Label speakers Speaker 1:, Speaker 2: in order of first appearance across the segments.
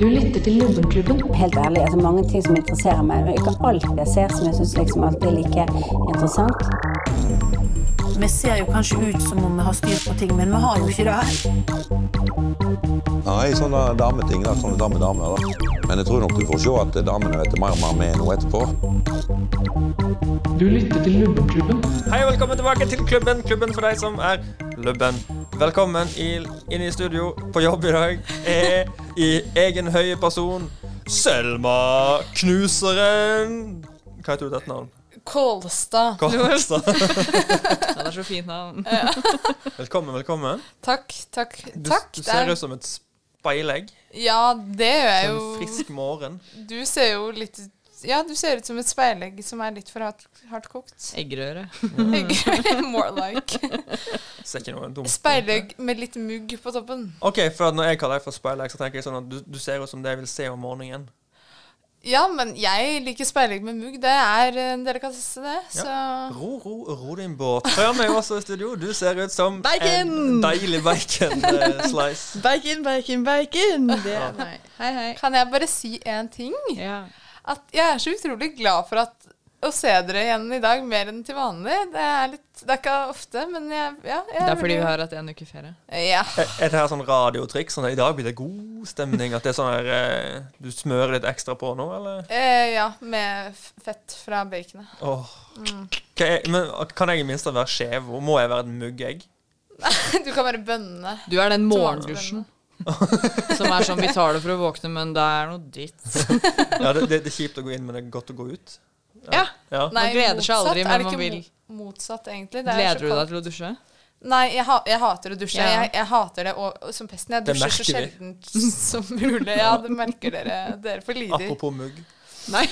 Speaker 1: Du lytter til Lubbenklubben.
Speaker 2: Helt ærlig, altså mange ting som interesserer meg. men Ikke alt jeg ser som jeg syns liksom alltid er like interessant.
Speaker 3: Vi ser jo kanskje ut som om vi har styr på ting, men vi har jo ikke det.
Speaker 4: Nei, sånne sånn, eh, dameting. da, Sånne damedamer. da. Men jeg tror nok du får se at damene vet mer og mer med nå etterpå.
Speaker 1: Du lytter til Lubbenklubben.
Speaker 5: Hei og velkommen tilbake til klubben. Klubben for deg som er lubben. Velkommen i, inn i studio på jobb i dag. Er i egen høye person Selma Knuseren. Hva heter du til etternavn?
Speaker 6: Kolstad.
Speaker 5: Kolstad.
Speaker 7: Det er så fint navn.
Speaker 5: Velkommen, velkommen.
Speaker 6: Takk, takk,
Speaker 5: Du,
Speaker 6: takk.
Speaker 5: du
Speaker 6: Det er-
Speaker 5: ser ut som et speilegg.
Speaker 6: Ja, det gjør jeg
Speaker 5: En
Speaker 6: jo.
Speaker 5: frisk morgen.
Speaker 6: Du ser jo litt Ja, du ser ut som et speilegg som er litt for hardt, hardt kokt.
Speaker 7: Eh, Eggerøre.
Speaker 5: Mm.
Speaker 6: More like.
Speaker 5: Ser ikke noe dumt.
Speaker 6: Speilegg med litt mugg på toppen.
Speaker 5: OK, for at når jeg kaller deg for speilegg, så tenker jeg sånn at du, du ser ut som det jeg vil se om morgenen.
Speaker 6: Ja, men jeg liker speilegg med mugg. Det er en delikatesse, det.
Speaker 5: Ja.
Speaker 6: Så
Speaker 5: Ro, ro, ro din båt. Hør meg også i studio. Du ser ut som en
Speaker 7: Bacon!
Speaker 5: deilig eh, bacon-slice.
Speaker 7: Bacon, bacon, bacon! Det, nei. Hei, hei.
Speaker 6: kan jeg bare si én ting?
Speaker 7: Ja.
Speaker 6: At jeg er så utrolig glad for at å se dere igjen i dag mer enn til vanlig. Det er, litt, det er ikke ofte, men jeg, ja, jeg
Speaker 7: Det er fordi
Speaker 6: veldig-
Speaker 7: vi har hatt en uke ferie.
Speaker 6: Ja.
Speaker 5: Er er det her sånn radiotriks? Sånn at I dag blir det god stemning? At det er sånn her eh, Du smører litt ekstra på nå, eller?
Speaker 6: Eh, ja, med f- fett fra baconet.
Speaker 5: Åh.
Speaker 7: Mm.
Speaker 5: Kan jeg, men kan jeg i minste være skjev? Hvor Må jeg være et muggegg?
Speaker 6: Du kan være bønne.
Speaker 7: Du er den morgendusjen som er sånn vi tar det for å våkne, men det er noe dritt.
Speaker 5: Ja, det, det, det er kjipt å gå inn, men det er godt å gå ut.
Speaker 7: Ja.
Speaker 5: Ja.
Speaker 6: Nei,
Speaker 7: gleder seg aldri,
Speaker 6: motsatt.
Speaker 7: men
Speaker 6: Er det
Speaker 7: man
Speaker 6: ikke
Speaker 7: vil.
Speaker 6: mo- Motsatt, egentlig. Det er
Speaker 7: Gleder du
Speaker 6: så
Speaker 7: deg
Speaker 6: kaldt.
Speaker 7: til å dusje?
Speaker 6: Nei, jeg, ha, jeg hater å dusje.
Speaker 7: Ja.
Speaker 6: Jeg, jeg hater det og, og som pesten. Jeg
Speaker 5: Det
Speaker 6: dusjer så
Speaker 5: merker
Speaker 6: sjelden som mulig. Ja, det merker dere. Dere får lider.
Speaker 5: Apropos mugg.
Speaker 7: Nei.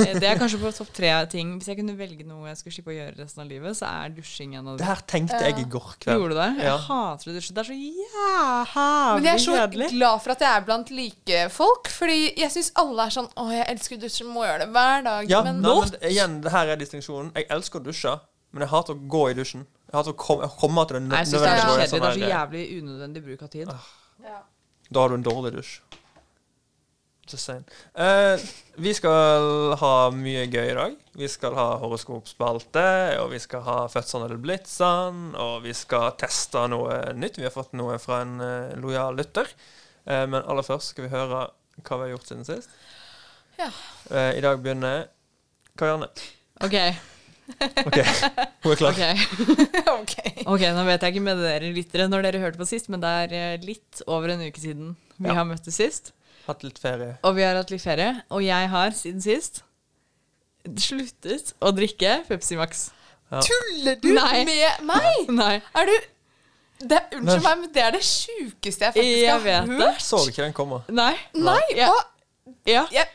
Speaker 7: Eh, Det er kanskje på topp tre ting. Hvis jeg kunne velge noe jeg skulle slippe å gjøre resten av livet, så er dusjing en av
Speaker 5: Det
Speaker 7: de.
Speaker 5: her tenkte jeg i går kveld.
Speaker 7: Gjorde du det?
Speaker 5: Ja.
Speaker 7: Jeg hater å dusje. Det er så
Speaker 6: Men jeg
Speaker 7: jævlig
Speaker 6: er så
Speaker 7: kjedelig.
Speaker 6: glad for at jeg er blant like folk, fordi jeg syns alle er sånn Å, jeg elsker å dusje, må gjøre det hver dag.
Speaker 5: Ja,
Speaker 6: men
Speaker 5: nei, men igjen, det her er distinksjonen. Jeg elsker å dusje, men jeg hater å gå i dusjen. Jeg hater å komme, komme til den
Speaker 7: Nei, jeg syns det er så
Speaker 5: nødvendige
Speaker 7: kjedelig. Det er
Speaker 5: sånn
Speaker 7: så
Speaker 5: her,
Speaker 7: jævlig unødvendig bruk av tid.
Speaker 5: Da har du en dårlig dusj. Just saying. Eh, vi skal ha mye gøy i dag. Vi skal ha horoskopspalte, og vi skal ha Fødselen eller blitsen, og vi skal teste noe nytt. Vi har fått noe fra en eh, lojal lytter. Eh, men aller først skal vi høre hva vi har gjort siden sist.
Speaker 6: Ja.
Speaker 5: Eh, I dag begynner Karianne.
Speaker 7: Ok,
Speaker 5: OK, hun er klar.
Speaker 7: ok.
Speaker 6: OK.
Speaker 7: Ok, nå vet jeg ikke med dere lyttere når dere hørte på sist, men det er eh, litt over en uke siden vi
Speaker 5: Ja.
Speaker 7: har møttes sist.
Speaker 5: Hatt litt ferie.
Speaker 7: Og vi har hatt litt ferie. Og jeg har siden sist sluttet å drikke Pepsi Max.
Speaker 6: Tuller du
Speaker 7: Nei.
Speaker 6: med meg?
Speaker 7: Nei.
Speaker 6: Er du det, er- Unnskyld
Speaker 5: Men-
Speaker 6: meg, men det er det sjukeste jeg faktisk
Speaker 7: Jeg
Speaker 6: har
Speaker 7: vet
Speaker 6: hørt.
Speaker 7: det.
Speaker 5: Så ikke den komme.
Speaker 7: Nei.
Speaker 6: Nei,
Speaker 7: Ja.
Speaker 6: hva?
Speaker 7: Ja.
Speaker 6: Jeg,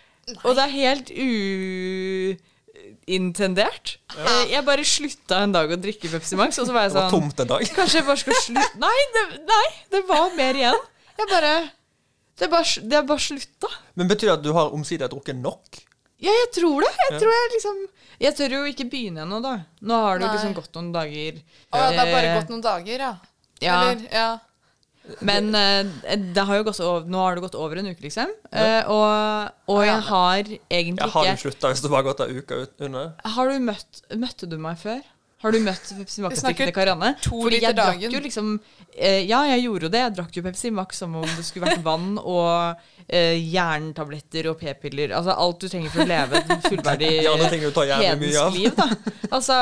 Speaker 7: Og det er helt uintendert. Eh, Jeg bare slutta en dag å drikke Pepsi Max, og så var jeg
Speaker 5: Det var
Speaker 7: sånn
Speaker 5: tomt en dag.
Speaker 7: Kanskje jeg bare skal slutte nei, det- nei, det var mer igjen. Jeg bare Det er bare, sl- det er bare slutta.
Speaker 5: Men betyr det at du har omsider drukket nok?
Speaker 7: Ja, jeg tror det. Jeg tror jeg liksom Jeg tør jo ikke begynne ennå, da. Nå har det jo
Speaker 6: Nei.
Speaker 7: liksom gått noen dager.
Speaker 6: å, ja, det har bare
Speaker 7: Eh,
Speaker 6: gått noen dager, ja.
Speaker 7: ja.
Speaker 6: Eller, ja.
Speaker 7: Men eh, det har jo gått over, nå har det gått over en uke, liksom. Eh, og, og jeg har egentlig
Speaker 5: Jeg har jo
Speaker 7: ikke
Speaker 5: slutta hvis det bare har gått ei uke ut- under.
Speaker 7: Har du møtt Møtte du meg før? Har du møtt Pepsi Max
Speaker 6: Vi snakker
Speaker 7: drikkende Karianne?
Speaker 6: to
Speaker 7: Fordi
Speaker 6: liter
Speaker 7: jeg drakk
Speaker 6: dagen.
Speaker 7: jo liksom eh, Ja, jeg gjorde jo det. Jeg drakk jo Pepsi Max som om det skulle vært vann og eh, jerntabletter og p-piller. Altså alt du trenger for å leve et fullverdig
Speaker 5: De andre tingene du tar jævlig mye av.
Speaker 7: hedensk liv, da. Altså,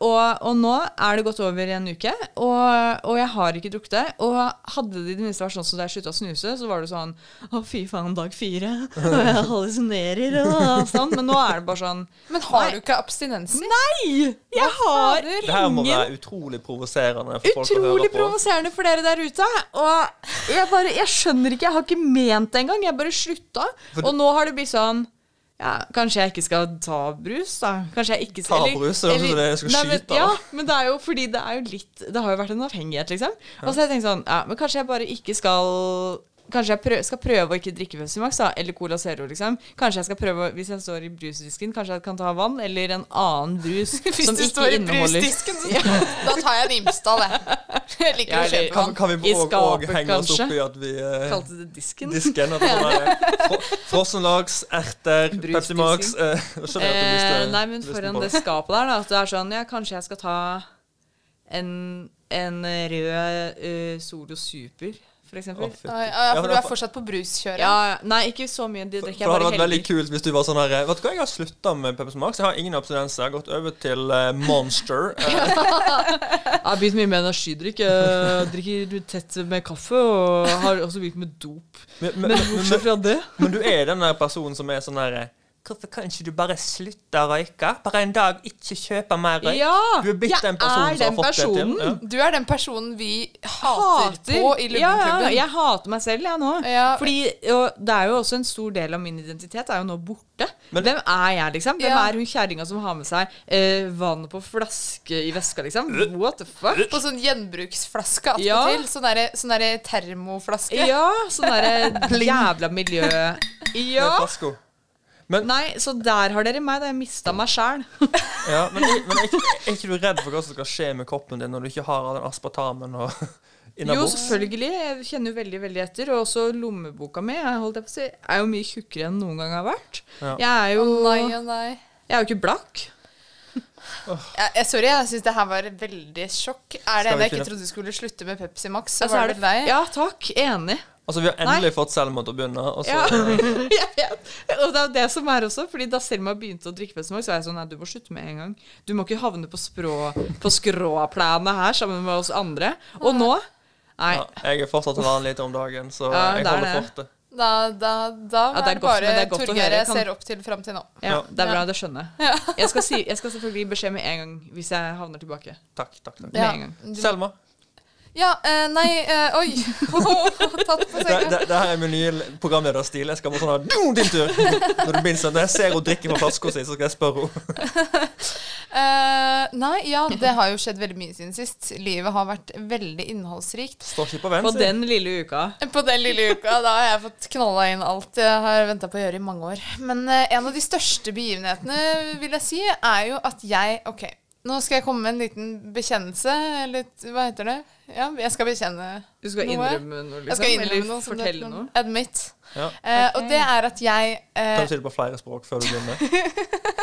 Speaker 7: og, og nå er det gått over en uke, og, og jeg har ikke drukket det. Og hadde det i det minste vært sånn som da jeg slutta å snuse, så var det sånn Å, fy faen, dag fire. Og jeg hallusinerer og sånn. Men nå er det bare sånn
Speaker 6: Men har
Speaker 7: Nei.
Speaker 6: du ikke abstinenser?
Speaker 7: Nei! Jeg har
Speaker 5: Det her må
Speaker 7: ingen
Speaker 5: være utrolig provoserende for folk å høre
Speaker 7: Utrolig
Speaker 5: på.
Speaker 7: provoserende for dere der ute. Og jeg bare, jeg skjønner ikke, jeg har ikke ment det engang. Jeg bare slutta.
Speaker 5: For-
Speaker 7: Og nå har det blitt sånn ja, Kanskje jeg ikke skal ta brus, da. Kanskje jeg ikke
Speaker 5: Ta
Speaker 7: eller-
Speaker 5: brus, det høres ut som
Speaker 7: eller-
Speaker 5: det jeg skal
Speaker 7: Nei, men-
Speaker 5: skyte, da.
Speaker 7: Ja, men det er jo fordi det er jo litt Det har jo vært en avhengighet, liksom. Og så har jeg tenkt sånn Ja, men kanskje jeg bare ikke skal Kanskje jeg prø skal prøve å ikke drikke Pepsi Max da, eller Cola Zero. liksom. Kanskje jeg skal prøve, å- Hvis jeg står i brusdisken, kanskje jeg kan ta vann eller en annen brus som
Speaker 6: Hvis du
Speaker 7: ikke
Speaker 6: står i
Speaker 7: inneholder
Speaker 6: brusdisken, så da tar jeg en Imsdal, jeg. Jeg liker å
Speaker 7: Jeg
Speaker 6: kjøpe
Speaker 5: Kan,
Speaker 6: vann.
Speaker 5: kan vi
Speaker 7: I
Speaker 5: òg-
Speaker 7: skapet,
Speaker 5: òg henge oss
Speaker 7: kanskje?
Speaker 5: opp i at vi eh,
Speaker 7: Kalte det disken.
Speaker 5: Disken. At det var fro frossen laks, erter,
Speaker 7: Brus,
Speaker 5: Pepsi Max
Speaker 7: disken.
Speaker 5: eh, skjønner at du
Speaker 7: Eh,
Speaker 5: mister
Speaker 7: nei, men
Speaker 5: lysten
Speaker 7: foran
Speaker 5: på
Speaker 7: det skapet der, da. At det er sånn Ja, kanskje jeg skal ta en, en rød eh, Solo Super,
Speaker 5: Å,
Speaker 7: for eksempel.
Speaker 5: fy.
Speaker 6: Oi, ja,
Speaker 5: Ja,
Speaker 6: for
Speaker 5: for
Speaker 6: du
Speaker 5: det
Speaker 6: er
Speaker 5: er-
Speaker 6: fortsatt på bruskjøret?
Speaker 7: Ja, ja. nei, ikke så mye. Det
Speaker 5: For
Speaker 7: drikker jeg
Speaker 5: det hadde
Speaker 7: bare
Speaker 5: vært veldig
Speaker 7: heldig.
Speaker 5: kult hvis du var sånn her eh, Vet du hva, jeg har slutta med Pepsi Max. Jeg har ingen abstinenser. Jeg har gått over til eh, Monster. Eh,
Speaker 7: Jeg har begynt mye med energidrikk. Jeg drikker tett med kaffe, og har også begynt med dop.
Speaker 5: men, men,
Speaker 7: Men
Speaker 5: men,
Speaker 7: bortsett fra det
Speaker 5: men du er den der personen som er sånn her eh, Hvorfor kan ikke du bare slutte å røyke? Bare en dag ikke kjøpe mer røyk?
Speaker 7: Ja!
Speaker 5: Du er blitt
Speaker 7: jeg
Speaker 5: den personen som
Speaker 7: er
Speaker 5: har
Speaker 7: den
Speaker 5: fått det til.
Speaker 7: personen.
Speaker 5: Mm. Ja.
Speaker 6: Du er den personen vi hater,
Speaker 7: hater
Speaker 6: på i
Speaker 7: ja,
Speaker 6: Lubbenklubben.
Speaker 7: ja, jeg hater meg selv, jeg nå.
Speaker 6: Ja.
Speaker 7: Fordi og det er jo også en stor del av min identitet er jo nå borte.
Speaker 5: Men-
Speaker 7: Hvem er jeg, liksom? Hvem
Speaker 6: Ja.
Speaker 7: er hun kjerringa som har med seg eh, vann på flaske i veska, liksom? What the fuck?
Speaker 6: På sånn gjenbruksflaske attpåtil.
Speaker 7: Ja.
Speaker 6: Sånn derre- sånn derre termoflaske.
Speaker 7: Ja, sånn derre jævla miljø... Ja.
Speaker 5: Med Flasco.
Speaker 7: Nei, så der har dere meg, da. Jeg mista meg sjæl.
Speaker 5: Ja, men men er, ikke, er ikke du redd for hva som skal skje med kroppen din når du ikke har all den aspartamen og
Speaker 7: Jo,
Speaker 5: innabords?
Speaker 7: selvfølgelig. Jeg kjenner jo veldig veldig etter. Og også lommeboka mi jeg holdt jeg på å si, er jo mye tjukkere enn noen gang jeg har vært.
Speaker 5: Ja.
Speaker 7: Jeg er jo
Speaker 6: Nei og nei.
Speaker 7: Jeg er jo ikke blakk.
Speaker 6: Jeg, jeg, sorry, jeg syns det her var veldig sjokk. Er
Speaker 5: Skal
Speaker 6: det en
Speaker 5: vi
Speaker 6: jeg ikke
Speaker 5: finne-
Speaker 6: trodde skulle slutte med Pepsi Max, så
Speaker 7: Altså,
Speaker 6: var
Speaker 7: er
Speaker 6: det vel deg?
Speaker 7: Ja, takk. Enig.
Speaker 5: Altså, vi har endelig fått Selma til å begynne, og så
Speaker 7: Ja. jeg vet. Og det er jo det som er også, fordi da Selma begynte å drikke Pepsi Max, så var jeg sånn Nei, du må slutte med en gang. Du må ikke havne på, språ, på skråplanet her sammen med oss andre. Og nå Nei.
Speaker 5: ja, Jeg er fortsatt vanlig lite om dagen, så
Speaker 7: Ja,
Speaker 5: jeg
Speaker 7: det er
Speaker 5: holder
Speaker 7: det.
Speaker 5: fortet.
Speaker 6: Da, da, da
Speaker 7: Ja, det er
Speaker 6: er det
Speaker 7: godt, men
Speaker 6: bare
Speaker 7: det er godt å
Speaker 6: Torgeir
Speaker 7: høre.
Speaker 6: jeg
Speaker 7: Kan-
Speaker 6: ser opp til fram til nå.
Speaker 7: Ja, det er bra,
Speaker 6: Ja.
Speaker 7: det skjønner jeg. Jeg skal, si, jeg skal selvfølgelig gi beskjed med en gang hvis jeg havner tilbake.
Speaker 5: Takk, takk, takk.
Speaker 7: Med en gang.
Speaker 6: du-
Speaker 5: Selma,
Speaker 6: Ja, eh, nei eh, Oi! Tatt på
Speaker 5: det,
Speaker 6: senga.
Speaker 5: det, det her er min nye programlederstil. Jeg skal bare sånn her, «Du, din tur! Når du minst, når jeg ser henne drikke fra flaska si, så skal jeg spørre henne.
Speaker 6: Eh, nei, ja, det har jo skjedd veldig mye siden sist. Livet har vært veldig innholdsrikt.
Speaker 5: Står ikke på venn,
Speaker 7: På
Speaker 5: sier jeg.
Speaker 7: den lille uka.
Speaker 6: På den lille uka da har jeg fått knalla inn alt jeg har venta på å gjøre i mange år. Men eh, en av de største begivenhetene vil jeg si, er jo at jeg OK, nå skal jeg komme med en liten bekjennelse. Eller t- hva heter det? Ja, jeg skal bekjenne.
Speaker 7: Du skal
Speaker 6: Noe?
Speaker 7: innrømme noe, liksom?
Speaker 6: Jeg skal innrømme
Speaker 7: eller
Speaker 6: noe. som det heter,
Speaker 7: fortelle noe?
Speaker 6: Admit.
Speaker 5: Ja.
Speaker 6: Eh, og det er at jeg eh,
Speaker 5: Kan du si det på flere språk før du begynner?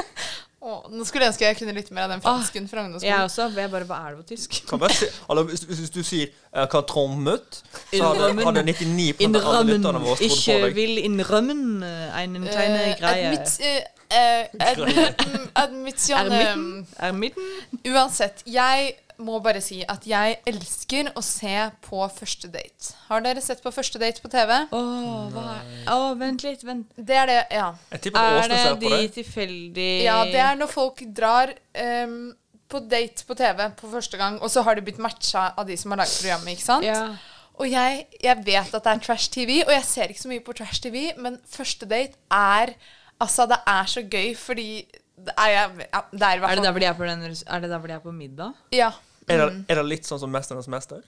Speaker 6: å, Nå skulle jeg ønske jeg kunne litt mer av den fransken fra
Speaker 7: Jeg
Speaker 6: ungdomsskolen.
Speaker 7: også. men Jeg bare Hva er det på tysk?
Speaker 5: Kan bare si, eller, hvis, hvis du sier uh, 'katrommut', så hadde,
Speaker 7: Innrømmen.
Speaker 5: hadde 99 av alle
Speaker 7: Innrømmen.
Speaker 5: lytterne våre trodd
Speaker 7: Ich
Speaker 5: på
Speaker 7: eh,
Speaker 5: deg.
Speaker 7: will innrømmen eh, einen kleine
Speaker 6: Eh,
Speaker 7: greie.
Speaker 6: admit, eh, eh, admi- admisjon,
Speaker 7: Er midten?
Speaker 6: eh,
Speaker 7: Er midten?
Speaker 6: Uansett, jeg må bare si at jeg elsker å se på første date. Har dere sett på første date på TV?
Speaker 7: Åh, hva er Åh, vent litt, vent.
Speaker 6: Det er det, ja.
Speaker 5: Jeg tipper at
Speaker 7: Er
Speaker 5: Åsne
Speaker 7: det
Speaker 5: ser på
Speaker 7: de
Speaker 5: deg.
Speaker 7: tilfeldige
Speaker 6: Ja, det er når folk drar ehm, på date på TV på første gang, og så har de blitt matcha av de som har laget programmet, ikke sant?
Speaker 7: Ja.
Speaker 6: Og jeg, jeg vet at det er trash TV, og jeg ser ikke så mye på trash TV, men første date er Altså, det er så gøy, fordi det er, jeg, ja, det er i
Speaker 7: Er
Speaker 6: hvert
Speaker 7: det
Speaker 6: fall
Speaker 7: der hvor de er på, den, er det der hvor de er på middag?
Speaker 6: Ja.
Speaker 5: Er det,
Speaker 7: Mm.
Speaker 5: er det litt sånn som 'Mesternes mester'?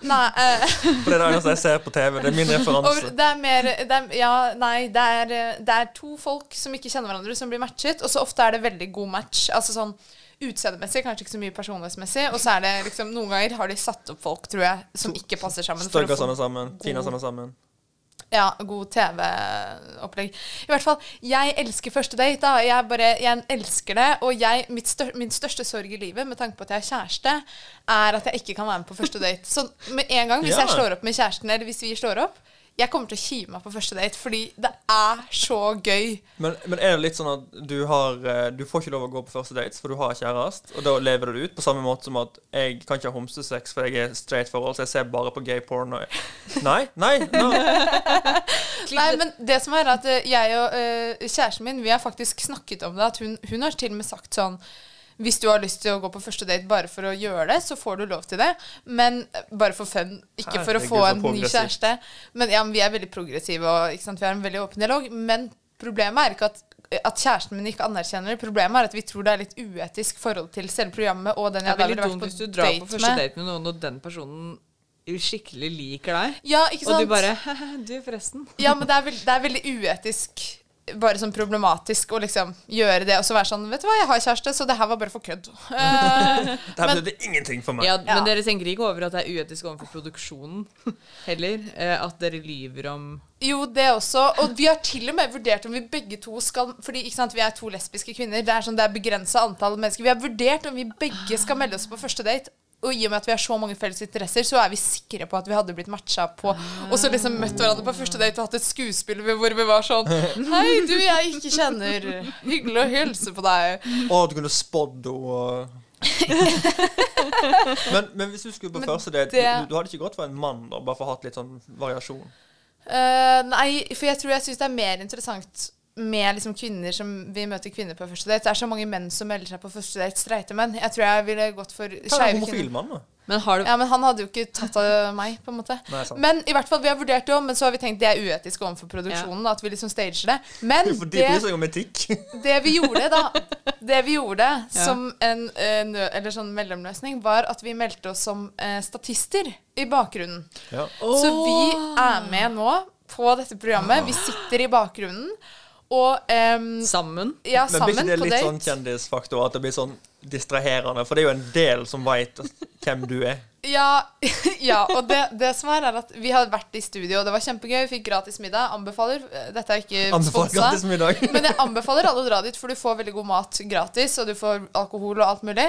Speaker 6: Nei, eh,
Speaker 5: For det er det eneste jeg ser på TV. Det er min
Speaker 6: Og
Speaker 5: referanse.
Speaker 6: det er mer det er, Ja, nei, det er, eh, det er to folk som ikke kjenner hverandre, som blir matchet, og så ofte er det veldig god match. Altså sånn utseendemessig, kanskje ikke så mye personlighetsmessig, og så er det liksom Noen ganger har de satt opp folk, tror jeg, som ikke passer sammen. for å
Speaker 5: Støgger
Speaker 6: få-
Speaker 5: sammen sammen. Fina sammen sammen.
Speaker 6: ja, god TV-opplegg. I hvert fall, jeg elsker første date. da. Jeg, bare, jeg elsker det. Og jeg, mitt stør, min største sorg i livet, med tanke på at jeg er kjæreste, er at jeg ikke kan være med på første date. Så med en gang, hvis
Speaker 5: Ja.
Speaker 6: jeg slår opp med kjæresten, eller hvis vi slår opp, jeg kommer til å kime meg på første date, fordi det er så gøy.
Speaker 5: Men, men er det litt sånn at du har eh, Du får ikke lov å gå på første dates, for du har kjæreste, og da lever du det ut på samme måte som at jeg kan ikke ha homsesex, for jeg er straight forhold, så jeg ser bare på gay porn og Nei, nei, no.
Speaker 6: Nei, men det som er at eh, jeg og eh, kjæresten min, vi har faktisk snakket om det, at hun, hun har til og med sagt sånn hvis du har lyst til å gå på første date bare for å gjøre det, så får du lov til det. Men eh, bare for fun, ikke for å
Speaker 5: Herregud,
Speaker 6: få
Speaker 5: så
Speaker 6: en ny
Speaker 5: progressivt.
Speaker 6: kjæreste. Men ja, men vi er veldig progressive og ikke sant? vi har en veldig åpen dialog. Men problemet er ikke at, eh, at kjæresten min ikke anerkjenner det. Problemet er at vi tror det er litt uetisk forhold til selve programmet og den
Speaker 7: Det er
Speaker 6: jeg da
Speaker 7: veldig
Speaker 6: ville
Speaker 7: dumt
Speaker 6: vært
Speaker 7: hvis du
Speaker 6: på
Speaker 7: drar på
Speaker 6: date
Speaker 7: første
Speaker 6: med.
Speaker 7: date med noen, og den personen skikkelig liker deg.
Speaker 6: Ja, ikke sant?
Speaker 7: Og du bare Du, forresten.
Speaker 6: Ja, men det er, veld, det er veldig uetisk bare sånn problematisk å liksom gjøre det og så være sånn Vet du hva, jeg har kjæreste, så det her var bare for kødd. Eh,
Speaker 5: Det her betydde ingenting for meg.
Speaker 7: Ja,
Speaker 6: Ja.
Speaker 7: Men dere tenker ikke over at det er uetisk overfor produksjonen heller? Eh, at dere lyver om
Speaker 6: jo, det også. Og vi har til og med vurdert om vi begge to skal Fordi ikke sant, vi er to lesbiske kvinner. Det er sånn, det er begrensa antall mennesker. Vi har vurdert om vi begge skal melde oss på første date. Og i og med at vi har så mange felles interesser, så er vi sikre på at vi hadde blitt matcha på Og så liksom møtt hverandre på første date og hatt et skuespill hvor vi var sånn Hei, du jeg ikke kjenner. Hyggelig å hilse på deg.
Speaker 5: Å, du kunne spådd henne men, men hvis du skulle på første date,
Speaker 6: det-
Speaker 5: du, du hadde ikke gått for en mann, da, bare for å ha litt sånn variasjon?
Speaker 6: Eh, nei, for jeg tror jeg syns det er mer interessant med liksom kvinner som vi møter kvinner på første date. Det er så mange menn som melder seg på første date, streite menn. Jeg tror jeg ville gått for
Speaker 5: Hva er en
Speaker 6: skeive
Speaker 5: homofil
Speaker 6: kvinner.
Speaker 5: mann, da?
Speaker 7: Men har du
Speaker 6: Ja, men han hadde jo ikke tatt av meg, på en måte.
Speaker 5: Nei, sant.
Speaker 6: men i hvert fall, vi har vurdert det òg, men så har vi tenkt det er uetisk overfor produksjonen. At vi liksom stager det. Men
Speaker 5: For de
Speaker 6: det,
Speaker 5: bryr seg om etikk.
Speaker 6: det vi gjorde, da Det vi gjorde
Speaker 7: Ja.
Speaker 6: som en eh, nø, eller sånn mellomløsning, var at vi meldte oss som eh, statister i bakgrunnen.
Speaker 5: Ja.
Speaker 6: Så vi er med nå på dette programmet. Vi sitter i bakgrunnen. Og em,
Speaker 7: sammen?
Speaker 6: ja,
Speaker 5: Men blir ikke
Speaker 6: sammen
Speaker 5: det
Speaker 6: på
Speaker 5: litt sånn
Speaker 6: date.
Speaker 5: kjendisfaktor at det blir sånn distraherende? For det er jo en del som veit hvem du er.
Speaker 6: Ja, ja, og det, det som er, er at vi har vært i studio, og det var kjempegøy. Vi fikk gratis middag. Anbefaler. Dette er ikke
Speaker 5: Anbefaler
Speaker 6: sponsa.
Speaker 5: gratis middag.
Speaker 6: Men jeg anbefaler alle å dra dit, for du får veldig god mat gratis, og du får alkohol og alt mulig.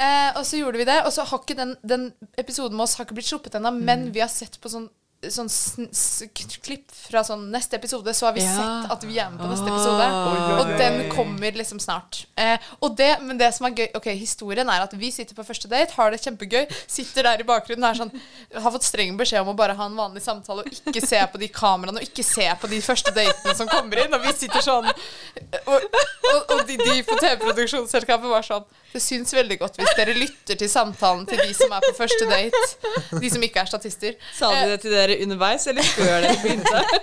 Speaker 6: Eh, og så gjorde vi det, og så har ikke den, den episoden med oss har ikke blitt sluppet ennå, men vi har sett på sånn Sånn sn s k- klipp fra sånn neste episode, så har vi
Speaker 7: Ja.
Speaker 6: sett at vi er med på neste episode.
Speaker 5: Ah. Oi, oi,
Speaker 6: Og
Speaker 5: oi.
Speaker 6: den kommer liksom snart. Eh, og det, men det som er gøy Ok, historien er at vi sitter på første date, har det kjempegøy, sitter der i bakgrunnen og er sånn Har fått streng beskjed om å bare ha en vanlig samtale og ikke se på de kameraene og ikke se på de første datene som kommer inn, og vi sitter sånn og, og, og de, de på TV-produksjonsselskapet var sånn Det syns veldig godt hvis dere lytter til samtalen til de som er på første date. De som ikke er statister.
Speaker 7: Sa de det til dere underveis eller før dere begynte?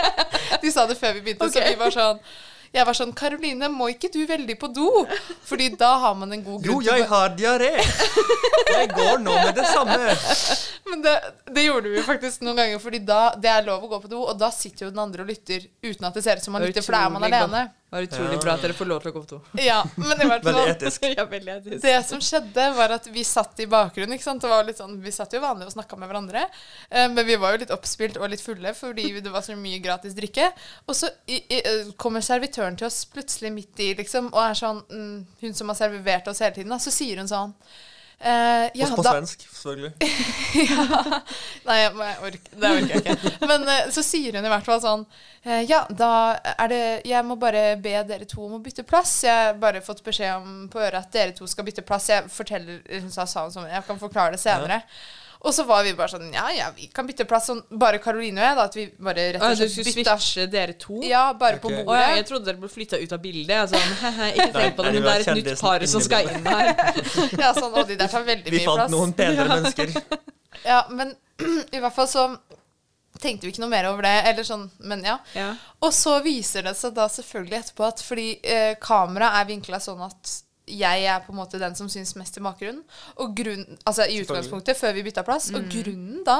Speaker 6: De sa det før vi begynte, så vi var sånn jeg var sånn Karoline, må ikke du veldig på do? Fordi da har man en god
Speaker 5: Jo,
Speaker 6: grunn. til
Speaker 5: jeg
Speaker 6: å-
Speaker 5: har diaré. Jeg går nå med det samme.
Speaker 6: Men det, det gjorde vi faktisk noen ganger, Fordi da det er lov å gå på do, og da sitter jo den andre og lytter uten at det ser ut som man lytter, for da er man
Speaker 7: Utrolig
Speaker 6: alene.
Speaker 7: Det var utrolig bra at dere får lov til å gå på do.
Speaker 6: Ja, men i hvert fall
Speaker 5: Veldig etisk.
Speaker 7: Ja, veldig etisk.
Speaker 6: Det som skjedde, var at vi satt i bakgrunnen. ikke sant? Det var litt sånn, Vi satt jo vanlig og snakka med hverandre. eh, Men vi var jo litt oppspilt og litt fulle fordi det var så mye gratis drikke. Og så i, i, eh, kommer servitøren til oss plutselig midt i, liksom, og er sånn mm, Hun som har servert oss hele tiden, da, så sier hun sånn eh, ja,
Speaker 5: På, på
Speaker 6: da,
Speaker 5: svensk, selvfølgelig.
Speaker 6: Nei, jeg, må- jeg ork, det orker jeg ikke. Men eh, så sier hun i hvert fall sånn eh, Ja, da er det Jeg må bare be dere to om å bytte plass. Jeg har bare fått beskjed om på øret at dere to skal bytte plass. Jeg forteller Hun sa sa hun sånn Jeg kan forklare det senere. Og så var vi bare sånn Ja, ja, vi kan bytte plass. Sånn, bare Karoline og jeg, da. At vi bare rett
Speaker 7: Å,
Speaker 6: og
Speaker 7: du
Speaker 6: slett
Speaker 7: skulle
Speaker 6: bytta.
Speaker 7: switche dere to?
Speaker 6: Ja, bare på
Speaker 5: Ok.
Speaker 7: Å, ja, jeg
Speaker 6: bordet.
Speaker 7: trodde dere ble flytta ut av bildet. Jeg sånn, «Hehe, ikke tenk på det,
Speaker 5: Nei, nei,
Speaker 7: men det er
Speaker 5: det var
Speaker 7: et nytt
Speaker 5: kjendisen
Speaker 7: par som
Speaker 5: inni
Speaker 7: skal inn her.
Speaker 6: Ja, sånn, og de der tar veldig
Speaker 5: Vi
Speaker 6: mye
Speaker 5: fant
Speaker 6: plass.
Speaker 5: noen penere mennesker.
Speaker 6: Ja, men i hvert fall så tenkte vi ikke noe mer over det. Eller sånn, men ja.
Speaker 7: Ja.
Speaker 6: Og så viser det seg da selvfølgelig etterpå at fordi eh, kameraet er vinkla sånn at jeg er på en måte den som syns mest i bakgrunnen. Og grunnen, altså i utgangspunktet, før vi bytta plass. Og grunnen da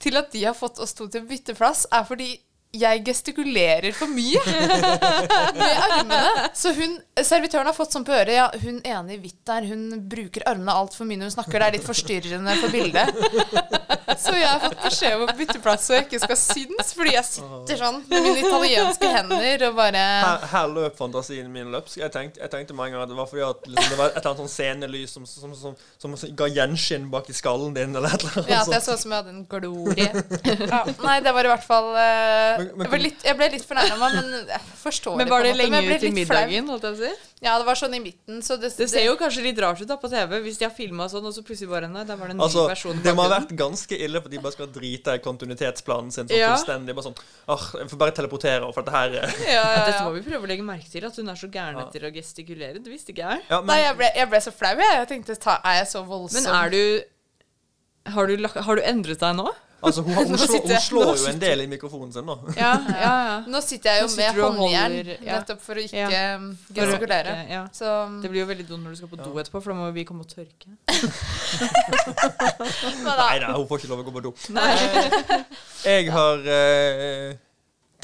Speaker 6: til at de har fått oss to til å bytte plass, er fordi jeg gestikulerer for mye med armene. Så hun, servitøren har fått sånn på øret Ja, hun ene i hvitt der, hun bruker armene altfor mye når hun snakker. Det er litt forstyrrende for bildet. Så jeg har fått beskjed om å bytte plass så jeg ikke skal synes, fordi jeg sitter sånn med mine italienske hender og bare
Speaker 5: Her, her løp fantasien min løpsk. Jeg tenkte, jeg tenkte mange ganger at det var fordi at liksom, det var et eller annet sånn scenelys som, som, som, som, ga gjenskinn bak i skallen din, eller et eller annet
Speaker 6: Ja, at
Speaker 5: sånt.
Speaker 6: jeg så ut som jeg hadde en glorie. Ja, nei, det var i hvert fall eh,
Speaker 5: Men- men
Speaker 6: jeg, ble litt, jeg ble litt fornærma, men jeg forstår
Speaker 7: Men var
Speaker 6: på en
Speaker 7: det
Speaker 6: måte,
Speaker 7: lenge
Speaker 6: jeg ble
Speaker 7: ut til
Speaker 6: litt flau.
Speaker 7: middagen? holdt jeg å si?
Speaker 6: Ja, det var sånn i midten, så det,
Speaker 7: Det ser jo kanskje litt rart ut da på TV hvis de har filma sånn, og så plutselig bare Nei, der var det en ny
Speaker 5: Altså,
Speaker 7: versjon.
Speaker 5: det
Speaker 7: i
Speaker 5: må ha
Speaker 7: bakgrunnen.
Speaker 5: vært ganske ille for de bare skal drite i kontinuitetsplanen sin sånn
Speaker 7: Ja.
Speaker 5: fullstendig. Bare sånn, åh, jeg får bare teleportere, for dette her eh». er-"
Speaker 6: ja, ja,
Speaker 7: Dette
Speaker 6: ja.
Speaker 7: må vi prøve å legge merke til, at hun er så gæren
Speaker 5: Ja.
Speaker 7: etter å gestikulere. Det visste ikke jeg.
Speaker 5: Ja,
Speaker 6: Nei,
Speaker 5: men
Speaker 6: jeg ble, jeg ble så flau, jeg. Jeg tenkte ta, Er jeg så voldsom?
Speaker 7: Men er du har du, lagt, har du endret deg nå?
Speaker 5: altså, hun, hun,
Speaker 6: Nå
Speaker 5: slår,
Speaker 6: sitter
Speaker 5: hun
Speaker 6: jeg-
Speaker 5: slår
Speaker 6: nå
Speaker 5: jo en del i mikrofonen sin, da.
Speaker 7: Ja, ja, ja.
Speaker 6: Nå sitter jeg jo
Speaker 7: Nå sitter
Speaker 6: med
Speaker 7: du og
Speaker 6: håndjern,
Speaker 7: holder- ja.
Speaker 6: nettopp for å ikke
Speaker 7: Ja.
Speaker 6: um, gestikulere.
Speaker 7: Ja.
Speaker 6: Så um,
Speaker 7: Det blir jo veldig dumt når du skal på do etterpå, for da må vi komme og tørke.
Speaker 6: Nei da.
Speaker 5: Nei da, hun får ikke lov å gå på do.
Speaker 7: Nei.
Speaker 5: Jeg har eh,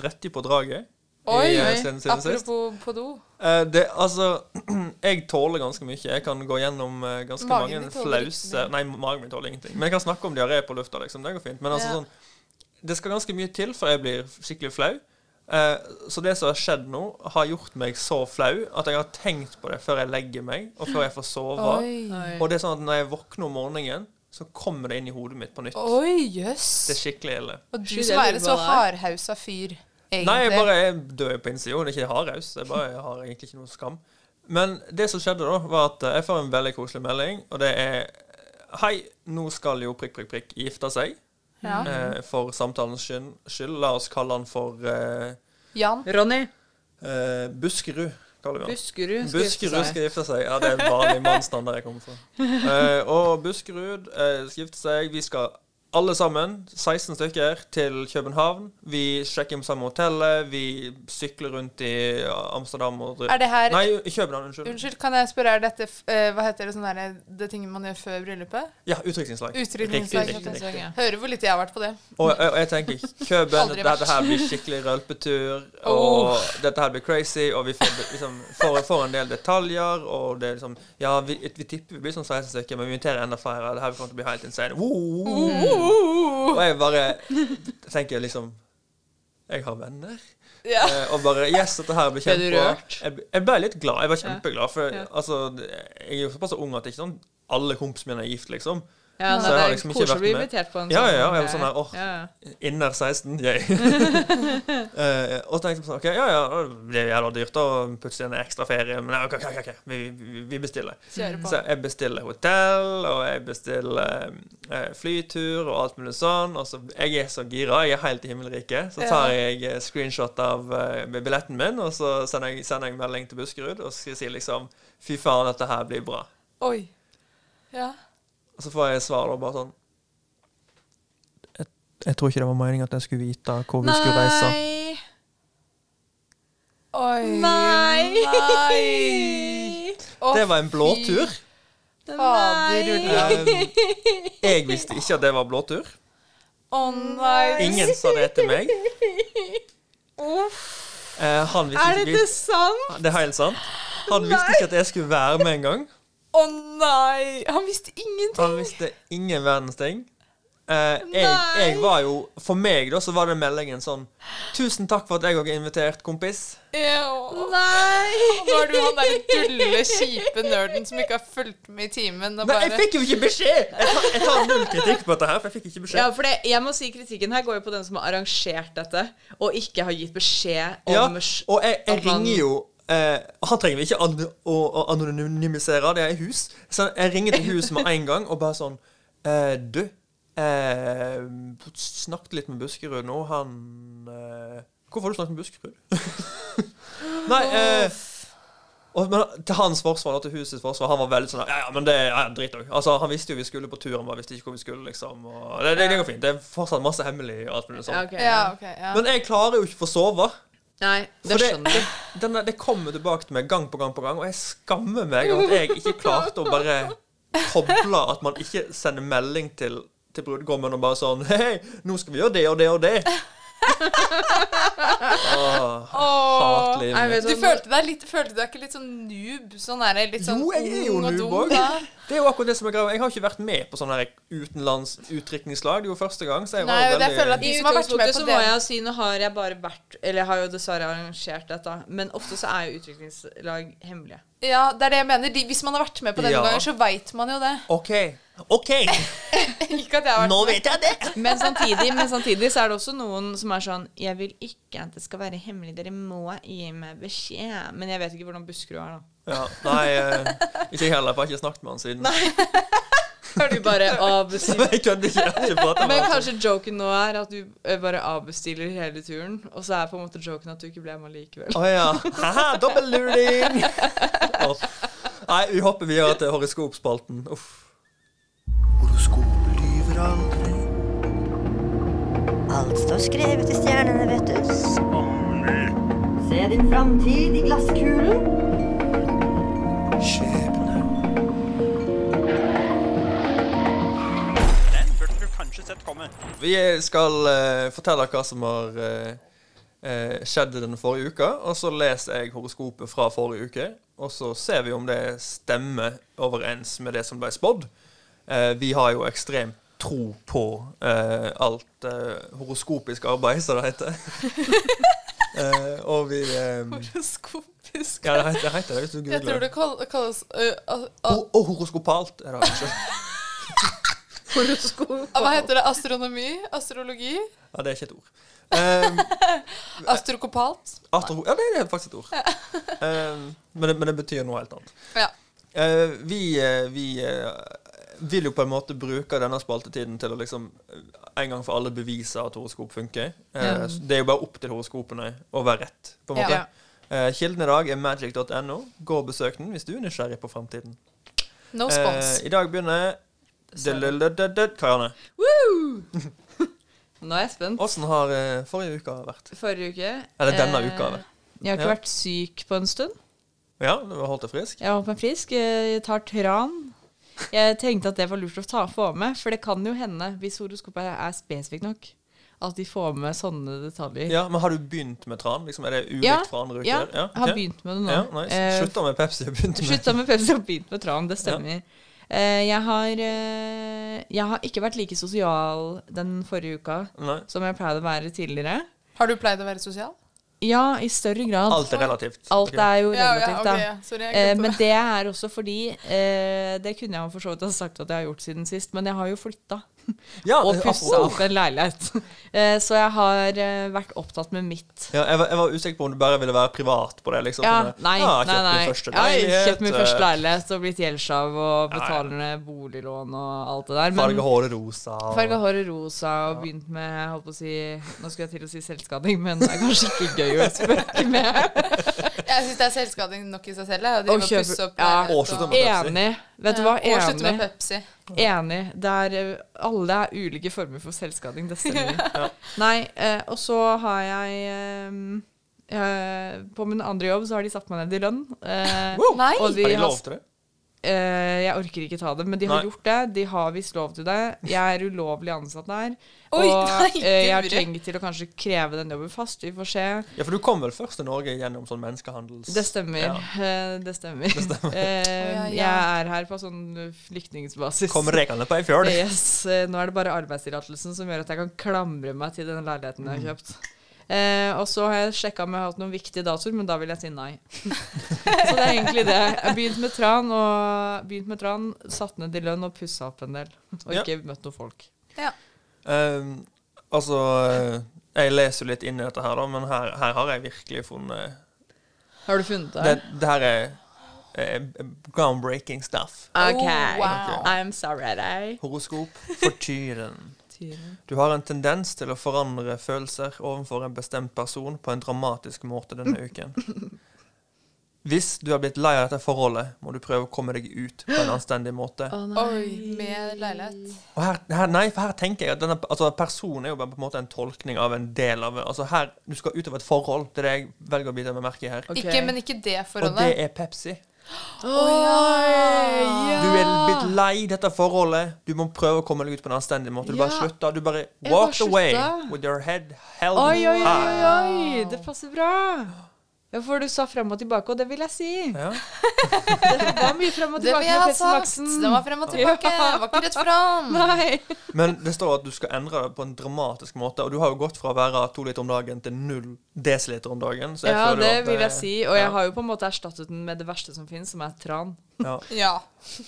Speaker 5: dretti eh, på draget.
Speaker 6: Å, Oi,
Speaker 5: i, eh,
Speaker 6: oi.
Speaker 5: siden, siden sist.
Speaker 6: Apropos på do.
Speaker 5: Eh, det, altså, jeg tåler ganske mye. Jeg kan gå gjennom eh, ganske
Speaker 6: Magen din
Speaker 5: mange
Speaker 6: tåler ikke
Speaker 5: flause Nei, magen min tåler ingenting. Men jeg kan snakke om diaré på lufta, liksom. Det går fint. Men altså
Speaker 6: Ja.
Speaker 5: sånn Det skal ganske mye til før jeg blir skikkelig flau. Eh, så det som har skjedd nå, har gjort meg så flau at jeg har tenkt på det før jeg legger meg, og før jeg får sove.
Speaker 6: Oi.
Speaker 5: Og det er sånn at når jeg våkner om morgenen, så kommer det inn i hodet mitt på nytt.
Speaker 6: Oi,
Speaker 5: Det er
Speaker 6: jøss.
Speaker 5: skikkelig ille.
Speaker 6: Og du
Speaker 7: Skyld,
Speaker 6: som
Speaker 7: jeg
Speaker 6: er en
Speaker 7: lurer
Speaker 6: så
Speaker 7: på hva
Speaker 6: hardhausa fyr, egentlig.
Speaker 5: Nei, jeg bare jeg dør jo på innsida. Det er ikke hardhaus. Jeg, bare, jeg har egentlig ikke noe skam. Men det som skjedde, da, var at eh, jeg får en veldig koselig melding, og det er eh, Hei, nå skal jo prikk, prikk, prikk gifte seg.
Speaker 6: Ja.
Speaker 5: Eh, for samtalens skyld, skyld. La oss kalle han for eh,
Speaker 6: Jan.
Speaker 7: Ronny,
Speaker 5: eh, Buskerud. kaller vi han.
Speaker 7: Buskerud skal gifte
Speaker 5: Buskerud
Speaker 7: seg.
Speaker 5: skal gifte seg. Ja, det er vanlig mannsnavn der jeg kommer fra. Eh, og Buskerud eh, skal gifte seg. Vi skal alle sammen, 16 stykker, til København. Vi sjekker inn på samme hotellet. Vi sykler rundt i Amsterdam og
Speaker 6: Er det her
Speaker 5: Nei, i København, unnskyld.
Speaker 6: Unnskyld, kan jeg spørre, er dette f- eh, Hva heter det sånn derre Det tingen man gjør før bryllupet?
Speaker 5: Ja, utdrikningslag.
Speaker 6: Utrydningslag.
Speaker 5: Riktig, riktig, riktig.
Speaker 7: Ja.
Speaker 6: Hører hvor lite jeg har vært på det.
Speaker 5: Og, og og jeg tenker Køben,
Speaker 6: Aldri vært.
Speaker 5: dette her blir skikkelig rølpetur. Og dette her blir crazy, og vi får, liksom, får, får en del detaljer. Og det er liksom Ja, vi, vi tipper vi blir sånn 16 stykker, men vi inviterer enda flere. Det her kommer til å bli helt insane. Woo! Og jeg bare tenker liksom Jeg har venner.
Speaker 6: Ja.
Speaker 5: Eh, Og bare Yes, dette her blir
Speaker 7: Ble du
Speaker 5: kjempebra.
Speaker 7: rørt?
Speaker 5: Jeg, jeg ble litt glad. Jeg var kjempeglad, for
Speaker 7: Ja.
Speaker 5: altså, jeg er jo såpass ung at det er ikke sånn alle kompisene mine er gift, liksom. Så
Speaker 7: Ja, nei,
Speaker 5: jeg
Speaker 7: det
Speaker 5: har
Speaker 7: er
Speaker 5: liksom ikke
Speaker 7: koselig
Speaker 5: vært
Speaker 7: å bli
Speaker 5: med.
Speaker 7: invitert på en
Speaker 5: Ja,
Speaker 7: sånn.
Speaker 5: ja, ja, jeg var
Speaker 7: greie.
Speaker 5: sånn her, åh.
Speaker 7: Ja.
Speaker 5: Inner 16, yay. Eh, og så tenkte jeg sånn, ok, ja, ja, det blir jævla dyrt å putte inn en ekstra ferie, men ja, ok, ok, ok, ok, vi, vi, vi bestiller.
Speaker 6: Kjører på.
Speaker 5: Så jeg bestiller hotell, og jeg bestiller eh, flytur og alt mulig sånn. Og så jeg er så gira, jeg er helt i himmelriket. Så tar jeg eh, screenshot av eh, billetten min, og så sender jeg, sender jeg melding til Buskerud og skal si liksom Fy faen, dette her blir bra.
Speaker 6: Oi. Ja.
Speaker 5: Og så får jeg svar da bare sånn Jeg, jeg tror ikke det var meningen at jeg skulle vite hvor vi skulle reise.
Speaker 7: Nei!
Speaker 6: Oi.
Speaker 7: Nei.
Speaker 6: Nei. Å,
Speaker 5: Det var en
Speaker 6: fy
Speaker 5: blåtur.
Speaker 6: Fader.
Speaker 7: Nei.
Speaker 5: Um, Jeg visste ikke at det var blåtur.
Speaker 6: Å nei.
Speaker 5: Ingen sa det til meg. Eh, han visste
Speaker 7: Er
Speaker 5: ikke
Speaker 7: dette sant?
Speaker 5: Det er helt sant. Han visste ikke at jeg skulle være med engang.
Speaker 6: Å nei. Han visste ingenting.
Speaker 5: Han visste ingen verdens ting. Eh, jeg,
Speaker 7: Nei.
Speaker 5: jeg var jo, For meg da, så var den meldingen sånn 'Tusen takk for at jeg òg er invitert, kompis'.
Speaker 6: Ew.
Speaker 7: Nei!
Speaker 6: Nå er du han derre dulle, kjipe nerden som ikke har fulgt med i timen. Og
Speaker 5: Men
Speaker 6: bare,
Speaker 5: jeg fikk jo ikke beskjed! Jeg tar, jeg tar null kritikk på dette her, for jeg fikk ikke beskjed.
Speaker 7: Ja, for det, jeg må si Kritikken her går jo på den som har arrangert dette, og ikke har gitt beskjed om
Speaker 5: Ja,
Speaker 7: sj-
Speaker 5: og jeg, jeg
Speaker 7: at han-
Speaker 5: ringer jo eh, Han trenger vi ikke an å, å anonymisere, det er hus. Så jeg ringer til hus med en gang og bare sånn eh, Du, eh, snakket litt med Buskerud nå. Han eh, Hvorfor har du snakket med Buskerud? Nei eh, og, men til hans forsvar og til husets forsvar, han var veldig sånn Ja, ja, men det er ja, drit òg. Altså, han visste jo vi skulle på tur, han bare visste ikke hvor vi skulle, liksom. Og det, det, det går fint. Det er fortsatt masse hemmelig og alt mulig
Speaker 7: Ja,
Speaker 5: sånt.
Speaker 7: ok.
Speaker 6: Ja, ok. Ja.
Speaker 5: Men jeg klarer jo ikke å få sove.
Speaker 7: Nei,
Speaker 5: For
Speaker 7: det
Speaker 5: det,
Speaker 7: skjønner
Speaker 5: det,
Speaker 7: jeg.
Speaker 5: den der- det kommer tilbake til meg gang på gang på gang, og jeg skammer meg over at jeg ikke klarte å bare koble at man ikke sender melding til, til brudgommen og bare sånn Hei, nå skal vi gjøre det og det og det. Åh,
Speaker 6: Åh.
Speaker 5: hat livet
Speaker 7: Nei, vet
Speaker 5: mitt.
Speaker 6: Du følte deg, litt, følte deg ikke litt sånn noob? Sånn er det, litt sånn
Speaker 5: Jo, jeg er jo
Speaker 6: ung og
Speaker 5: noob
Speaker 6: dum,
Speaker 5: også.
Speaker 6: da.
Speaker 5: Det er jo akkurat det som er greia. Jeg har ikke vært med på sånn her utenlands utdrikningslag. Det er jo første gang, så jeg var
Speaker 6: Nei,
Speaker 5: jo
Speaker 6: og jeg
Speaker 5: veldig
Speaker 6: føler at
Speaker 7: I
Speaker 6: de som har vært med
Speaker 7: utgangspunktet
Speaker 6: på
Speaker 7: så må
Speaker 6: det
Speaker 7: jeg si Nå har jeg bare vært Eller jeg har jo dessverre arrangert dette, men ofte så er jo utviklingslag hemmelige.
Speaker 6: Ja, det er det jeg mener. De, hvis man har vært med på det
Speaker 5: Ja.
Speaker 6: noen ganger, så veit man jo det.
Speaker 5: OK. OK,
Speaker 6: Ikke at jeg har vært
Speaker 5: nå
Speaker 6: med.
Speaker 5: vet jeg det.
Speaker 7: Men samtidig, men samtidig så er det også noen som er sånn Jeg vil ikke at det skal være hemmelig, dere må gi meg beskjed. Men jeg vet ikke hvordan Buskerud er, da.
Speaker 5: Ja, nei, eh, ikke jeg heller, for jeg har ikke snakket med han siden.
Speaker 7: Du bare avbestiller
Speaker 5: Jeg kødder ikke. Jeg har ikke pratet med
Speaker 7: Men
Speaker 5: han.
Speaker 7: kanskje joken nå er at du eh, bare avbestiller hele turen, og så er på en måte joken at du ikke ble med likevel.
Speaker 5: Å ja. Haha, dobbelluring! Å. Nei, vi hopper videre til horoskopspalten. Uff.
Speaker 8: Alt står skrevet i stjernene, vet du. Se din framtid i glasskulen.
Speaker 5: Vi skal eh, fortelle hva som har eh, eh, skjedde den forrige uka, og så leser jeg horoskopet fra forrige uke, og så ser vi om det stemmer overens med det som ble spådd. Eh, vi har jo ekstremt tro på eh, alt eh, horoskopisk arbeid, som det heter. eh, og vi eh,
Speaker 6: Horoskopisk.
Speaker 5: Ja, det heter det, heter det hvis du
Speaker 6: Jeg
Speaker 5: googler
Speaker 6: tror
Speaker 5: det.
Speaker 6: det kall- kalles ø, a- a-
Speaker 5: Ho- Og horoskopalt er det ikke.
Speaker 6: Hva heter det? Astronomi? Astrologi?
Speaker 5: Ja, det er ikke et ord. Eh,
Speaker 6: Astrokopalt?
Speaker 5: Astro... Ja, det er faktisk et ord. Eh, men, det, men det betyr noe helt annet.
Speaker 6: Ja.
Speaker 5: Eh, vi eh, vi eh, vil jo på en måte bruke denne spaltetiden til å liksom eh, en gang for alle bevise at horoskop funker. Eh,
Speaker 7: Ja.
Speaker 5: så Det er jo bare opp til horoskopene å være rett, på en måte.
Speaker 6: Ja.
Speaker 5: Eh, kilden i dag er magic.no. Gå og besøk den hvis du er nysgjerrig på framtiden.
Speaker 6: No spons.
Speaker 5: Eh, I dag begynner Delelelelelel- Karianne,
Speaker 7: Woo! Nå er jeg spent.
Speaker 5: åssen har eh, forrige uke vært?
Speaker 7: Forrige uke
Speaker 5: Eller denne
Speaker 7: eh,
Speaker 5: uka, vel.
Speaker 7: Jeg har ikke
Speaker 5: Ja.
Speaker 7: vært syk på en stund.
Speaker 5: Ja, du har holdt deg frisk?
Speaker 7: Jeg var på en frisk. Jeg tar tran. Jeg tenkte at det var lurt å ta få med, for det kan jo hende, hvis horoskopet er spesifikt nok, at de får med sånne detaljer.
Speaker 5: Ja, men har du begynt med tran? Liksom, er det ulikt
Speaker 7: Ja,
Speaker 5: fra andre uker?
Speaker 7: Ja, har
Speaker 5: ok.
Speaker 7: begynt med det nå.
Speaker 5: Ja, nice.
Speaker 7: Eh,
Speaker 5: Slutta med Pepsi og begynte med
Speaker 7: Slutta med Pepsi og begynt med tran, det stemmer. Eh, jeg, har, eh, jeg har ikke vært like sosial den forrige uka
Speaker 5: Nei.
Speaker 7: som jeg pleide å være tidligere.
Speaker 6: Har du pleid å være sosial?
Speaker 7: Ja, i større grad.
Speaker 5: Alt er relativt.
Speaker 7: Alt
Speaker 5: Ok.
Speaker 7: er jo
Speaker 6: Ja, ja,
Speaker 7: relativt,
Speaker 6: ok.
Speaker 7: da.
Speaker 6: ja. Sorry, jeg
Speaker 7: Eh,
Speaker 6: glemte
Speaker 7: men
Speaker 6: det.
Speaker 7: det er også fordi eh, Det kunne jeg jo for så vidt ha sagt at jeg har gjort siden sist, men jeg har jo flytta
Speaker 5: ja,
Speaker 7: og
Speaker 5: eh,
Speaker 7: pussa
Speaker 5: apropos.
Speaker 7: opp en leilighet. Eh, så jeg har eh, vært opptatt med mitt.
Speaker 5: Ja, jeg, var, jeg var usikker på om du bare ville være privat på det. liksom.
Speaker 7: Ja,
Speaker 5: Sånn,
Speaker 7: nei,
Speaker 5: ja,
Speaker 7: nei,
Speaker 5: kjøpt
Speaker 7: nei.
Speaker 5: Min første
Speaker 7: Ja, jeg har
Speaker 5: leilighet,
Speaker 7: kjøpt min første
Speaker 5: eh,
Speaker 7: leilighet og blitt gjeldsslav og
Speaker 5: Ja, ja.
Speaker 7: betaler ned boliglån og alt det der. men-
Speaker 5: Farge håret rosa. og-
Speaker 7: Farga håret rosa og begynt med jeg holdt på å si, Nå skulle jeg til å si selvskading, men det er kanskje ikke gøy å spøke med.
Speaker 6: Jeg syns det er selvskading nok i seg selv. Jeg driver
Speaker 7: Og
Speaker 6: og
Speaker 7: kjøper-
Speaker 6: pusser opp
Speaker 7: ja.
Speaker 6: leilighet
Speaker 5: Og slutter med-
Speaker 7: Enig. Vet du hva?
Speaker 6: Ja, Og slutte med
Speaker 7: Enig.
Speaker 6: Pepsi.
Speaker 7: Enig. Der eh, alle er ulike former for selvskading. Det stemmer. Nei, eh, og så har jeg eh, eh, På min andre jobb så har de satt meg ned i lønn. eh,
Speaker 5: Wow!
Speaker 6: Nei.
Speaker 7: og de
Speaker 5: Har de
Speaker 7: har
Speaker 5: lov til det?
Speaker 7: Eh, jeg orker ikke ta det, men de har
Speaker 5: Nei.
Speaker 7: gjort det. De har visst lov til det. Jeg er ulovlig ansatt der.
Speaker 6: Oi,
Speaker 7: og
Speaker 6: nei,
Speaker 7: eh, jeg har
Speaker 6: guri.
Speaker 7: tenkt til å kanskje kreve den jobben fast. Vi får se.
Speaker 5: Ja, for du kom vel først til Norge gjennom sånn menneskehandels...
Speaker 7: Det stemmer.
Speaker 5: Ja.
Speaker 7: Eh, Det stemmer. Eh,
Speaker 6: Å, ja, ja.
Speaker 7: Jeg er her på sånn flyktningbasis.
Speaker 5: Kom rekende på ei fjøl.
Speaker 7: Yes. eh, Nå er det bare arbeidstillatelsen som gjør at jeg kan klamre meg til den leiligheten jeg har kjøpt. Eh, og så har jeg sjekka om jeg har hatt noen viktige datoer, men da vil jeg si nei. så det er egentlig det. Jeg begynte med tran, og begynt med tran, satt ned i lønn og pussa opp en del. Og
Speaker 5: Ja.
Speaker 7: ikke møtt noen folk.
Speaker 5: Um, altså, eh, jeg leser jo litt inn i dette her, da, men her, her har jeg virkelig funnet
Speaker 7: Har du funnet det?
Speaker 5: Det, det her er eh, groundbreaking stuff.
Speaker 7: OK.
Speaker 6: Oh, wow.
Speaker 7: I'm sorry.
Speaker 5: Horoskop for tyren. Du har en tendens til å forandre følelser overfor en bestemt person på en dramatisk måte denne uken. Hvis du har blitt lei av dette forholdet, må du prøve å komme deg ut på en anstendig måte.
Speaker 7: Å, nei.
Speaker 6: Oi, med leilighet.
Speaker 5: Og her, her, nei, for her tenker jeg at denne, altså Personen er jo bare på en måte en tolkning av en del av altså her, Du skal ut av et forhold. Det er det jeg velger å bite meg merke i her.
Speaker 7: Ok.
Speaker 6: Ikke, men ikke det
Speaker 5: Og det
Speaker 6: forholdet.
Speaker 5: er Pepsi.
Speaker 7: Oi, ja.
Speaker 5: Du er blitt lei dette forholdet. Du må prøve å komme deg ut på en anstendig måte. Du bare
Speaker 7: Ja.
Speaker 5: slutter. Du bare
Speaker 7: Jeg
Speaker 5: walk
Speaker 7: bare
Speaker 5: away
Speaker 7: slutta.
Speaker 5: with your head held
Speaker 7: Oi, oi, oi,
Speaker 5: high.
Speaker 7: oi, det passer bra. Ja, for du sa frem og tilbake, og det vil jeg si.
Speaker 5: Ja.
Speaker 7: Det var mye frem og
Speaker 6: Det vil
Speaker 7: tilbake
Speaker 6: jeg
Speaker 7: med
Speaker 6: ha
Speaker 7: Pepsi
Speaker 6: sagt.
Speaker 7: Maxen.
Speaker 6: Den var frem og tilbake.
Speaker 7: Ja.
Speaker 6: Det var ikke rett fram.
Speaker 7: Nei.
Speaker 5: Men det står at du skal endre det på en dramatisk måte. Og du har jo gått fra å være to liter om dagen til null desiliter om dagen. Så jeg
Speaker 7: Ja,
Speaker 5: føler
Speaker 7: det
Speaker 5: jo at
Speaker 7: vil jeg si, og
Speaker 5: ja,
Speaker 7: jeg har jo på en måte erstattet den med det verste som finnes, som er tran.
Speaker 5: ja.
Speaker 6: Ja.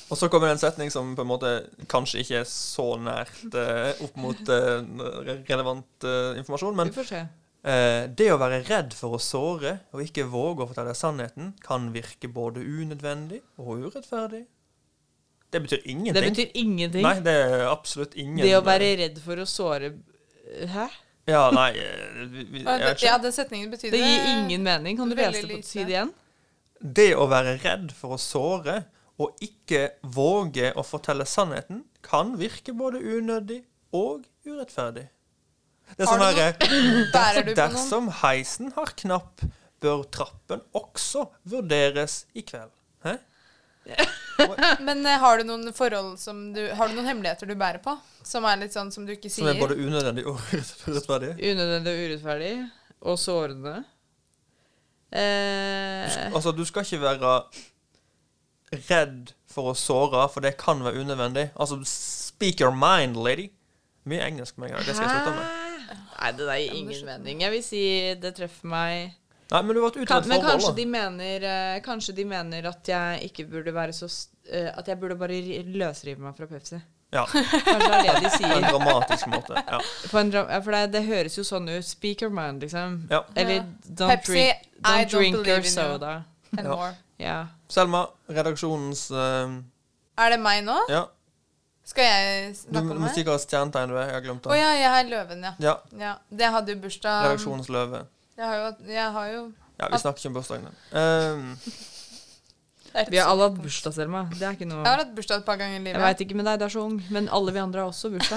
Speaker 5: Og så kommer det en setning som på en måte kanskje ikke er så nært eh, opp mot eh, re- relevant eh, informasjon, men
Speaker 7: Vi får se.
Speaker 5: Eh, det å være redd for å såre og ikke våge å fortelle sannheten kan virke både unødvendig og urettferdig. Det betyr ingenting.
Speaker 7: Det betyr ingenting.
Speaker 5: Nei, det er absolutt ingen
Speaker 7: Det å være redd for å såre Hæ?
Speaker 5: Ja, nei eh, vi- vi- jeg vet
Speaker 6: Ja,
Speaker 5: ikke.
Speaker 6: den setningen betydde
Speaker 7: Det gir ingen mening. Kan du
Speaker 6: Veldig
Speaker 7: lese det på
Speaker 6: lite.
Speaker 7: si det igjen?
Speaker 5: Det å være redd for å såre og ikke våge å fortelle sannheten kan virke både unødig og urettferdig. Det er
Speaker 6: Har
Speaker 5: sånn
Speaker 6: du
Speaker 5: herre
Speaker 6: Bærer du på noen?
Speaker 5: Dersom heisen har knapp, bør trappen også vurderes i kveld. Hæ? sånn.
Speaker 6: Men eh, har du noen forhold som du Har du noen hemmeligheter du bærer på? Som er litt sånn som du ikke
Speaker 5: Som
Speaker 6: sier?
Speaker 5: er både unødvendig og urettferdig.
Speaker 7: Unødvendig og urettferdig. og sårende. Eh,
Speaker 5: Altså, du skal ikke være redd for å såre, for det kan være unødvendig. Altså, speak your mind, lady. Mye engelsk med en gang. Det skal jeg slutte med.
Speaker 7: Hæ? Nei, det der gir ingen mening. Jeg vil si det treffer meg
Speaker 5: Nei, men du har vært ute
Speaker 7: kan,
Speaker 5: av et
Speaker 7: Men
Speaker 5: forhold,
Speaker 7: kanskje
Speaker 5: da.
Speaker 7: de, mener, eh, kanskje de mener at jeg ikke burde være så s- eh, At jeg burde bare ri- løsrive meg fra Pepsi.
Speaker 5: Ja, på
Speaker 7: Kanskje det er det de
Speaker 5: en
Speaker 7: sier.
Speaker 5: dramatisk måte. Ja.
Speaker 7: På en dra ja, for det, det høres jo sånn ut. Speak your mind, liksom.
Speaker 5: Ja.
Speaker 7: Eller
Speaker 6: Ja.
Speaker 7: don't
Speaker 6: Pepsi,
Speaker 7: drink,
Speaker 6: I
Speaker 7: don't
Speaker 6: don't
Speaker 7: drink
Speaker 6: believe
Speaker 7: your
Speaker 6: in you.
Speaker 7: soda.
Speaker 6: And
Speaker 5: Ja.
Speaker 6: more.
Speaker 7: Ja.
Speaker 5: Selma, redaksjonens eh,
Speaker 6: Er det meg nå?
Speaker 5: Ja,
Speaker 6: Skal jeg
Speaker 5: du
Speaker 6: snakke om
Speaker 5: må si
Speaker 6: meg?
Speaker 5: hva stjernetegn du er. Jeg har glemt
Speaker 6: Å
Speaker 5: det.
Speaker 6: ja, Um. jeg er løven, ja.
Speaker 5: Ja,
Speaker 6: ja. Det hadde jo bursdag
Speaker 5: redaksjonens løve.
Speaker 6: Jeg har jo, jeg har jo
Speaker 5: Ja, vi snakker ikke om bursdagene. Um,
Speaker 7: Vi har alle hatt bursdag, Selma. Det er ikke
Speaker 6: Jeg
Speaker 7: noe
Speaker 6: har hatt bursdag et par ganger i
Speaker 7: Jeg
Speaker 6: livet.
Speaker 7: veit ikke med deg, det er så ung, men alle vi andre har også bursdag.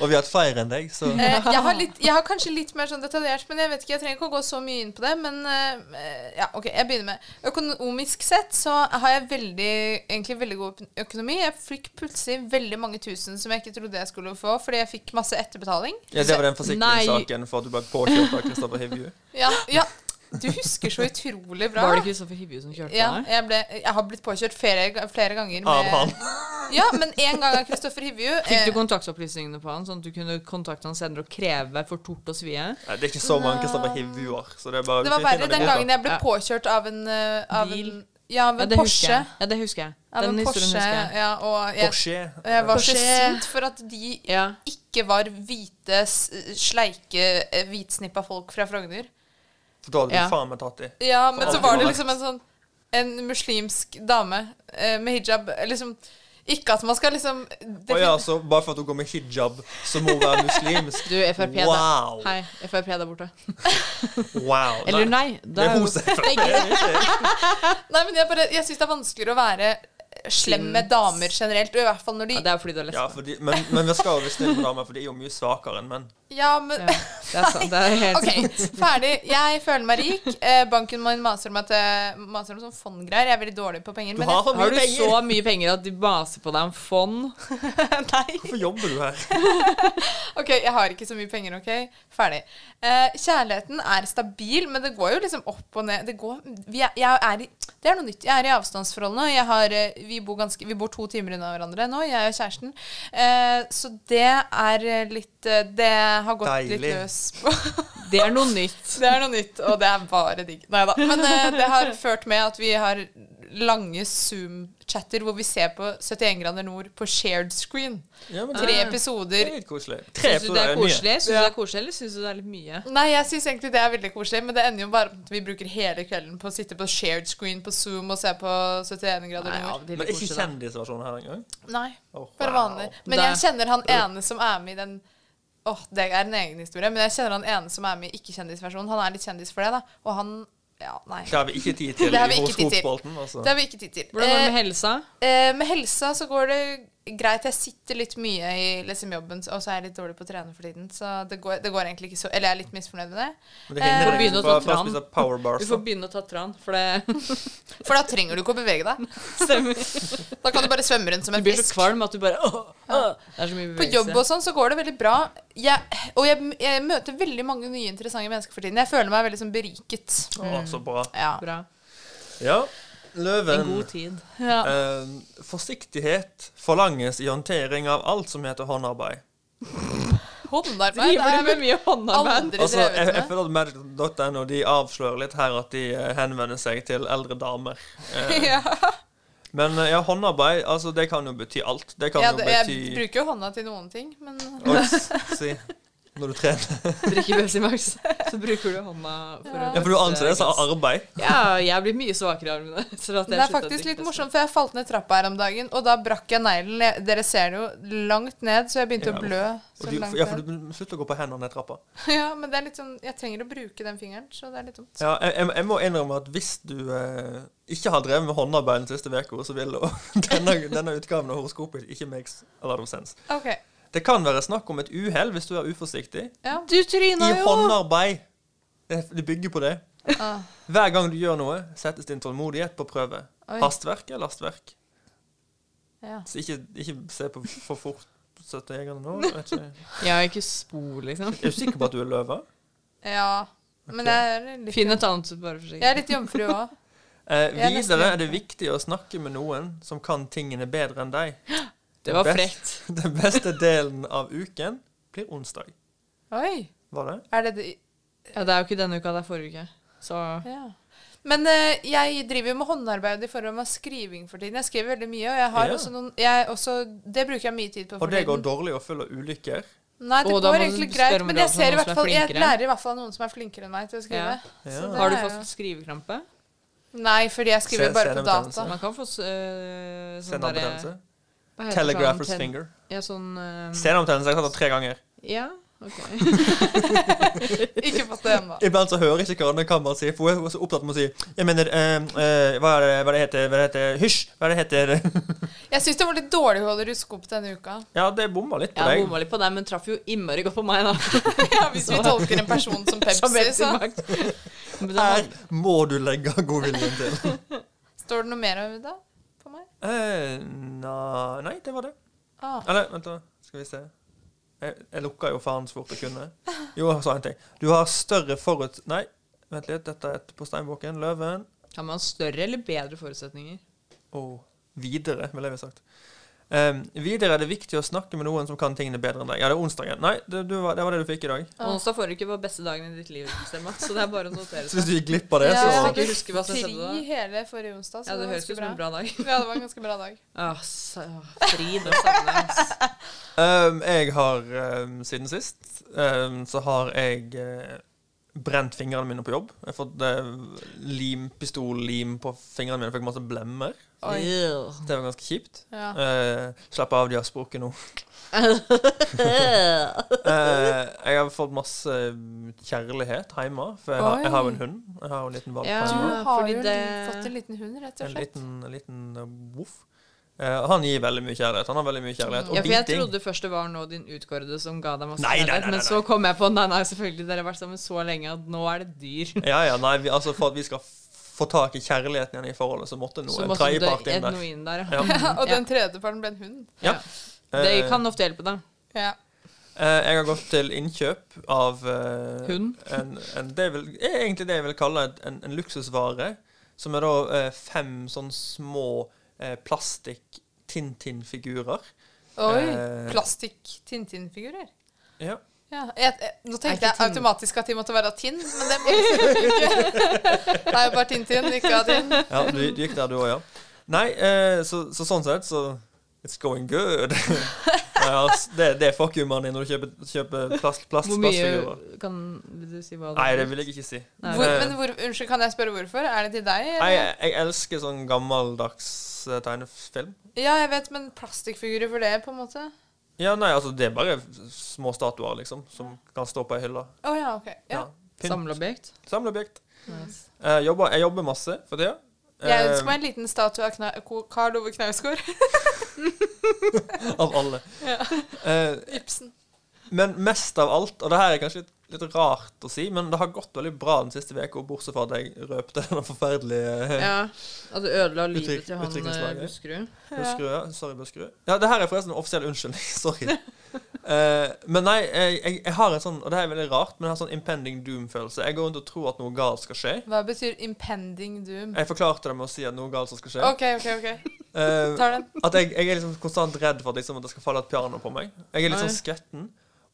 Speaker 5: og vi har hatt flere enn deg, så
Speaker 6: Eh, jeg, har litt, jeg har kanskje litt mer sånn detaljert, men jeg vet ikke, jeg trenger ikke å gå så mye inn på det. Men eh, ja, ok, jeg begynner med Økonomisk sett så har jeg veldig, egentlig veldig god øp- økonomi. Jeg fikk plutselig veldig mange tusen som jeg ikke trodde jeg skulle få, fordi jeg fikk masse etterbetaling.
Speaker 5: ja, Det var den
Speaker 7: Nei.
Speaker 5: forsikringssaken for at du ble påkjørt av Kristoffer Hivju.
Speaker 6: Ja, ja, du husker så utrolig bra.
Speaker 7: Var det Kristoffer Hivju som kjørte
Speaker 6: ja,
Speaker 7: deg?
Speaker 6: jeg, ble, jeg har blitt påkjørt flere, flere ganger.
Speaker 5: Av han.
Speaker 6: Ja, men én gang av Kristoffer Hivju.
Speaker 7: Fikk du
Speaker 6: eh,
Speaker 7: kontaktopplysningene på han, sånn at du kunne kontakte han senere og kreve for tort og svie?
Speaker 5: Nei, det er ikke så mange Kristoffer Hivjuer. Så det er bare
Speaker 6: Det var verre den gangen jeg ble
Speaker 7: Ja.
Speaker 6: påkjørt av en, eh, av en
Speaker 7: Bil.
Speaker 6: Ja, av
Speaker 7: Ja,
Speaker 6: en
Speaker 7: det husker
Speaker 6: Porsche.
Speaker 7: jeg. Ja, det husker jeg.
Speaker 6: Av
Speaker 7: Den
Speaker 6: en
Speaker 7: historien
Speaker 6: Porsche,
Speaker 7: husker jeg.
Speaker 6: ja, og jeg,
Speaker 5: Porsche.
Speaker 6: og jeg var så
Speaker 7: Porsche.
Speaker 6: sint for at de
Speaker 7: Ja.
Speaker 6: ikke var hvite, s- sleike, eh, hvitsnippa folk fra Frogner.
Speaker 5: For da hadde du
Speaker 7: Ja.
Speaker 5: faen meg tatt i.
Speaker 6: Ja, men
Speaker 5: Alt
Speaker 6: så var det
Speaker 5: var
Speaker 6: liksom en sånn En muslimsk dame eh, med hijab eh, liksom Ikke at man skal liksom
Speaker 5: Å ja, så bare for at hun går med hijab, så må hun være muslimsk.
Speaker 7: Du, Frp,
Speaker 5: Wow.
Speaker 7: da. Hei, Frp der borte.
Speaker 5: Wow.
Speaker 7: Eller nei.
Speaker 5: Det
Speaker 7: Da
Speaker 5: er
Speaker 7: er jo
Speaker 5: hos Frp.
Speaker 6: Nei, men jeg, bare- jeg syns det er vanskeligere å være slem med damer generelt, og i hvert fall når de
Speaker 7: ja, Det er fordi du er
Speaker 5: Ja,
Speaker 7: lesbisk.
Speaker 5: fordi, men, men vi skal jo være snille med damer, for de er jo mye svakere enn menn.
Speaker 6: Ja, men
Speaker 7: Ja, det er sant. Det er helt
Speaker 6: Ok, ferdig. Jeg føler meg rik. Eh, banken min maser om at eh, maser om sånn fondgreier. Jeg er veldig dårlig på penger.
Speaker 5: Du
Speaker 6: Men
Speaker 5: har
Speaker 6: jeg,
Speaker 5: for mye
Speaker 7: Har du
Speaker 5: penger!
Speaker 7: så mye penger at de baser på deg om fond?
Speaker 5: Hvorfor jobber du her?
Speaker 6: ok, jeg har ikke så mye penger, OK? Ferdig. Eh, kjærligheten er stabil, men det går jo liksom opp og ned. Det, går, vi er, jeg er i, det er noe nytt. Jeg er i avstandsforhold nå. Jeg har, eh, vi, bor ganske, vi bor to timer unna hverandre nå, jeg og kjæresten. Eh, så det er eh, litt eh, Det har gått litt
Speaker 5: Deilig.
Speaker 6: løs på
Speaker 7: Det er noe nytt.
Speaker 6: Det er noe nytt, og det er bare digg. Nei da. Men eh, det har ført med at vi har lange Zoom-chatter hvor vi ser på 71 grader nord på shared screen.
Speaker 5: Ja, men
Speaker 6: Tre
Speaker 5: det
Speaker 6: episoder.
Speaker 5: er litt koselig. Tre
Speaker 7: Syns du det
Speaker 5: episoder
Speaker 7: er
Speaker 5: er mye.
Speaker 7: koselig, Synes du det er koselig, eller syns du det er litt mye?
Speaker 6: Nei, jeg syns egentlig det er veldig koselig, men det ender jo bare med at vi bruker hele kvelden på å sitte på shared screen på Zoom og se på 71 grader
Speaker 7: Nei,
Speaker 6: nord.
Speaker 7: av og til
Speaker 5: Men
Speaker 7: litt
Speaker 5: ikke
Speaker 7: koselig, da.
Speaker 5: kjendisversjonen her engang?
Speaker 6: Nei,
Speaker 5: Åh,
Speaker 6: bare
Speaker 5: wow.
Speaker 6: vanlig. Men
Speaker 7: Det-
Speaker 6: jeg kjenner han ene som er med i den Åh, det er en egen historie, men jeg kjenner han ene som er med i ikke-kjendisversjonen. Han er litt kjendis for det, da. Og han Ja, nei.
Speaker 5: Det har vi ikke tid til
Speaker 6: Det
Speaker 5: i
Speaker 6: har vi ikke tid til.
Speaker 5: horoskopspalten. Altså.
Speaker 6: Det har vi ikke tid til.
Speaker 7: Hvordan
Speaker 6: Eh,
Speaker 7: går det med helsa?
Speaker 6: Eh, med helsa så går det greit. Jeg sitter litt mye i liksom jobben, og så er jeg litt dårlig på å trene for tiden. Så det går, det går egentlig ikke så Eller jeg er litt misfornøyd med det.
Speaker 5: Men det hindrer
Speaker 6: Eh,
Speaker 5: deg ikke
Speaker 7: begynne å
Speaker 5: fra
Speaker 7: ta
Speaker 5: fra å
Speaker 7: tran.
Speaker 5: spise power
Speaker 7: Du
Speaker 5: bars.
Speaker 7: får begynne å ta tran, for det
Speaker 6: For da trenger du ikke å bevege deg.
Speaker 7: stemmer.
Speaker 6: Da kan du bare svømme rundt som
Speaker 7: Du
Speaker 6: en
Speaker 7: blir så
Speaker 6: fisk.
Speaker 7: kvalm at du bare åh, åh. Det er så mye
Speaker 6: På
Speaker 7: bevegelse.
Speaker 6: jobb og sånn så går det veldig bra. Jeg, og jeg, jeg møter veldig mange nye interessante mennesker for tiden. Jeg føler meg veldig sånn beriket. Mm.
Speaker 5: Å, så bra.
Speaker 6: Ja.
Speaker 7: Bra.
Speaker 5: Ja.
Speaker 7: En
Speaker 5: Løven.
Speaker 7: god tid.
Speaker 5: Eh, forsiktighet forlanges i håndtering av alt som heter håndarbeid.
Speaker 6: Håndarbeid
Speaker 7: Driver
Speaker 6: er vel
Speaker 7: du med mye håndarbeid?
Speaker 6: aldri
Speaker 5: Altså, jeg,
Speaker 6: drevet
Speaker 5: jeg
Speaker 6: med.
Speaker 5: føler at Magic.no de avslører litt her at de eh, henvender seg til eldre damer. Eh,
Speaker 6: Ja,
Speaker 5: men eh, ja, håndarbeid altså, det kan jo bety alt. Det kan
Speaker 6: ja,
Speaker 5: jo
Speaker 6: det,
Speaker 5: bety
Speaker 6: jeg bruker jo hånda til noen ting, men
Speaker 5: Oi, s- si, Når du trener.
Speaker 7: Drikker Pepsi Max, så bruker du hånda for å
Speaker 5: Ja, For du anser det som arbeid.
Speaker 7: Ja, jeg blir mye svakere i armene. etter at jeg
Speaker 6: Det er
Speaker 7: sluttet å
Speaker 6: faktisk
Speaker 7: drikke
Speaker 6: litt
Speaker 7: Pepsi.
Speaker 6: morsomt, for jeg falt ned trappa her om dagen, og da brakk jeg neglen. Jeg- Dere ser det jo langt ned, så jeg begynte
Speaker 5: Ja.
Speaker 6: å blø.
Speaker 5: Og
Speaker 6: Så
Speaker 5: du,
Speaker 6: langt
Speaker 5: ja, for
Speaker 6: ned.
Speaker 5: du slutter å gå på hendene ned trappa.
Speaker 6: ja, men det er litt sånn Jeg trenger å bruke den fingeren, så det er litt dumt.
Speaker 5: Ja, jeg, jeg- jeg må innrømme at hvis du eh, ikke har drevet med håndarbeid den siste uka, så vil jo denne, denne utgaven av horoskopet ikke makes a lot of sense.
Speaker 6: OK.
Speaker 5: Det kan være snakk om et uhell hvis du er uforsiktig.
Speaker 6: Ja.
Speaker 7: Du tryna
Speaker 5: I
Speaker 7: jo!
Speaker 5: håndarbeid. Det det bygger på det.
Speaker 6: Ah.
Speaker 5: Hver gang du gjør noe, settes din tålmodighet på prøve.
Speaker 6: Oi.
Speaker 5: Hastverk er lastverk.
Speaker 6: Ja.
Speaker 5: Så ikke, ikke se på for fort 70 jegerne nå. Jeg vet ikke.
Speaker 7: Jeg har ikke spor, liksom.
Speaker 5: Er du sikker på at du er løve?
Speaker 6: Ja. Men jeg er litt,
Speaker 7: Finn et annet, bare for
Speaker 6: jeg
Speaker 7: sikkert.
Speaker 6: er litt jomfru òg.
Speaker 5: Eh,
Speaker 6: Jeg er nesten
Speaker 5: videre er det viktig å snakke med noen som kan tingene bedre enn deg.
Speaker 7: Det var
Speaker 5: Best.
Speaker 7: frekt.
Speaker 5: Den beste delen av uken blir onsdag.
Speaker 6: Oi.
Speaker 5: Var det?
Speaker 6: Er det det?
Speaker 7: Ja, det er jo ikke denne uka, det er forrige uke. Så
Speaker 6: Ja. Men eh, jeg driver jo med håndarbeid i form av skriving for tiden. Jeg skriver veldig mye, og jeg har
Speaker 5: Ja.
Speaker 6: også noen jeg også, Det bruker jeg mye tid på. for
Speaker 5: Og det går
Speaker 6: tiden.
Speaker 5: dårlig og full av ulykker.
Speaker 6: Nei, det
Speaker 7: Å, da må
Speaker 6: går
Speaker 7: du
Speaker 6: egentlig
Speaker 7: spørre
Speaker 6: greit,
Speaker 7: om
Speaker 6: men
Speaker 7: råd
Speaker 6: jeg
Speaker 7: fra
Speaker 6: ser i
Speaker 7: noen
Speaker 6: hvert
Speaker 7: som er
Speaker 6: fall Jeg
Speaker 7: flinkere.
Speaker 6: lærer i hvert fall av noen som er flinkere enn meg til å skrive.
Speaker 7: Ja.
Speaker 6: Så det
Speaker 5: Ja.
Speaker 7: har du
Speaker 6: er
Speaker 7: fått
Speaker 6: jo-
Speaker 7: skrivekrampe?
Speaker 6: Nei, fordi jeg skriver
Speaker 5: Se-
Speaker 6: bare på
Speaker 5: senebetennelse.
Speaker 6: data.
Speaker 7: Man kan få øh, sånn derre
Speaker 5: Senebetennelse.
Speaker 7: hva heter det,
Speaker 5: Telegrapher's
Speaker 7: sånn ten-
Speaker 5: finger.
Speaker 7: Ja, sånn øh,
Speaker 5: Senebetennelse. Jeg har tatt det tre ganger.
Speaker 7: Ja, OK.
Speaker 6: Ikke fått det ennå.
Speaker 5: Iblant så hører ikke Karin det kameraet si, for hun er så opptatt med å si Jeg mener, eh, eh, hva, er det, hva er det heter Hva er det heter Hysj! Hva er det heter
Speaker 6: Jeg syns det var litt dårlig å holde ruskop denne uka.
Speaker 5: Ja, det bomma litt på
Speaker 7: Jeg
Speaker 5: deg.
Speaker 7: bomma litt på deg, men traff jo innmari godt på meg, da.
Speaker 6: Ja, Hvis vi tolker en person som
Speaker 7: Som
Speaker 6: Pepsi, så
Speaker 7: Pepsi-makt. Men den
Speaker 5: Her
Speaker 7: hadde-
Speaker 5: må du legge godviljen til.
Speaker 6: står det noe mer av det på meg.
Speaker 5: Eh, na, nei, det var det.
Speaker 6: Ah.
Speaker 5: Eller, vent, da. Skal vi se. Jeg, jeg lukka jo faen så fort jeg kunne. Jo, jeg sa en ting. Du har større forut... Nei, vent litt. Dette er et på steinboken. Løven.
Speaker 7: Kan man ha større eller bedre forutsetninger?
Speaker 5: Og videre, vil jeg ha sagt. Ehm, videre er det viktig å snakke med noen som kan tingene bedre enn deg. Ja, det er onsdagen. Nei, det, du, var- det var det du fikk i dag.
Speaker 7: Onsdag forrige uke var beste dagen i ditt liv, Selma. Så det er bare å notere
Speaker 5: Så hvis
Speaker 7: seg.
Speaker 5: du gikk glipp av det,
Speaker 6: Ja,
Speaker 5: så
Speaker 6: jeg
Speaker 7: skal
Speaker 6: hadde
Speaker 7: ikke huske hva som skjedde da.
Speaker 6: fri hele forrige onsdag, så
Speaker 7: Ja, det høres
Speaker 6: ganske
Speaker 7: ut som en bra dag.
Speaker 6: Ja, det var en ganske bra dag.
Speaker 7: Ah, sa- ah, Frid og savne. ass.
Speaker 5: Ehm, jeg har ehm, siden sist ehm, så har jeg eh, brent fingrene mine på jobb. Jeg har fått uh, lim, pistollim på fingrene mine. Fikk masse blemmer.
Speaker 7: Ew.
Speaker 5: Det var ganske kjipt.
Speaker 6: Ja.
Speaker 5: Eh, slapp av, de har sprukket nå. Eh, jeg har fått masse eh, kjærlighet hjemme, for jeg har, jeg har jo en hund. Jeg har jo en liten valp
Speaker 7: Ja.
Speaker 5: hjemme.
Speaker 6: Du har
Speaker 7: fordi
Speaker 6: jo en-
Speaker 7: det-
Speaker 6: fått en liten hund, rett og
Speaker 5: En
Speaker 6: slett.
Speaker 5: liten, en liten eh, voff. Eh, han gir veldig mye kjærlighet. Han har veldig mye kjærlighet. Og
Speaker 7: Mm. Ja, for jeg
Speaker 5: biting.
Speaker 7: trodde først det var nå din utkårede som ga deg masse
Speaker 5: Nei, nei, nei,
Speaker 7: kjærlighet, men
Speaker 5: nei,
Speaker 7: så kom jeg på nei, nei, selvfølgelig, dere har vært sammen så lenge at nå er det dyr.
Speaker 5: Ja, ja, nei, vi, altså For at vi skal f- få tak i kjærligheten igjen i forholdet, så måtte noe
Speaker 7: Så
Speaker 5: en
Speaker 7: måtte
Speaker 5: tredjepart
Speaker 7: det
Speaker 5: inn der.
Speaker 7: noe inn der. ja.
Speaker 5: Ja. Eh,
Speaker 6: Og den tredje parten ble en hund.
Speaker 5: Ja.
Speaker 7: Det
Speaker 5: Eh,
Speaker 7: kan ofte hjelpe, da.
Speaker 6: Ja.
Speaker 5: eh, jeg har gått til innkjøp av eh,
Speaker 7: Hund.
Speaker 5: En, en, det er, vel, er egentlig det jeg vil kalle et- en, en luksusvare. Som er da eh, fem sånn små eh, plastikk-Tintin-figurer.
Speaker 6: Oi.
Speaker 5: Eh.
Speaker 6: Plastikk-Tintin-figurer.
Speaker 5: Ja.
Speaker 6: Ja, jeg, jeg, nå tenkte
Speaker 7: Er
Speaker 6: jeg
Speaker 7: ikke Tin-
Speaker 6: automatisk at de måtte være av tinn, men det må vi ikke. Det er jo bare Tintin, ikke av tinn.
Speaker 5: ja du, du gikk der, du òg, ja. Nei, eh, så, så sånn sett, så It's going good. Nei, altså, det, det er fuck you-money når du kjøper, kjøper plast, plast,
Speaker 7: Hvor
Speaker 5: plastfigurer.
Speaker 7: mye kan Vil du si hva
Speaker 5: Nei, det vil jeg ikke si.
Speaker 7: Nei.
Speaker 6: Hvor, men hvor, unnskyld, kan jeg spørre hvorfor? Er det til deg? eller?
Speaker 5: Eh. Nei, jeg, jeg elsker sånn gammeldags eh, tegnefilm.
Speaker 6: Ja, jeg vet, men plastikkfigurer for det, på en måte?
Speaker 5: Ja, nei, altså det er bare s- små statuer, liksom, som kan stå på ei hylle.
Speaker 6: Å ja, ok. Ja.
Speaker 5: Ja. Pynt.
Speaker 7: Samleobjekt?
Speaker 5: Samleobjekt.
Speaker 7: Nice.
Speaker 5: Eh, jobber, jeg jobber masse for tida.
Speaker 6: Jeg
Speaker 5: Eh,
Speaker 6: ønsker meg en liten statue av Kna Ko- Karl Ove Knausgård.
Speaker 5: av alle. Eh,
Speaker 6: Ibsen.
Speaker 5: men mest av alt, og det her er kanskje litt, litt rart å si, men det har gått veldig bra den siste uka, bortsett fra at jeg røpte den forferdelige eh, ja.
Speaker 7: Ja. At du ødela livet
Speaker 5: Uttrykk-
Speaker 7: til han eh,
Speaker 5: utviklingslaget.
Speaker 7: Buskerud.
Speaker 5: Buskerud. Ja. Sorry, Buskerud. Ja, det her er forresten en offisiell unnskyldning. Sorry. Eh, men nei, jeg, jeg, jeg har en sånn, og det her er veldig rart, men jeg har sånn impending doom-følelse. Jeg går rundt og tror at noe galt skal skje.
Speaker 6: Hva betyr impending doom?
Speaker 5: Jeg forklarte det med å si at noe galt som skal skje.
Speaker 6: OK, OK, ok.
Speaker 5: Eh,
Speaker 6: Tar den.
Speaker 5: at jeg, jeg er liksom konstant redd for at, liksom, at det skal falle et piano på meg. Jeg er litt sånn skvetten.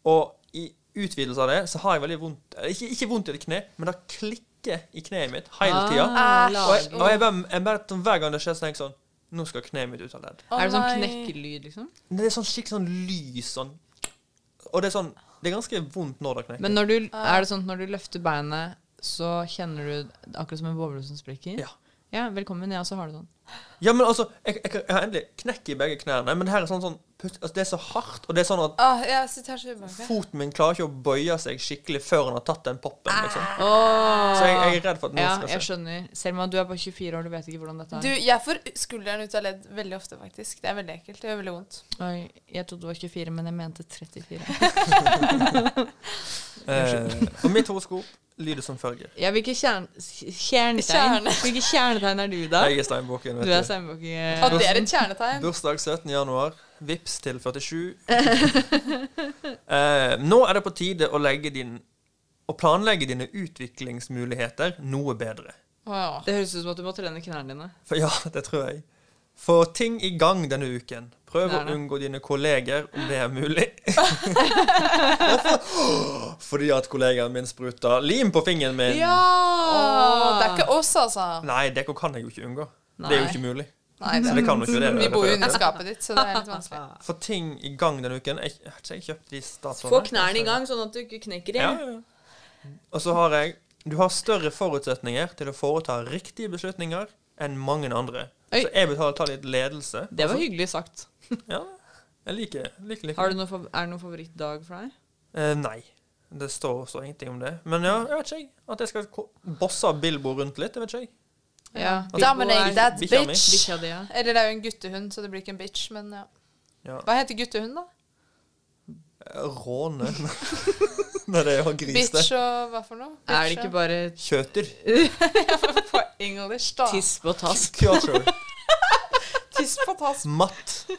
Speaker 5: Og i utvidelse av det så har jeg veldig vondt eh, Ikke, ikke vondt i et kne, men det klikker i kneet mitt hele tida.
Speaker 7: Ah,
Speaker 5: og jeg, og
Speaker 7: lager.
Speaker 5: jeg bare, jeg bare, sånn, hver gang det skjer, så tenker jeg sånn Nå skal kneet mitt ut av ledd.
Speaker 6: Å,
Speaker 7: er det sånn
Speaker 6: nei.
Speaker 7: knekkelyd, liksom?
Speaker 5: Men Det er sånn skikkelig sånn lys sånn Og det er sånn Det er ganske vondt når det knekker.
Speaker 7: Men når du, er det sånn at når du løfter beinet, så kjenner du det akkurat som en boble som sprekker?
Speaker 5: Ja.
Speaker 7: Ja, velkommen. Jeg også har det sånn.
Speaker 5: ja, men altså jeg, jeg, jeg har endelig knekk i begge knærne, men det her er sånn, sånn put- altså, Det er så hardt, og det er sånn at
Speaker 6: Ah, jeg sitter her så ubehagelig.
Speaker 5: foten min klarer ikke å bøye seg skikkelig før han har tatt den poppen. liksom
Speaker 7: Åh.
Speaker 5: Så jeg, jeg er redd for at noe
Speaker 7: Ah. Ja,
Speaker 5: skal
Speaker 7: jeg
Speaker 5: skje.
Speaker 7: skjønner. Selma, du er bare 24 år, du vet ikke hvordan dette
Speaker 6: Du,
Speaker 7: er.
Speaker 6: jeg får skulderen ut av ledd veldig ofte, faktisk. Det er veldig ekkelt. Det gjør veldig vondt.
Speaker 7: Oi, jeg trodde du var 24, men jeg mente 34.
Speaker 5: Eh, og mitt horoskop lyder som følger.
Speaker 7: Ja, hvilke kjern, kjernetegn
Speaker 6: Kjerne.
Speaker 7: Hvilke kjernetegn er du, da?
Speaker 5: Jeg er steinbukken.
Speaker 7: Du er
Speaker 5: vet du.
Speaker 6: At
Speaker 7: steinbukke.
Speaker 6: det er et kjernetegn.
Speaker 5: Bursdag 17. januar. Vips til 47. Eh, nå er det på tide å legge din og planlegge dine utviklingsmuligheter noe bedre.
Speaker 6: Åh.
Speaker 7: Det høres ut som at du må trene knærne dine.
Speaker 5: For ja, det tror jeg. Få ting i gang denne uken. Prøv å
Speaker 7: Nei, nei.
Speaker 5: unngå dine kolleger om det er mulig. Hvorfor? Fordi at kollegaen min spruta lim på fingeren min.
Speaker 7: Ja!
Speaker 6: Åh, det er ikke oss, altså.
Speaker 5: Nei, det kan jeg jo ikke unngå. Det er jo
Speaker 7: Nei. Mm,
Speaker 5: ikke mulig.
Speaker 6: Nei,
Speaker 5: Så
Speaker 6: det
Speaker 5: det kan jo ikke det.
Speaker 6: vi bor jo under skapet ditt, så det er litt vanskelig.
Speaker 5: Få ting i gang denne uken. Jeg jeg har ikke kjøpt de statsrådene.
Speaker 7: Få knærne i gang, sånn at du ikke knekker i.
Speaker 5: Ja, ja, ja. Og så har jeg Du har større forutsetninger til å foreta riktige beslutninger enn mange andre.
Speaker 7: Oi.
Speaker 5: Så jeg betaler ta litt ledelse.
Speaker 7: Det var hyggelig sagt.
Speaker 5: Ja, jeg liker det. Liker, liker.
Speaker 7: Har du noe, fav- er det noen favorittdag for deg?
Speaker 5: Eh, nei. Det står, står ingenting om det. Men ja, jeg vet ikke. jeg. At jeg skal ko- bosse Bilbo rundt litt, det vet ikke jeg.
Speaker 7: Ja.
Speaker 6: Dominate that
Speaker 5: Altså, bikkja mi.
Speaker 6: bitch.
Speaker 7: Bikkja di, ja.
Speaker 6: Eller det er jo en guttehund, så det blir ikke en bitch, men ja.
Speaker 5: Ja.
Speaker 6: Hva heter guttehund, da?
Speaker 5: Eh, Råne. nei, det er jo gris, det.
Speaker 6: Bitch og hva for noe?
Speaker 7: Er det ikke bare
Speaker 5: Kjøter.
Speaker 6: bare på engelsk, da?
Speaker 7: tiss på tass?
Speaker 5: Kjøter.
Speaker 6: Tiss på tass.
Speaker 5: Matt.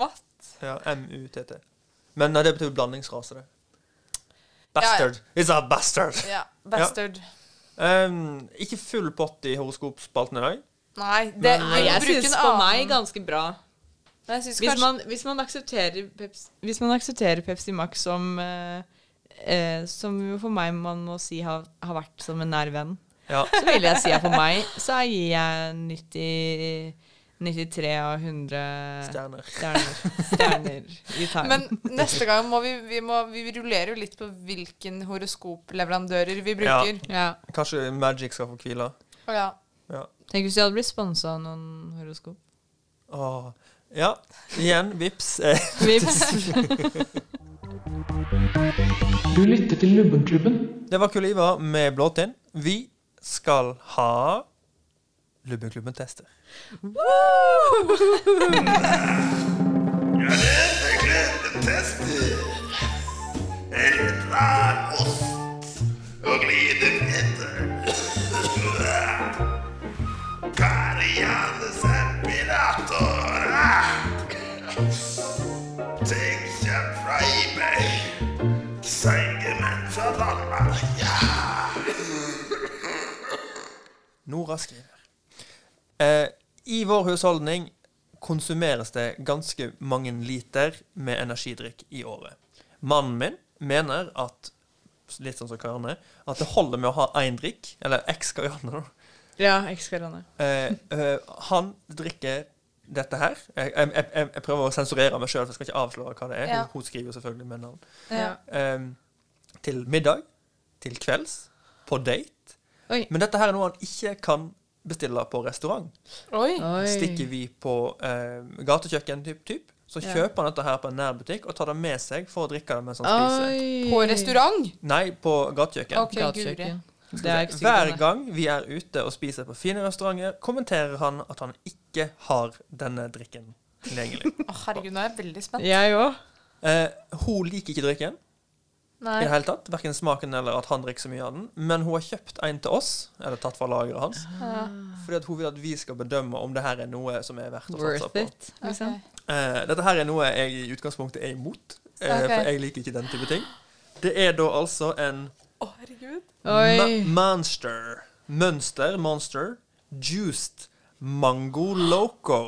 Speaker 6: Matt.
Speaker 5: Ja, M-U-T-T. Men nei, det betyr blandingsrase, det. Bastard. It's a bastard.
Speaker 6: Ja. Bastard.
Speaker 5: Ehm, ikke full pott i horoskopspalten i dag.
Speaker 6: Nei, det,
Speaker 7: Nei,
Speaker 6: vi må
Speaker 7: jeg
Speaker 6: bruke
Speaker 7: syns
Speaker 6: en
Speaker 7: på
Speaker 6: annen.
Speaker 7: meg ganske bra.
Speaker 6: Nei, jeg syns
Speaker 7: Hvis
Speaker 6: kanskje
Speaker 7: man, hvis man, aksepterer, Pepsi, hvis man aksepterer Pepsi Max som eh, eh, Som jo for meg man må si har, har vært som en nær venn,
Speaker 5: Ja.
Speaker 7: så vil jeg si at for meg så gir jeg 90, 93 av 100
Speaker 5: Stjerner.
Speaker 7: stjerner, stjerner i time.
Speaker 6: Men neste gang må vi Vi, må, vi rullerer jo litt på hvilken horoskopleverandører vi bruker.
Speaker 7: ja.
Speaker 5: Kanskje Magic skal få hvile.
Speaker 6: Å, ja.
Speaker 5: Ja.
Speaker 7: Tenk hvis jeg hadde blitt sponsa av noen horoskop.
Speaker 5: Åh. ja. Igjen, vips. Eh,
Speaker 7: Vips.
Speaker 1: Du lytter til Lubbenklubben.
Speaker 5: Det var Kuliva med blåtinn. Vi skal ha Lubbeklubben tester.
Speaker 9: og glider etter. Karianes imperator. Ting seg fra eBay. Sengemenn fra Danmark. Ja.
Speaker 5: Nora skriver. Eh, I vår husholdning konsumeres det ganske mange liter med energidrikk i året. Mannen min mener at litt sånn som Karianne, at det holder med å ha én drikk, eller x Karianne, da.
Speaker 7: ja, ekskarianne.
Speaker 5: Eh, eh, han drikker dette her. Jeg, jeg, jeg, jeg prøver å sensurere meg sjøl, for jeg skal ikke avsløre hva det er.
Speaker 6: Ja.
Speaker 5: Hun skriver jo selvfølgelig med navn.
Speaker 6: Ja.
Speaker 5: Ehm, til middag, til kvelds, på date.
Speaker 7: Oi.
Speaker 5: Men dette her er noe han ikke kan bestille på restaurant.
Speaker 6: Oi.
Speaker 5: Stikker vi på eh, gatekjøkken, typ, typ, så
Speaker 7: Ja.
Speaker 5: kjøper han dette her på en nærbutikk og tar det med seg for å drikke det mens han spiser.
Speaker 6: På restaurant?
Speaker 5: Nei, på gatekjøkken.
Speaker 6: Ok, guri.
Speaker 7: Det er ikke
Speaker 5: Hver
Speaker 7: sikkert.
Speaker 5: gang vi er ute og spiser på fine restauranter, kommenterer han at han ikke har denne drikken tilgjengelig.
Speaker 6: Å, herregud, nå er jeg veldig spent.
Speaker 7: Jeg òg.
Speaker 5: Eh, hun liker ikke drikken
Speaker 6: Nei.
Speaker 5: i det hele tatt, verken smaken eller at han drikker så mye av den, men hun har kjøpt en til oss, eller tatt fra lageret hans,
Speaker 6: Ja.
Speaker 5: fordi at hun vil at vi skal bedømme om det her er noe som er verdt å satse
Speaker 7: Worth
Speaker 5: på.
Speaker 7: it. Liksom.
Speaker 6: Ok.
Speaker 5: Eh, dette her er noe jeg i utgangspunktet er imot, eh,
Speaker 6: Ok.
Speaker 5: for jeg liker ikke den type ting. Det er da altså en
Speaker 6: Å, herregud.
Speaker 7: Oi.
Speaker 5: Ma- Monster. Mønster, monster. Juiced mango loco.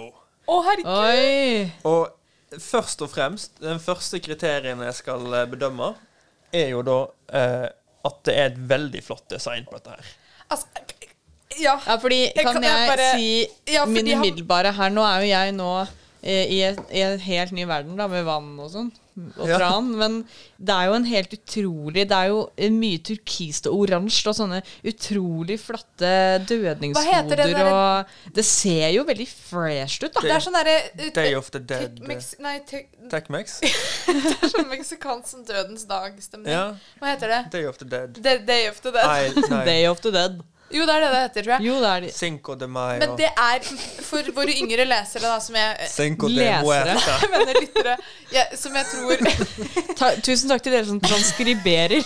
Speaker 6: Å, herregud.
Speaker 7: Oi.
Speaker 5: Og først og fremst, den første kriterien jeg skal eh, bedømme, er jo da eh, at det er et veldig flott design på dette her.
Speaker 6: Altså, ja.
Speaker 7: Ja, fordi
Speaker 6: kan-
Speaker 7: kan
Speaker 6: jeg
Speaker 7: jeg
Speaker 6: bare-
Speaker 7: si
Speaker 6: Ja,
Speaker 7: min
Speaker 6: fordi han-
Speaker 7: umiddelbare her Nå er jo jeg nå eh, i, et, i en helt ny verden, da, med vann og sånn. Og
Speaker 5: Ja.
Speaker 7: tran. Men det er jo en helt utrolig Det er jo eh, mye turkist og oransje og sånne utrolig flotte
Speaker 6: Hva heter
Speaker 7: dødningshoder
Speaker 6: det der-
Speaker 7: og Det ser jo veldig fresh ut, da.
Speaker 6: Det er sånn derre
Speaker 5: Day of the Dead.
Speaker 6: Nei, te- det
Speaker 5: Tecmex.
Speaker 6: er sånn meksikansk dødens dag-stemning.
Speaker 5: Ja.
Speaker 6: Hva heter det?
Speaker 5: Day of the Dead.
Speaker 6: The Day of the Dead.
Speaker 5: Nei, nei.
Speaker 7: Day of the dead.
Speaker 6: Jo, det er det det heter, tror jeg.
Speaker 7: Jo, det er de.
Speaker 5: Cinco de Mayo.
Speaker 6: Men det er for våre yngre lesere, da, som jeg
Speaker 5: Cinco de
Speaker 7: Lesere.
Speaker 5: Muerta.
Speaker 6: jeg mener lyttere, jeg, som jeg tror
Speaker 7: Ta, tusen takk til dere som transkriberer.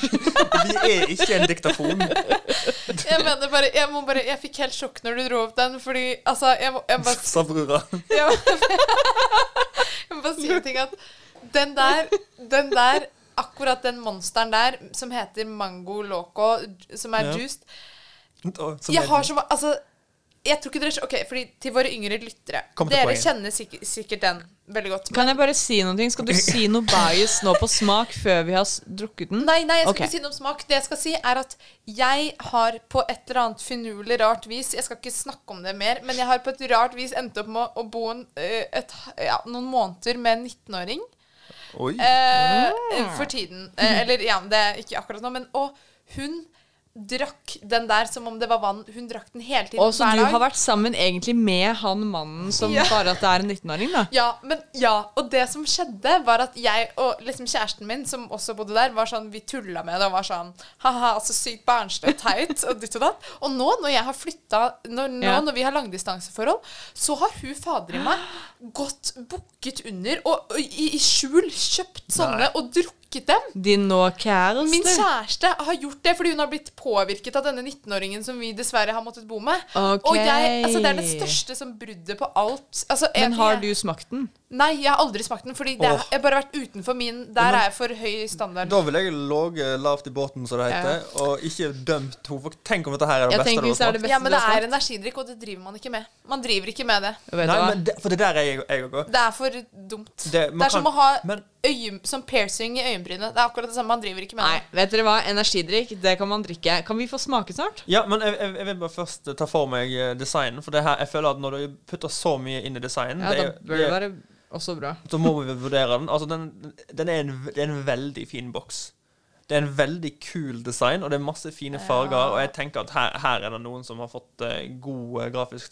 Speaker 5: Vi er ikke en diktafon.
Speaker 6: Jeg mener bare Jeg, må bare, jeg fikk helt sjokk når du dro opp den, fordi altså Jeg må, jeg må bare
Speaker 5: Sa brura.
Speaker 6: Jeg må, jeg må bare si en ting at den der, den der akkurat den monsteren der som heter Mango Loco, som er
Speaker 5: Ja.
Speaker 6: juiced
Speaker 5: Og så
Speaker 6: Jeg
Speaker 5: ned-
Speaker 6: har så ma- Altså, jeg tror ikke dere skj- Ok, fordi til våre yngre lyttere
Speaker 5: Kom til
Speaker 6: Dere
Speaker 5: poenget.
Speaker 6: kjenner sikkert, sikkert den veldig godt.
Speaker 7: Kan jeg bare si noe? Skal du si noe bias nå på smak før vi har s- drukket den?
Speaker 6: Nei, nei, jeg skal ikke
Speaker 7: Ok.
Speaker 6: si noe om smak. Det jeg skal si, er at jeg har på et eller annet finurlig rart vis Jeg skal ikke snakke om det mer, men jeg har på et rart vis endt opp med å bo en, eh, et, ja, noen måneder med en 19-åring
Speaker 5: Oi.
Speaker 6: eh,
Speaker 7: Ah.
Speaker 6: for tiden. Eh, eller ja, det er ikke akkurat nå, men Og hun drakk den der som om det var vann. Hun drakk den hele tiden.
Speaker 7: Og så
Speaker 6: hver
Speaker 7: du
Speaker 6: dag.
Speaker 7: har vært sammen egentlig med han mannen som
Speaker 6: Ja.
Speaker 7: bare at det er en 19-åring, da?
Speaker 6: Ja, men ja, og det som skjedde var at jeg og liksom kjæresten min, som også bodde der, var sånn, vi tullet med det og var sånn, haha, så sykt barnslig og teit, og ditt og datt. Og nå, når jeg har flyttet, når, nå
Speaker 7: Ja.
Speaker 6: når vi har langdistanseforhold, så har hun fader i meg gått bukket under og, og i, i skjul kjøpt sånne og drukket dem.
Speaker 7: Din nå kjæreste?
Speaker 6: Min kjæreste har gjort det fordi hun har blitt påvirket av denne 19-åringen som vi dessverre har måttet bo med.
Speaker 7: Ok.
Speaker 6: Og jeg, altså det er det største som bruddet på alt. Altså, en
Speaker 7: Men
Speaker 6: ting er-
Speaker 7: har du smakt den?
Speaker 6: Nei, jeg har aldri smakt den, fordi det er,
Speaker 5: Åh.
Speaker 6: jeg har bare vært utenfor min. Der er jeg for høy standard.
Speaker 5: Da ville jeg ligget lavt i båten, som det heter, og ikke dømt henne. For Tenk om dette her er det
Speaker 7: Jeg
Speaker 5: beste
Speaker 7: tenker
Speaker 5: du har
Speaker 7: hvis det er
Speaker 5: smakt.
Speaker 7: det beste
Speaker 6: Ja, men det
Speaker 7: du har
Speaker 6: er energidrikk, og det driver man ikke med. Man driver ikke med det.
Speaker 7: smakt. Vet du
Speaker 5: Nei,
Speaker 7: hva?
Speaker 5: men det, for det der er jeg jeg òg.
Speaker 6: Det er for dumt. Det,
Speaker 5: Det- man
Speaker 6: er som
Speaker 5: kan-
Speaker 6: å ha
Speaker 5: men-
Speaker 6: øye, som piercing i øyenbrynet. Det er akkurat det samme. Man driver ikke med
Speaker 7: Nei, vet dere hva? Energidrikk, det kan man drikke. Kan vi få smake snart?
Speaker 5: Ja, men jeg, jeg, jeg vil bare først ta for meg eh, designen. For det her, jeg føler at når du putter så mye inn i designen
Speaker 7: Ja,
Speaker 5: det
Speaker 7: da
Speaker 5: er-
Speaker 7: bør det være også bra.
Speaker 5: Så må vi vurdere den. Altså, den, den er en, det er en veldig fin boks. Det er en veldig kul design, og det er masse fine farger. Og jeg tenker at her, her er det noen som har fått eh, god eh, grafisk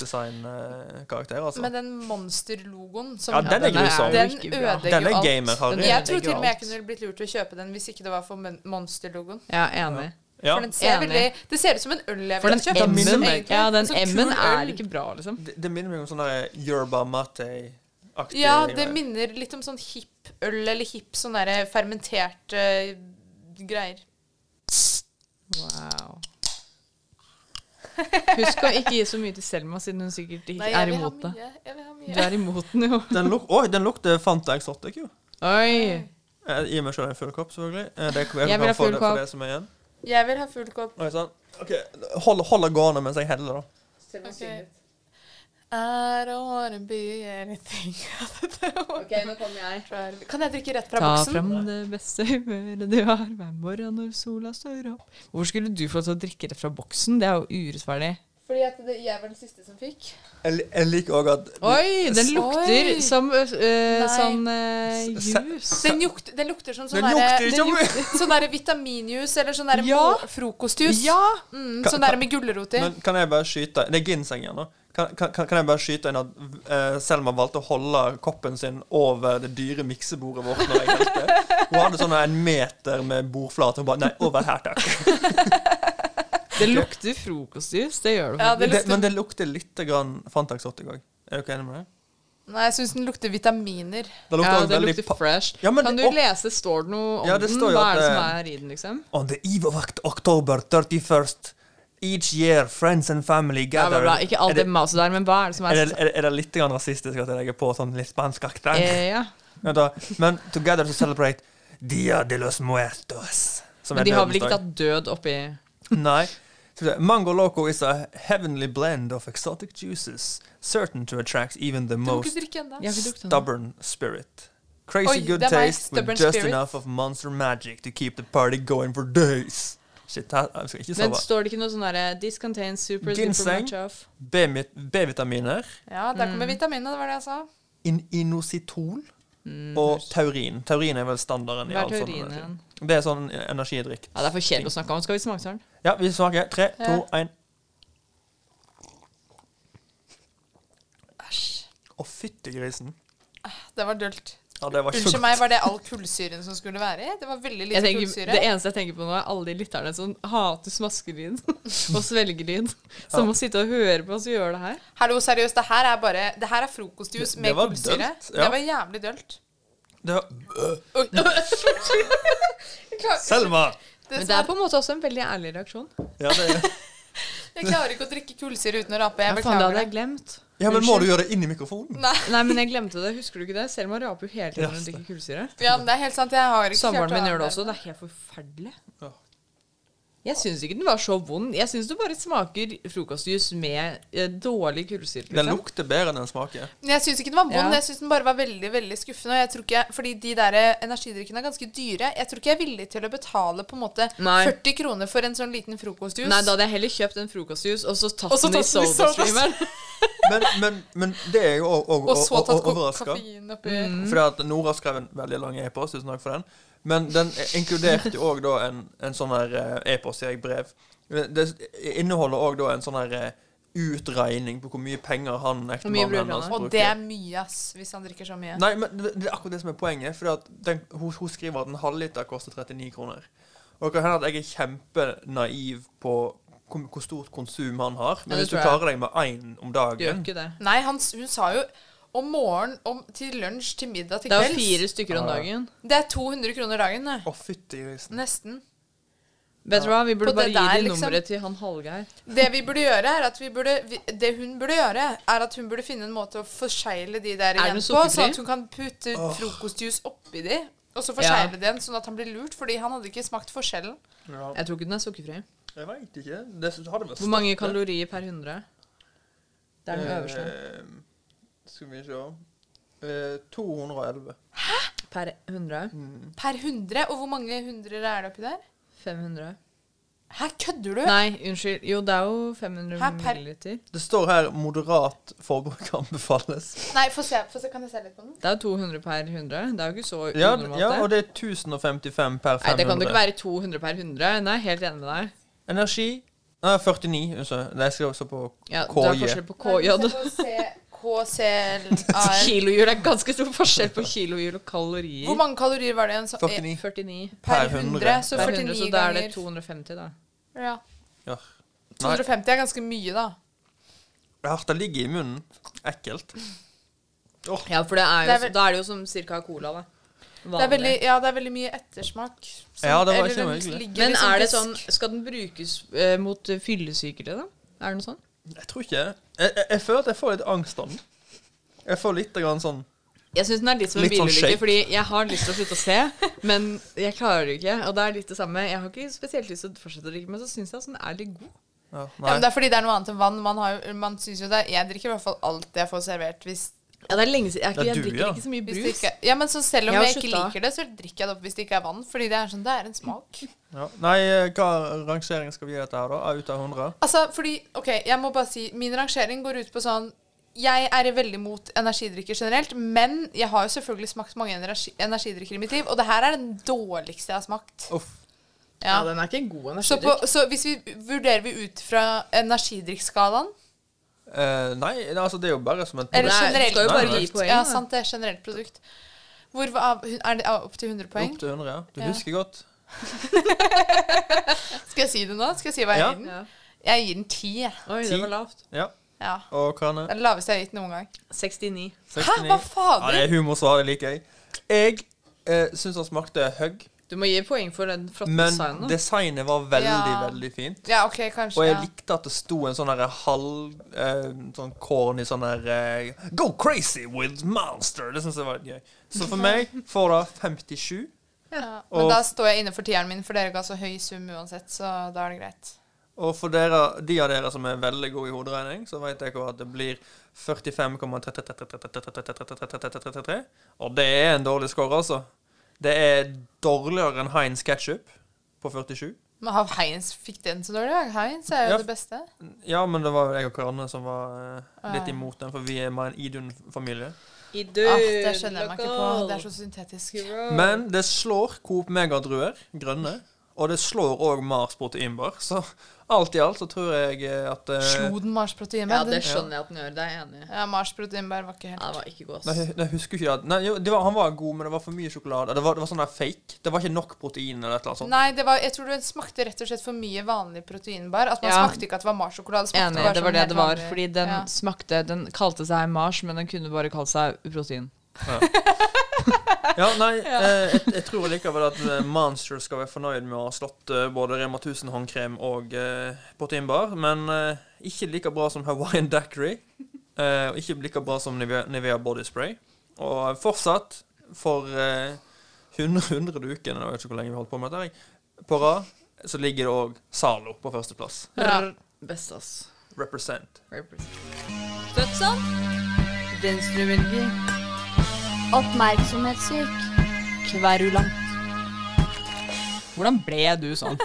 Speaker 5: design-karakter.
Speaker 6: det.
Speaker 5: altså.
Speaker 6: Men den monsterlogoen som
Speaker 5: ja, den er
Speaker 7: den er-
Speaker 5: grusom.
Speaker 7: den-
Speaker 6: den
Speaker 7: ikke bra.
Speaker 6: ødelegger
Speaker 5: Den
Speaker 6: jo
Speaker 5: er
Speaker 6: alt.
Speaker 5: gamer, Harry.
Speaker 7: Den er-
Speaker 6: Jeg tror
Speaker 7: ødelegger
Speaker 6: til og med jeg
Speaker 7: alt.
Speaker 6: kunne blitt lurt til å kjøpe den hvis ikke det var for men- monsterlogoen.
Speaker 7: Ja, enig.
Speaker 5: Ja.
Speaker 6: For den ser
Speaker 7: Enig.
Speaker 6: veldig Det ser ut som en øl jeg
Speaker 7: For
Speaker 6: ville
Speaker 7: den
Speaker 6: kjøpt.
Speaker 5: minner
Speaker 7: M-en
Speaker 5: meg-
Speaker 7: ja, den
Speaker 6: En sånn
Speaker 7: M-en
Speaker 6: kul
Speaker 7: er
Speaker 6: øl.
Speaker 7: ikke bra, liksom.
Speaker 5: Det, det minner meg om sånn der yerba mate-aktig
Speaker 6: Ja, det minner litt om sånn hipp øl eller hipp sånn derre fermenterte greier.
Speaker 7: Wow. Husk å ikke gi så mye til Selma, siden hun sikkert ikke
Speaker 6: Nei, jeg
Speaker 7: er
Speaker 6: vil ha
Speaker 7: imot det.
Speaker 6: mye. Jeg vil ha
Speaker 7: Du
Speaker 6: mye.
Speaker 7: er imot den, jo.
Speaker 5: Den, luk Oi, den lukter Fanta Exotic, jo.
Speaker 7: Oi.
Speaker 5: Jeg gir meg selv en full kopp, selvfølgelig. Eh, Det, jeg,
Speaker 7: Jeg vil
Speaker 5: kan
Speaker 7: ha
Speaker 5: få
Speaker 7: full
Speaker 5: det,
Speaker 7: kopp.
Speaker 5: For det som er igjen.
Speaker 6: Jeg vil ha full kopp.
Speaker 5: Oi, sånn. Ok, Hold, hold det gående mens jeg heller, da.
Speaker 6: Okay. I don't wanna be anything
Speaker 7: nå kommer jeg.
Speaker 6: Kan jeg drikke rett fra
Speaker 7: Ta
Speaker 6: boksen?
Speaker 7: frem det beste humøret du har hver morgen når sola står opp. Hvorfor skulle du få lov til å drikke det fra boksen? Det er jo urettferdig.
Speaker 6: Fordi at det, jeg var den siste som fikk.
Speaker 5: Jeg, li- jeg liker også at
Speaker 7: Oi, den lukter
Speaker 6: Oi.
Speaker 7: som øh, øh,
Speaker 6: Nei.
Speaker 7: sånn øh,
Speaker 5: S- se-
Speaker 7: juice.
Speaker 6: Den, lukter- den lukter som sånn
Speaker 5: Den lukter
Speaker 6: derre
Speaker 5: ikke om
Speaker 6: Sånn derre vitaminjuice eller sånn derre
Speaker 7: Ja.
Speaker 6: mo- frokostjuice.
Speaker 7: Ja!
Speaker 6: Mm,
Speaker 5: Ka-
Speaker 6: sånn derre med gulrot i.
Speaker 5: Men kan jeg bare skyte Det er ginseng igjen nå. Kan, kan, kan jeg bare skyte inn at eh, Selma valgte å holde koppen sin over det dyre miksebordet vårt? Når jeg helte. Hun hadde sånn en meter med bordflate. Hun bare Nei, over her, takk.
Speaker 7: Det lukter frokostjuice, det gjør det.
Speaker 6: Ja,
Speaker 7: faktisk.
Speaker 6: det
Speaker 5: Det,
Speaker 6: lukter,
Speaker 5: men det lukter litt grann Fanta Exotic òg. Er dere enig med det?
Speaker 6: nei, jeg syns den lukter vitaminer.
Speaker 5: Det
Speaker 7: Ja,
Speaker 5: lukter også
Speaker 7: det
Speaker 5: veldig
Speaker 7: lukter
Speaker 5: pa-
Speaker 7: fresh.
Speaker 5: Ja, men
Speaker 7: kan du
Speaker 5: det- og-
Speaker 7: lese, står det noe om
Speaker 5: Ja, det
Speaker 7: den?
Speaker 5: står jo
Speaker 7: Hva
Speaker 5: at
Speaker 7: er det som
Speaker 5: det-
Speaker 7: er i den, liksom?
Speaker 5: On the eve of Oct- October 31st each year, friends and family
Speaker 7: Bla, bla,
Speaker 5: gather
Speaker 7: bla. Ikke alt
Speaker 5: er,
Speaker 7: det
Speaker 5: det,
Speaker 7: maset der, men hva er det som
Speaker 5: er,
Speaker 7: er
Speaker 5: det, er, det, er det litt grann rasistisk at jeg legger på sånn litt spansk aksent?
Speaker 7: Eh, ja.
Speaker 5: Vent da, Men together to celebrate Dia de los Muertos. som er
Speaker 7: Men de har vel
Speaker 5: dødens
Speaker 7: ikke
Speaker 5: dag.
Speaker 7: tatt død oppi
Speaker 5: Nei. Skal vi se. Mango Loco is a heavenly blend of exotic juices, certain to attract even the
Speaker 6: Du må ikke
Speaker 5: most
Speaker 6: drikke ennå.
Speaker 7: Jeg har ikke drukket den.
Speaker 5: stubborn spirit. Crazy
Speaker 6: Oi,
Speaker 5: good
Speaker 6: det er meg,
Speaker 5: taste with
Speaker 6: stubborn
Speaker 5: just
Speaker 6: spirit.
Speaker 5: enough of monster magic to keep the party going for days. Shit, her, jeg skal ikke
Speaker 7: Men
Speaker 5: sove.
Speaker 7: står det ikke noe sånn derre This contains super, super
Speaker 5: Ginseng.
Speaker 7: much of
Speaker 5: B-mit- B-vitaminer,
Speaker 6: Ja, der
Speaker 7: Mm.
Speaker 6: kommer vitaminene, det var det jeg sa.
Speaker 5: in- inositol
Speaker 6: Mm,
Speaker 5: og taurin. Taurin er vel standarden i
Speaker 7: Hva er
Speaker 5: all sånn
Speaker 7: taurin
Speaker 5: energi.
Speaker 7: igjen?
Speaker 5: Det er sånn energidrikk.
Speaker 7: Ja, det er for kjedelig å snakke om. Skal vi smake den?
Speaker 5: Ja, vi smaker. Tre, to, én.
Speaker 6: Æsj.
Speaker 5: Å, fytti grisen.
Speaker 6: Det var dølt.
Speaker 5: Ja, det var ikke så
Speaker 6: Unnskyld
Speaker 5: godt.
Speaker 6: meg, var det all kullsyren som skulle være i? Det var veldig
Speaker 7: Jeg
Speaker 6: lite
Speaker 7: tenker,
Speaker 6: kullsyre.
Speaker 7: det eneste jeg tenker på nå, er alle de lytterne som hater smaskelyd og svelgelyd. Som må sitte og høre på oss gjøre det her.
Speaker 6: Hallo, seriøst, det her er bare Det her er frokostjuice
Speaker 5: Det-
Speaker 6: med
Speaker 5: det var
Speaker 6: kullsyre.
Speaker 5: dølt, ja.
Speaker 6: Det var jævlig dølt.
Speaker 5: Det var-
Speaker 6: Oi. Jeg klarer-
Speaker 5: Selma!
Speaker 6: Det
Speaker 7: Men
Speaker 6: som
Speaker 7: det er
Speaker 6: er-
Speaker 7: på en måte også en veldig ærlig reaksjon.
Speaker 5: Ja, det er
Speaker 6: Jeg klarer ikke å drikke kullsyre uten å rape.
Speaker 7: Ja,
Speaker 6: Jeg
Speaker 7: faen, det hadde
Speaker 6: beklager
Speaker 7: jeg
Speaker 6: det.
Speaker 7: glemt.
Speaker 5: Ja, men må du gjøre det inn i mikrofonen?
Speaker 6: Nei.
Speaker 7: Nei, men jeg glemte det. Husker du ikke det? Selma raper jo hele tiden når hun drikker kullsyre.
Speaker 6: Ja, men det er helt sant. Jeg har ikke
Speaker 7: Samboeren
Speaker 6: klart å
Speaker 7: min gjør det også.
Speaker 6: avlære
Speaker 7: Det er helt forferdelig.
Speaker 5: Ja.
Speaker 7: Jeg syns ikke den var så vond. Jeg syns det bare smaker frokostjus med eh, dårlig kullsyre.
Speaker 5: Den
Speaker 7: Liksom.
Speaker 5: lukter bedre enn den smaker.
Speaker 6: Men Jeg syns ikke den var vond,
Speaker 7: Ja.
Speaker 6: jeg syns den bare var veldig veldig skuffende. Og jeg tror ikke, fordi de der eh, energidrikkene er ganske dyre. Jeg tror ikke jeg er villig til å betale på en måte
Speaker 7: Nei.
Speaker 6: 40 kroner for en sånn liten frokostjus.
Speaker 7: Nei, da hadde jeg heller kjøpt en frokostjus og så tatt
Speaker 6: Og så
Speaker 7: den i
Speaker 6: tatt den i
Speaker 7: sodastreamen.
Speaker 5: Men, men, men det er jo òg
Speaker 6: og så tatt ko-
Speaker 5: overraska.
Speaker 6: koffein oppi.
Speaker 7: Mm.
Speaker 5: Fordi at Nora skrev en veldig lang e-post, tusen takk for den. Men den inkluderte jo òg da en, en sånn her eh, e-post, sier jeg, brev. Det inneholder òg da en sånn her eh, utregning på hvor mye penger han
Speaker 7: Hvor mye
Speaker 5: ektemannen
Speaker 7: bruker
Speaker 5: hennes
Speaker 7: han?
Speaker 6: Og
Speaker 5: bruker.
Speaker 6: det er mye, ass, hvis han drikker så mye.
Speaker 5: Nei, men det, det er akkurat det som er poenget. Fordi at den, hun, hun skriver at en halvliter koster 39 kroner. Og det kan hende at jeg er kjempenaiv på hvor, hvor stort konsum han har. Men
Speaker 7: Ja, det
Speaker 5: hvis du
Speaker 7: tror jeg.
Speaker 5: klarer deg med én om
Speaker 7: Det Gjør
Speaker 5: dagen
Speaker 7: ikke det.
Speaker 6: Nei, han, s- hun sa jo om morgen, om, til lunsj, til middag, til
Speaker 7: Det er
Speaker 6: kvelds.
Speaker 7: jo fire stykker om dagen.
Speaker 6: Det er 200 kroner dagen, det.
Speaker 5: Å, fytti grisen.
Speaker 6: Nesten.
Speaker 7: Vet du hva, vi burde
Speaker 6: På
Speaker 7: bare
Speaker 6: det
Speaker 7: gi
Speaker 6: der,
Speaker 7: de
Speaker 6: liksom.
Speaker 7: nummeret til han Hallgeir.
Speaker 6: Det vi burde gjøre, er at vi burde vi, Det hun burde gjøre, er at hun burde finne en måte å forsegle de der
Speaker 7: det
Speaker 6: igjen
Speaker 7: noe
Speaker 6: på,
Speaker 7: sukkerfri?
Speaker 6: sånn at hun kan putte frokostjuice oppi de, og så forsegle den, sånn at han blir lurt, fordi han hadde ikke smakt forskjellen.
Speaker 5: Ja,
Speaker 7: Jeg tror ikke den er sukkerfri.
Speaker 5: jeg veit ikke. Det hadde vært
Speaker 7: Hvor mange
Speaker 5: sterkt, det.
Speaker 7: kalorier per 100? Det er den øverste.
Speaker 5: Eh, skal vi se eh, 211.
Speaker 7: Per 100?
Speaker 5: mm.
Speaker 6: Per 100, og hvor mange hundrere er det oppi der?
Speaker 7: 500?
Speaker 6: Hæ, kødder du?
Speaker 7: Nei, unnskyld. Jo, det er jo 500
Speaker 6: Hæ, per-
Speaker 7: milliliter.
Speaker 5: Det står her 'moderat forbruk anbefales'.
Speaker 6: Nei, få se, få se, kan jeg se litt på den?
Speaker 7: Det er jo 200 per 100. Det er jo ikke så
Speaker 5: Ja,
Speaker 7: unormalt,
Speaker 5: ja, og
Speaker 7: det.
Speaker 5: det er 1055 per 500.
Speaker 7: Nei, det kan jo ikke være 200 per 100. Nei, jeg er helt enig med deg.
Speaker 5: Energi Nei, 49. Unnskyld. Nei, Jeg skrev også på E.
Speaker 7: Ja, det er
Speaker 5: KJ.
Speaker 7: forskjell på KJ.
Speaker 6: KCLR
Speaker 7: Kilohjul er ganske stor forskjell på kilohjul og kalorier.
Speaker 6: Hvor mange kalorier var det igjen? Så,
Speaker 5: 49.
Speaker 7: 49
Speaker 5: Per
Speaker 6: Per
Speaker 5: 100.
Speaker 6: 100, så
Speaker 7: per
Speaker 6: 49
Speaker 7: 100, så da er det
Speaker 6: ganger.
Speaker 7: 250, da.
Speaker 6: Ja.
Speaker 5: Ja. Nei,
Speaker 6: 250 er ganske mye, da.
Speaker 5: hjertet ligger i munnen. Ekkelt.
Speaker 7: Ja, for det er jo,
Speaker 6: Det er vel-
Speaker 7: da er det jo som cirka cola, da.
Speaker 6: Det er veldig, ja, det er veldig mye ettersmak. som-
Speaker 5: Ja, det var
Speaker 6: eller
Speaker 5: ikke noe
Speaker 6: den
Speaker 5: hyggelig.
Speaker 6: ligger
Speaker 7: Men
Speaker 6: liksom
Speaker 7: er det
Speaker 6: fisk.
Speaker 7: sånn, skal den brukes eh, mot eh, fyllesykere, da? Er det noe sånn?
Speaker 5: Jeg tror ikke Jeg, jeg, jeg føler at jeg får litt angst av den. Jeg får litt grann sånn
Speaker 7: Jeg syns den er litt som en
Speaker 5: Litt sånn
Speaker 7: bilulykke,
Speaker 5: shake.
Speaker 7: fordi jeg har lyst til å slutte å se, men jeg klarer det ikke. Og det er litt det samme. Jeg har ikke spesielt lyst til å fortsette å drikke, men så syns jeg at den er litt god.
Speaker 5: ja,
Speaker 6: Ja,
Speaker 5: Nei.
Speaker 6: men det er fordi det er noe annet enn vann. Man, har, jo- man synes jo det er, Jeg drikker i hvert fall alt jeg får servert. Hvis,
Speaker 7: Ja, det er lenge siden. Jeg, er
Speaker 5: Det
Speaker 7: ikke,
Speaker 5: er
Speaker 7: jeg
Speaker 5: du,
Speaker 7: drikker
Speaker 5: ja.
Speaker 7: ikke så mye
Speaker 6: hvis det
Speaker 7: brus.
Speaker 6: ikke, ja, men så selv om
Speaker 7: Jeg har
Speaker 6: jeg, ikke
Speaker 7: slutta.
Speaker 6: liker det, så drikker jeg det opp hvis det ikke er vann. Fordi det er sånn, det er en smak.
Speaker 5: Ja. Nei, eh, hva rangering skal vi gi dette her, da? Ut av 100?
Speaker 6: Altså, fordi, ok, jeg må bare si Min rangering går ut på sånn Jeg er veldig mot energidrikker generelt, men jeg har jo selvfølgelig smakt mange energi, energidrikker i mitt liv, og det her er den dårligste jeg har smakt.
Speaker 5: Uff.
Speaker 6: Ja.
Speaker 7: Ja, den er ikke en god
Speaker 6: Så,
Speaker 7: energidrikk.
Speaker 6: på, så hvis vi vurderer vi ut fra energidrikkskalaen
Speaker 5: Eh, nei, nei, altså, det er jo bare som en
Speaker 6: Eller
Speaker 7: Nei,
Speaker 6: generelt
Speaker 7: skal jo bare gi
Speaker 6: produkt.
Speaker 7: poeng,
Speaker 6: ja,
Speaker 7: da.
Speaker 6: sant, det er generelt produkt. Hvor, var- er det opp til 100 poeng?
Speaker 5: Opp til 100, ja. Du
Speaker 6: Ja.
Speaker 5: husker godt.
Speaker 6: Skal jeg si det nå? Skal jeg si hva jeg
Speaker 5: Ja.
Speaker 6: gir den?
Speaker 7: Ja.
Speaker 6: Jeg gir den 10. jeg.
Speaker 7: Oi,
Speaker 5: Ti.
Speaker 7: det var lavt.
Speaker 5: Ja.
Speaker 6: Ja.
Speaker 5: Og Kane?
Speaker 6: Det er det laveste jeg har gitt noen gang.
Speaker 7: 69.
Speaker 6: Hæ, hva
Speaker 5: 69. Ja,
Speaker 6: fader?
Speaker 5: det er humorsvar, det liker jeg. Jeg eh, syns han smakte hugg,
Speaker 7: Du må gi poeng for den flotte
Speaker 5: men
Speaker 7: designen. da.
Speaker 5: designet var veldig,
Speaker 6: Ja.
Speaker 5: veldig fint.
Speaker 6: Ja, OK, kanskje.
Speaker 5: Og jeg
Speaker 6: ja.
Speaker 5: likte at det sto en sånn derre halv eh, Sånn corny sånn der eh, Go crazy with monster! Det syns jeg var gøy. Så for meg får det 57.
Speaker 6: Ja. Men
Speaker 5: Og-
Speaker 6: da står jeg inne for tieren min, for dere ga så høy sum uansett, så da er det greit.
Speaker 5: Og for dere, de av dere som er veldig gode i hoderegning, så vet jeg jo at det blir 45,33333333333. Og det er en dårlig score, altså. Det er dårligere enn Heinz Ketchup på 47.
Speaker 6: Men har Heinz fikk den så dårlig? ja? Heinz er jo
Speaker 5: Ja.
Speaker 6: det beste.
Speaker 5: Ja, men det var jo jeg og Karianne som var eh, litt
Speaker 6: Ja.
Speaker 5: imot den, for vi er med en Idun-familie.
Speaker 7: I
Speaker 6: Ah,
Speaker 7: død,
Speaker 6: det skjønner jeg meg ikke på.
Speaker 7: lokal.
Speaker 6: Det er så syntetisk.
Speaker 5: Men det slår Coop Mega-druer, grønne. Og det slår òg Mars proteinbar. Så alt i alt så tror jeg eh, at eh,
Speaker 6: Slo den Mars
Speaker 7: Ja,
Speaker 6: proteinbær?
Speaker 7: det
Speaker 6: Den-
Speaker 7: skjønner jeg at den gjør. Det er jeg enig i.
Speaker 6: Ja, Mars proteinbær var ikke helt
Speaker 7: Ja, det var ikke god,
Speaker 5: Nei,
Speaker 7: ass.
Speaker 5: jeg husker ikke det. Nei, jo, det var, han var god, men det var for mye sjokolade. Det var, det var sånn der fake. Det var ikke nok protein eller et eller annet sånt.
Speaker 6: Nei, det var, jeg tror det smakte rett og slett for mye vanlig proteinbar. At man
Speaker 7: Ja.
Speaker 6: smakte ikke at det var Mars-sjokolade. smakte
Speaker 7: Enig,
Speaker 6: bare
Speaker 7: det
Speaker 6: som
Speaker 7: var det
Speaker 6: helt
Speaker 7: det var.
Speaker 6: vanlig.
Speaker 7: Fordi den
Speaker 6: ja.
Speaker 7: smakte Den kalte seg Mars, men den kunne bare kalt seg protein.
Speaker 5: Ja, nei, eh, jeg, jeg tror likevel at eh, Monster skal være fornøyd med å ha slått eh, både Rema 1000 håndkrem og eh, proteinbar, men eh, ikke like bra som Hawaiian Dackery. eh, og ikke like bra som Nivea, Nivea Body Spray. Og eh, fortsatt, for eh, 100, 100 uken, jeg vet ikke hvor lenge vi holdt på med dette, jeg, på rad, så ligger det òg Zalo på førsteplass.
Speaker 7: Best, ass.
Speaker 5: Represent.
Speaker 7: Dødsand. Venstrevelger.
Speaker 10: Oppmerksomhetssyk.
Speaker 7: Kverulant. Hvordan ble du sånn?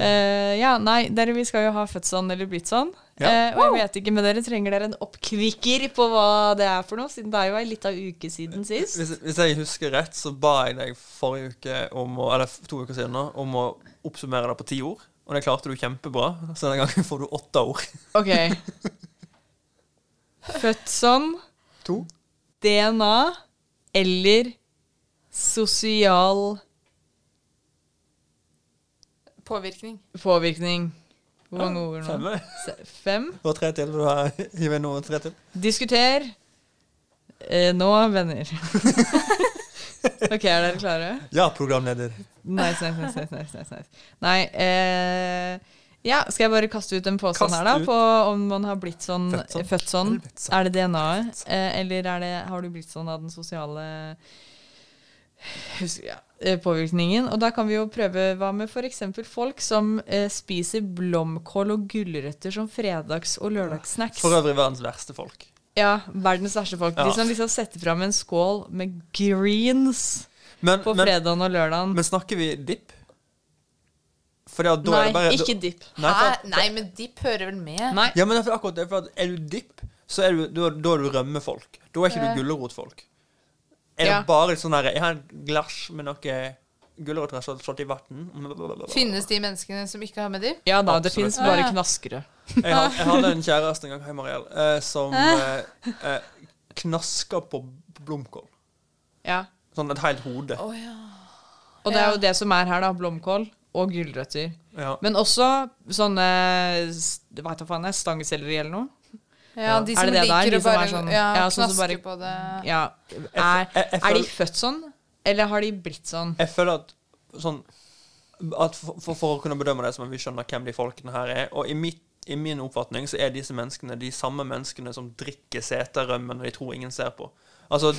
Speaker 7: Eh, ja, nei, dere vi skal jo ha født sånn eller blitt sånn.
Speaker 5: Ja.
Speaker 7: Eh, og jeg vet ikke, men dere trenger dere en oppkvikker på hva det er for noe, siden det er jo ei lita uke siden sist.
Speaker 5: Hvis, hvis jeg husker rett, så ba jeg deg forrige uke, om å, eller to uker siden, nå, om å oppsummere det på ti ord. Og det klarte du kjempebra, så denne gangen får du åtte ord.
Speaker 7: Ok. Født sånn,
Speaker 5: To.
Speaker 7: DNA eller sosial
Speaker 6: Påvirkning.
Speaker 7: påvirkning. Hvor mange ord nå?
Speaker 5: Fem. er det?
Speaker 7: Se- Fem?
Speaker 5: Du har tre til. Du har hiv inn noen tre til.
Speaker 7: Diskuter eh, nå, venner. ok, er dere klare?
Speaker 5: Ja, programleder.
Speaker 7: Nice, nice, nice. nice, nice, nice, nice. Nei eh, Ja, skal jeg bare kaste ut en påstand
Speaker 5: Kast
Speaker 7: her, da?
Speaker 5: ut.
Speaker 7: På om man har blitt sånn
Speaker 5: Født sånn. Helvete
Speaker 7: Født sånn.
Speaker 5: sånn.
Speaker 7: Er det DNA-et? Eh, eller er det, har du blitt sånn av den sosiale husk, ja, eh, påvirkningen? Og da kan vi jo prøve hva med f.eks. folk som eh, spiser blomkål og gulrøtter som fredags- og lørdagssnacks?
Speaker 5: For øvrig verdens verste folk.
Speaker 7: Ja, verdens verste folk.
Speaker 5: Ja.
Speaker 7: De som liksom setter fram en skål med greens
Speaker 5: Men,
Speaker 7: på
Speaker 5: men,
Speaker 7: fredagen og lørdagen.
Speaker 5: men snakker vi dipp? Fordi at da
Speaker 7: Nei,
Speaker 5: er det bare
Speaker 7: ikke dipp.
Speaker 5: Nei, for at-
Speaker 6: Hæ? Eh, Nei, men dipp hører vel med?
Speaker 7: Nei.
Speaker 5: Ja, men det er for akkurat det. For at er du dipp, så er du, da, da er du rømmefolk. Da er ikke du gulrotfolk. Er
Speaker 7: Ja.
Speaker 5: det bare litt sånn her Jeg har en glass med noe gulrøtter som er slått i vann.
Speaker 6: Finnes de menneskene som ikke har med dipp?
Speaker 7: Ja da, det
Speaker 5: Absolutt.
Speaker 7: finnes bare knaskere.
Speaker 5: Jeg, had- jeg hadde en kjæreste en gang, hei Mariell, eh, som eh, eh, knaska på blomkål.
Speaker 7: Ja.
Speaker 5: Sånn et helt hode.
Speaker 7: Og det er jo det som er her, da. Blomkål og gulrøtter.
Speaker 5: Ja.
Speaker 7: Men også sånne s- Vet du faen, jeg, stangselleri eller noe.
Speaker 6: Ja, de
Speaker 7: Er
Speaker 6: som
Speaker 7: det det der?
Speaker 6: liker
Speaker 7: De
Speaker 6: å
Speaker 7: som er
Speaker 6: bare
Speaker 7: sånn-
Speaker 6: ja,
Speaker 7: ja, sånn
Speaker 6: knaske
Speaker 7: som bare-
Speaker 6: på det.
Speaker 7: Ja. Er,
Speaker 5: Jeg- jeg- jeg
Speaker 7: er de
Speaker 5: føler-
Speaker 7: født sånn, eller har de blitt sånn?
Speaker 5: Jeg føler at sånn at for, for, for å kunne bedømme det, så må vi skjønne hvem de folkene her er. Og i, mitt, i min oppfatning så er disse menneskene de samme menneskene som drikker seterrømmen når de tror ingen ser på. Altså,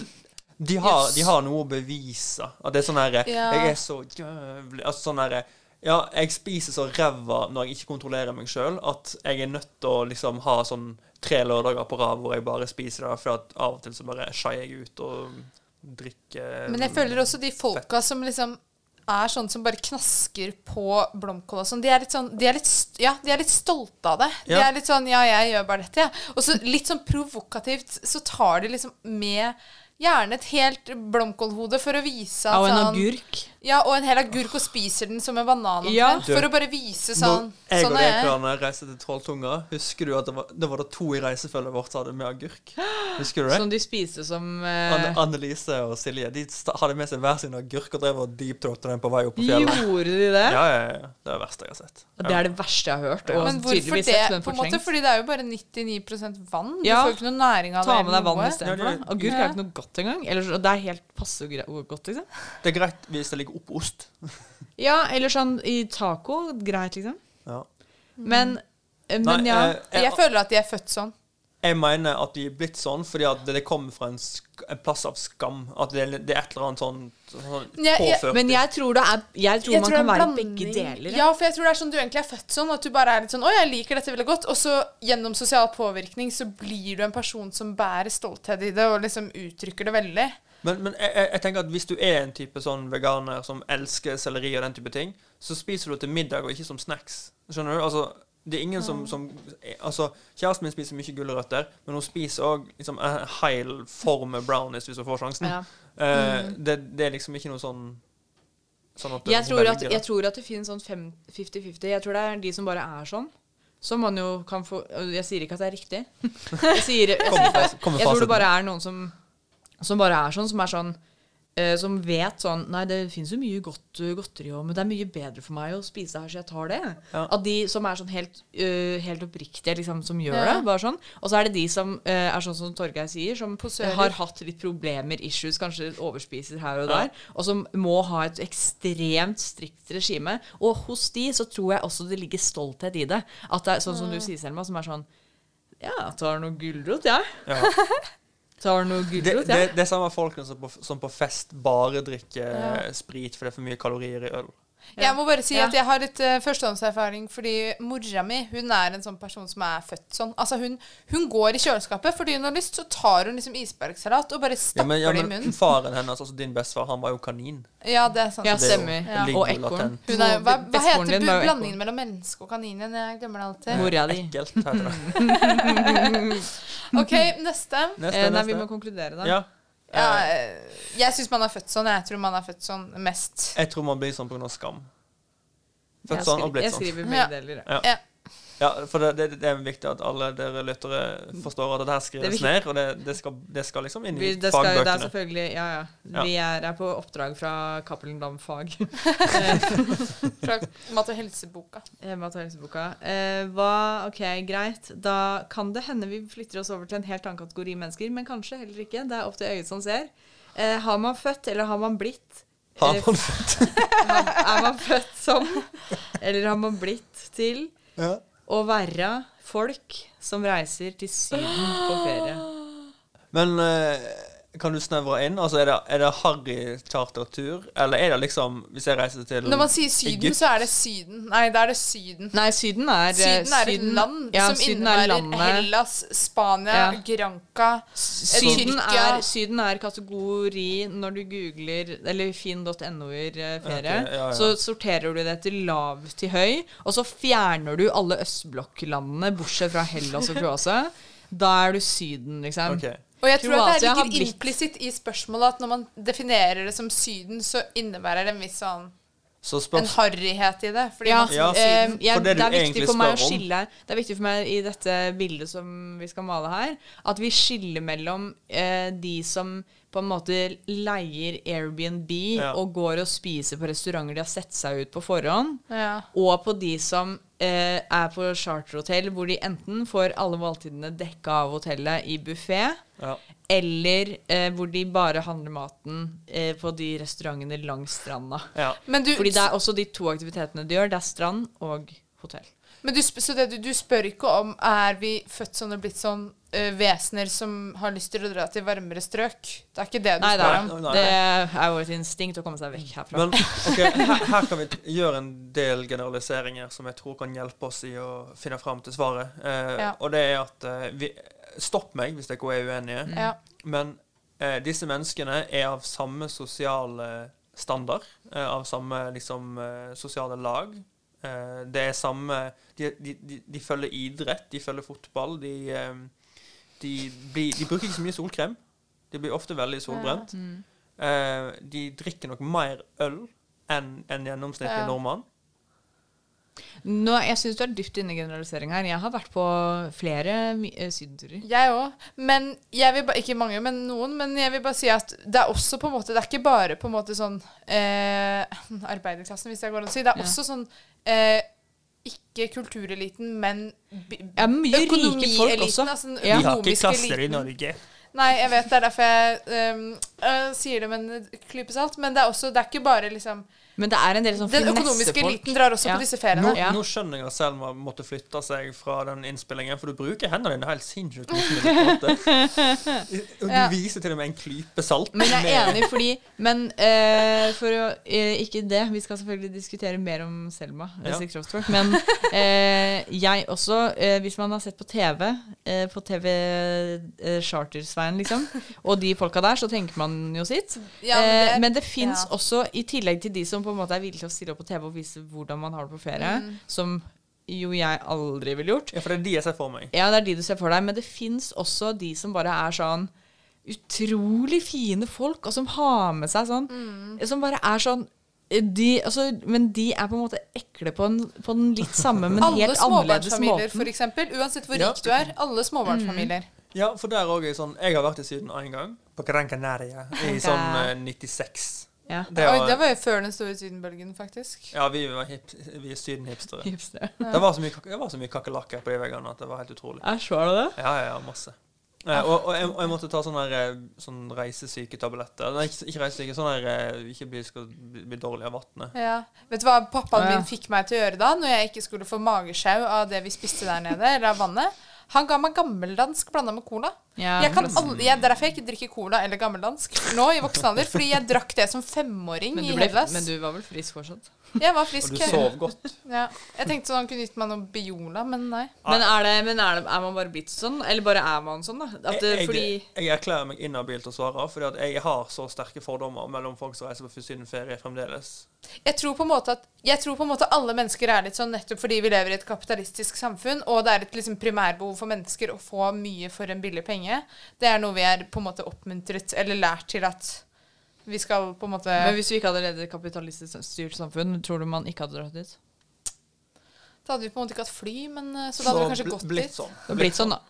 Speaker 5: de har, de har noe å bevise. At det er sånn herre
Speaker 6: Ja.
Speaker 5: Jeg er så jævlig Altså sånn herre Ja, jeg spiser så ræva når jeg ikke kontrollerer meg sjøl, at jeg er nødt til å liksom ha sånn tre lørdager på rad hvor jeg bare spiser det, for at av og til så bare skeier jeg ut og drikker
Speaker 6: Men jeg føler også de folka som liksom er sånn som bare knasker på blomkål og sånn. De er litt sånn de er litt, st- Ja, de er litt stolte av det. De
Speaker 5: Ja.
Speaker 6: er litt sånn Ja, jeg gjør bare dette, jeg. Ja. Og så litt sånn provokativt så tar de liksom med gjerne et helt blomkålhode for å vise at
Speaker 7: Av en
Speaker 6: sånn-
Speaker 7: agurk?
Speaker 6: Ja, og en hel agurk og spiser den som en banan omtrent.
Speaker 7: Ja.
Speaker 6: For å bare vise sånn
Speaker 5: Når jeg
Speaker 6: Sånn
Speaker 5: og
Speaker 6: er jeg.
Speaker 5: Rekerne reiste til Trolltunga, husker du at det var, det var da to i reisefølget vårt som hadde med agurk? Husker du det?
Speaker 7: Som de spiste som
Speaker 5: Anne
Speaker 7: Sånn, eh,
Speaker 5: Annelise og Silje De sta- hadde med seg hver sin agurk og drev og deepthroatet den på vei opp på fjellet.
Speaker 7: Gjorde de det?
Speaker 5: Ja, ja, ja. Det er det verste jeg har sett.
Speaker 7: Det er det verste jeg har hørt. Og
Speaker 6: Men hvorfor
Speaker 7: tydeligvis
Speaker 6: det?
Speaker 7: sett, men
Speaker 6: På en måte,
Speaker 7: fortrengt.
Speaker 6: fordi det er jo bare 99 vann. Du
Speaker 7: Ja.
Speaker 6: får jo ikke noe næring av det.
Speaker 7: Ta med deg
Speaker 6: eller
Speaker 7: vann
Speaker 6: noe.
Speaker 7: istedenfor.
Speaker 5: Ja, det-
Speaker 7: da. Agurk er jo ikke noe godt engang. Eller, så- det er helt passe gre- godt, liksom.
Speaker 5: Det er greit hvis det ligger oppå ost.
Speaker 7: Ja, eller sånn i taco. Greit, liksom.
Speaker 5: Ja.
Speaker 7: Men, eh,
Speaker 5: Nei,
Speaker 7: men ja.
Speaker 5: eh, jeg,
Speaker 6: Jeg føler at de er født sånn.
Speaker 5: jeg mener at de er blitt sånn fordi at det kommer fra en, sk en plass av skam. At det, er- det er et eller annet sånn, sånn
Speaker 6: Ja, jeg-
Speaker 5: påført.
Speaker 7: Men jeg tror, det er, jeg tror
Speaker 6: Jeg tror det
Speaker 7: man
Speaker 6: er
Speaker 7: kan være
Speaker 6: en blanding.
Speaker 7: begge deler.
Speaker 6: Ja, for jeg tror det er sånn du egentlig er født sånn, at du bare er litt sånn 'Å, jeg liker dette veldig godt', og så gjennom sosial påvirkning så blir du en person som bærer stolthet i det, og liksom uttrykker det veldig.
Speaker 5: Men, men jeg, jeg- jeg tenker at hvis du er en type sånn veganer som elsker selleri og den type ting, så spiser du det til middag og ikke som snacks. Skjønner du? Altså, det er ingen som, som Altså, kjæresten min spiser mye gulrøtter, men hun spiser òg liksom, en hel form med brownies hvis hun får sjansen.
Speaker 7: Ja. Mm.
Speaker 5: Eh, det, det er liksom ikke noe sånn Sånn at
Speaker 7: Jeg, tror at,
Speaker 5: velger det.
Speaker 7: jeg tror at det finnes sånn fem- 50-50. Jeg tror det er de som bare er sånn. Som man jo kan få Jeg sier ikke at det er riktig. Jeg, sier, jeg,
Speaker 5: Kommer fas- kommer
Speaker 7: jeg tror
Speaker 5: fasiten.
Speaker 7: det bare er noen som, som bare er sånn, som er sånn eh, som vet sånn Nei, det fins jo mye godt eh, godteri òg, men det er mye bedre for meg å spise det her, så jeg tar det.
Speaker 5: Ja.
Speaker 7: At de som er sånn helt, eh, helt oppriktige, liksom, som gjør det.
Speaker 6: Ja.
Speaker 7: Bare sånn. Og så er det de som eh, er sånn som Torgeir sier, som
Speaker 6: Posører.
Speaker 7: har hatt litt problemer, issues, kanskje overspiser her og
Speaker 5: Ja.
Speaker 7: der, og som må ha et ekstremt strikt regime. Og hos de så tror jeg også det ligger stolthet i det. At det er sånn som du sier, Selma, som er sånn Ja, tar noe gulrot, jeg.
Speaker 5: Ja.
Speaker 7: Tar noe
Speaker 5: Det,
Speaker 7: gulrot,
Speaker 5: det,
Speaker 7: jeg.
Speaker 5: det er samme folkene som på, som på fest bare drikker eh, sprit fordi det er for mye kalorier i øl.
Speaker 7: Ja.
Speaker 6: Jeg må bare si
Speaker 7: Ja.
Speaker 6: at jeg har litt eh, førstehåndserfaring, fordi mora mi hun er en sånn person som er født sånn. Altså hun, hun går i kjøleskapet fordi hun har lyst, så tar hun liksom isbergsalat og bare
Speaker 5: Ja,
Speaker 6: stapper
Speaker 5: men, ja,
Speaker 6: det i
Speaker 5: men
Speaker 6: munnen.
Speaker 5: faren hennes, altså din bestefar, han var jo kanin.
Speaker 6: Ja, det er sant.
Speaker 7: Ja,
Speaker 5: Så det er jo-
Speaker 7: stemmer.
Speaker 5: det ligger
Speaker 7: Og
Speaker 5: jo
Speaker 7: ekorn.
Speaker 5: latent.
Speaker 6: Hun er, hva, hva
Speaker 7: Bestemoren
Speaker 6: heter
Speaker 7: din
Speaker 6: bu-
Speaker 7: var jo
Speaker 6: blandingen
Speaker 7: ekorn.
Speaker 6: mellom menneske og kanin igjen? Jeg glemmer det alltid.
Speaker 7: Mora di.
Speaker 5: Ekkelt, heter det.
Speaker 6: OK, neste.
Speaker 5: Neste,
Speaker 7: Eh, nei, vi må
Speaker 5: neste.
Speaker 7: konkludere, da.
Speaker 5: Ja.
Speaker 6: Ja, eh, jeg syns man er født sånn. Jeg tror man er født sånn mest.
Speaker 5: Jeg tror man blir sånn pga. skam. Født
Speaker 7: Jeg
Speaker 5: sånn og
Speaker 7: skriver-
Speaker 5: blitt
Speaker 7: Jeg
Speaker 5: sånn.
Speaker 7: skriver
Speaker 6: Ja.
Speaker 7: begge deler. jeg.
Speaker 6: Ja.
Speaker 5: Ja, for det, det, det er viktig at alle dere lyttere forstår at det her skrives
Speaker 7: Det er
Speaker 5: ned, og det, det, skal, det skal liksom inn i
Speaker 7: Vi, det, skal, det er
Speaker 5: fagbøkene.
Speaker 7: selvfølgelig Ja, ja.
Speaker 5: Ja.
Speaker 7: Vi er her på oppdrag fra Cappelen Dam Fag.
Speaker 6: Fra mat- og helseboka.
Speaker 7: Eh, Mat- og helseboka. Eh, hva, ok, greit. Da kan det hende vi flytter oss over til en helt annen kategori mennesker, men kanskje heller ikke. Det er opp til øyet som ser. Eh, har man født, eller har man blitt?
Speaker 5: Har
Speaker 7: eh,
Speaker 5: man fått
Speaker 7: Er man født som, eller har man blitt til, å være folk som reiser til Syden på ferie?
Speaker 5: Men eh, kan du snevre inn? Altså, Er det, er det harry chartertur, eller er det liksom Hvis jeg reiser til
Speaker 6: Når man sier Syden,
Speaker 5: Egypt?
Speaker 6: så er det Syden. Nei, da er det Syden.
Speaker 7: Nei, Syden er eh,
Speaker 6: Syden er et
Speaker 7: Syden-
Speaker 6: land
Speaker 7: ja,
Speaker 6: som
Speaker 7: Syden er
Speaker 6: innebærer
Speaker 7: landet.
Speaker 6: Hellas, Spania,
Speaker 7: Ja.
Speaker 6: Granca
Speaker 7: Syden
Speaker 6: Tyrkia.
Speaker 7: er, syden er kategori når du googler eller finn.no-er eh, ferie.
Speaker 5: Ok, ja, ja.
Speaker 7: Så sorterer du det etter lav til høy, og så fjerner du alle østblokklandene bortsett fra Hellas og Kroatia. Da er du Syden, liksom.
Speaker 5: Ok.
Speaker 6: Og jeg tror at det
Speaker 7: Kroatia har
Speaker 6: ligger
Speaker 7: blitt-
Speaker 6: implisitt i spørsmålet at når man definerer det som Syden, så innebærer det en viss sånn
Speaker 5: Så
Speaker 6: en
Speaker 5: spørs
Speaker 6: harryhet i det. Fordi
Speaker 7: Ja,
Speaker 6: man sier
Speaker 5: Ja.
Speaker 7: eh,
Speaker 6: Syden.
Speaker 7: jeg,
Speaker 5: For det
Speaker 7: det,
Speaker 5: du
Speaker 7: er viktig
Speaker 5: egentlig
Speaker 7: for meg å
Speaker 5: spør om.
Speaker 7: skille Det er viktig for meg i dette bildet som vi skal male her, at vi skiller mellom eh, de som på en måte leier Airbnb
Speaker 5: Ja.
Speaker 7: og går og spiser på restauranter de har sett seg ut på forhånd,
Speaker 6: Ja.
Speaker 7: og på de som eh, er på charterhotell hvor de enten får alle måltidene dekka av hotellet i buffé,
Speaker 5: ja.
Speaker 7: eller eh, hvor de bare handler maten eh, på de restaurantene langs stranda.
Speaker 5: ja.
Speaker 6: Men du,
Speaker 7: Fordi det er også de to aktivitetene de gjør. Det er strand og hotell.
Speaker 6: men du, sp- så det du, du spør ikke om er vi født sånn og blitt sånn eh, vesener som har lyst til å dra til varmere strøk. Det er ikke det du
Speaker 7: Nei, det
Speaker 6: spør
Speaker 7: er,
Speaker 6: om.
Speaker 5: Nei, nei.
Speaker 7: det er jo et instinkt å komme seg vekk herfra.
Speaker 5: Men ok, her, her kan vi t- gjøre en del generaliseringer som jeg tror kan hjelpe oss i å finne fram til svaret. Eh,
Speaker 6: Ja.
Speaker 5: Og det er at eh, vi, Stopp meg hvis dere er uenige,
Speaker 6: Ja.
Speaker 5: men eh, disse menneskene er av samme sosiale standard, eh, av samme liksom eh, sosiale lag. Eh, det er samme de, de, de, de følger idrett, de følger fotball, de, eh, de, blir- de bruker ikke så mye solkrem. De blir ofte veldig solbrent. Eh, de drikker nok mer øl enn en gjennomsnittlig
Speaker 6: Ja.
Speaker 5: nordmann.
Speaker 7: Nå, jeg syns du er dypt inne i generalisering her. Jeg har vært på flere my- eh, sydenturer.
Speaker 6: Jeg òg. Men jeg vil ba, ikke mange, men noen. Men jeg vil bare si at det er også på en måte Det er ikke bare på en måte sånn eh, arbeiderklassen, hvis det går an å si. Det er
Speaker 7: Ja.
Speaker 6: også sånn eh, ikke kultureliten, men bi-
Speaker 7: Det er mye rike folk også.
Speaker 6: Altså den
Speaker 7: Ja.
Speaker 5: Vi har ikke
Speaker 6: økonomiske
Speaker 5: klasser i
Speaker 6: eliten.
Speaker 5: Norge.
Speaker 6: Nei, jeg vet det er derfor jeg ehm, øh, sier det med en klype salt. Men det er også, det er ikke bare liksom
Speaker 7: Men det er en del sånn
Speaker 6: Den økonomiske
Speaker 7: finessefolk.
Speaker 6: eliten drar også
Speaker 7: Ja.
Speaker 6: på disse
Speaker 5: Nå,
Speaker 6: feriene.
Speaker 7: Ja.
Speaker 5: nå skjønner jeg at Selma måtte flytte seg fra den innspillingen, for du bruker hendene dine helt sinnssykt mye. når du prater. Og Du
Speaker 6: Ja.
Speaker 5: viser til og med en klype salt.
Speaker 7: Men jeg
Speaker 5: med-
Speaker 7: er enig, fordi Men eh, for å eh, Ikke det, vi skal selvfølgelig diskutere mer om Selma.
Speaker 5: Ja.
Speaker 7: Six Rose Twerk, Men eh, jeg også, eh, hvis man har sett på TV, eh, på TV eh, Charter-Svein, liksom, og de folka der, så tenker man jo sitt.
Speaker 6: Ja, men det er-
Speaker 7: Eh, men det fins
Speaker 6: ja.
Speaker 7: også, i tillegg til de som på en måte er villige til å stille opp på TV og vise hvordan man har det på ferie,
Speaker 6: Mm.
Speaker 7: som jo jeg aldri ville gjort,
Speaker 5: Ja, for det er de jeg ser for meg.
Speaker 7: ja, det er de du ser for deg, men det fins også de som bare er sånn utrolig fine folk, og som har med seg sånn
Speaker 6: Mm.
Speaker 7: Som bare er sånn eh, de, altså, Men de er på en måte ekle på, en, på den litt samme, men
Speaker 6: Alle
Speaker 7: helt annerledes
Speaker 6: småbarnsfamilier,
Speaker 7: måten.
Speaker 6: for eksempel. Uansett hvor
Speaker 5: Ja.
Speaker 6: rik du er. Alle småbarnsfamilier.
Speaker 7: Mm.
Speaker 5: Ja, for der også er sånn Jeg har vært i Syden én gang, på Gran Canaria, i sånn eh, 96.
Speaker 7: Ja.
Speaker 5: Det
Speaker 6: Oi, det
Speaker 5: var,
Speaker 6: var jo før den store sydenbølgen, faktisk.
Speaker 5: ja, vi var hip, vi er Syden-hipstere.
Speaker 7: Hipster.
Speaker 5: Det var så mye, kak- det var så mye kakerlakker på de veggene at det var helt utrolig.
Speaker 7: Æsj, var det det?
Speaker 5: Ja, ja, ja, masse. Eh, og, og, jeg, og jeg måtte ta sånne, her, eh, sånn reisesyketabletter. Nei, ikke, ikke reisesyke, sånn her eh, Ikke bli, skal bli, bli dårlig av vannet.
Speaker 6: Ja. Vet du hva pappaen
Speaker 7: Å, ja.
Speaker 6: min fikk meg til å gjøre da, når jeg ikke skulle få magesjau av det vi spiste der nede, eller av vannet? Han ga meg gammeldansk blanda med cola.
Speaker 7: Ja,
Speaker 6: jeg kan aldri, jeg, derfor jeg ikke drikker cola eller gammeldansk nå i voksen alder. Fordi jeg drakk det som femåring
Speaker 7: Men du,
Speaker 6: i
Speaker 7: ble,
Speaker 6: Hellas.
Speaker 7: men du var vel frisk fortsatt?
Speaker 6: Jeg var
Speaker 5: Og
Speaker 6: frisk.
Speaker 5: du sov godt.
Speaker 6: Ja. Jeg tenkte sånn han kunne gitt meg noe Biola, men nei.
Speaker 7: Men, er, det, men er, det, er man bare blitt sånn? Eller bare er man sånn, da? At, eh,
Speaker 5: Jeg,
Speaker 7: fordi
Speaker 5: jeg, jeg erklærer meg inhabil til å svare, fordi at jeg har så sterke fordommer mellom folk som reiser på sydenferie fremdeles.
Speaker 6: Jeg tror på en måte at jeg tror på en måte alle mennesker er litt sånn nettopp fordi vi lever i et kapitalistisk samfunn, og det er et liksom primærbehov for mennesker å få mye for en billig penge. Det er noe vi er på en måte oppmuntret eller lært til at vi skal på en måte
Speaker 7: Men hvis vi ikke hadde ledet et kapitalistisk styrt samfunn, tror du man ikke hadde dratt dit?
Speaker 6: Da hadde vi på en måte ikke hatt fly, men eh, så da hadde vi kanskje
Speaker 5: bl-
Speaker 6: gått
Speaker 5: blitt
Speaker 6: dit.
Speaker 5: sånn.
Speaker 7: Det har blitt sånn, da.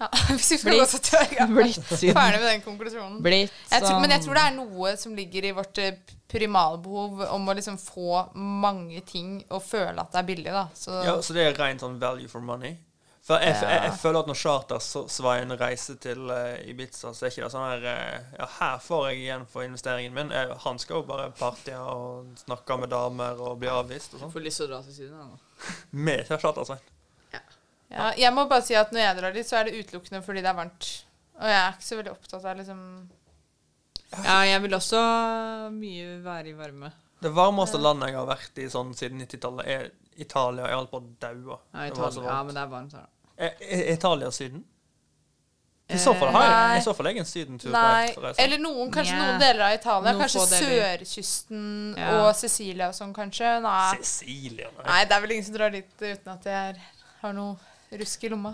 Speaker 6: Ja, hvis vi skal
Speaker 7: Blitt.
Speaker 6: gå så til ja.
Speaker 7: Blitt synd.
Speaker 6: Ferdig med den konklusjonen.
Speaker 7: Blitt
Speaker 6: Jeg tror, men jeg
Speaker 7: sånn.
Speaker 6: tror det er noe som ligger i vårt eh, primalbehov om å liksom få mange ting og føle at det er billig, da. Så,
Speaker 5: Ja, så det er rent sånn value for money. For jeg, jeg, jeg føler at når charter-Svein reiser til eh, Ibiza, så er ikke det sånn her eh, Ja, her får jeg igjen for investeringen min. Eh, han skal jo bare partye og snakke med damer og bli avvist og sånn.
Speaker 7: Får lyst til å dra til Syden, jeg, nå.
Speaker 5: Med charter-Svein.
Speaker 6: Ja, jeg må bare si at når jeg drar dit, så er det utelukkende fordi det er varmt. Og jeg er ikke så veldig opptatt av liksom
Speaker 7: Ja, jeg vil også mye være i varme.
Speaker 5: Det varmeste landet jeg har vært i sånn siden 90-tallet, er Italia. Jeg holdt på å daue.
Speaker 7: Ja,
Speaker 5: Det var så
Speaker 7: Italia. ja,
Speaker 5: varmt.
Speaker 7: men det er varmt her, da.
Speaker 5: Er- er Italia Syden? I så
Speaker 7: Eh,
Speaker 5: fall har
Speaker 6: nei.
Speaker 5: jeg, i så fall er jeg en sydentur på
Speaker 6: Nei.
Speaker 5: reise.
Speaker 6: Eller noen, kanskje
Speaker 7: Nja.
Speaker 6: noen deler av Italia.
Speaker 7: Noen
Speaker 6: Kanskje
Speaker 7: få deler.
Speaker 6: sørkysten
Speaker 7: Ja.
Speaker 6: og Sicilia og sånn, kanskje. Nei.
Speaker 5: Sicilia. Nei.
Speaker 6: Nei, det er vel ingen som drar dit uten at jeg er- har noe rusk i lomma.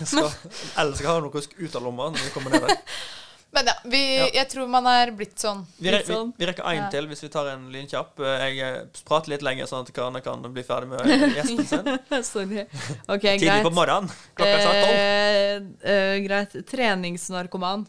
Speaker 5: Skal, eller skal jeg ha noe rusk ut av lomma når vi kommer ned der.
Speaker 6: Men ja, vi,
Speaker 5: Ja.
Speaker 6: jeg tror man er blitt sånn.
Speaker 5: Vi, re
Speaker 7: Litt
Speaker 5: vi,
Speaker 7: sånn.
Speaker 5: vi rekker én
Speaker 6: Ja.
Speaker 5: til hvis vi tar en lynkjapp. Jeg eh, prater litt lenger, sånn at Karne kan bli ferdig med gjesten sin.
Speaker 7: Sorry. Ok,
Speaker 5: Tidlig på
Speaker 7: greit.
Speaker 5: morgenen. Klokka er snart tolv.
Speaker 7: Eh, eh, greit. Treningsnarkoman.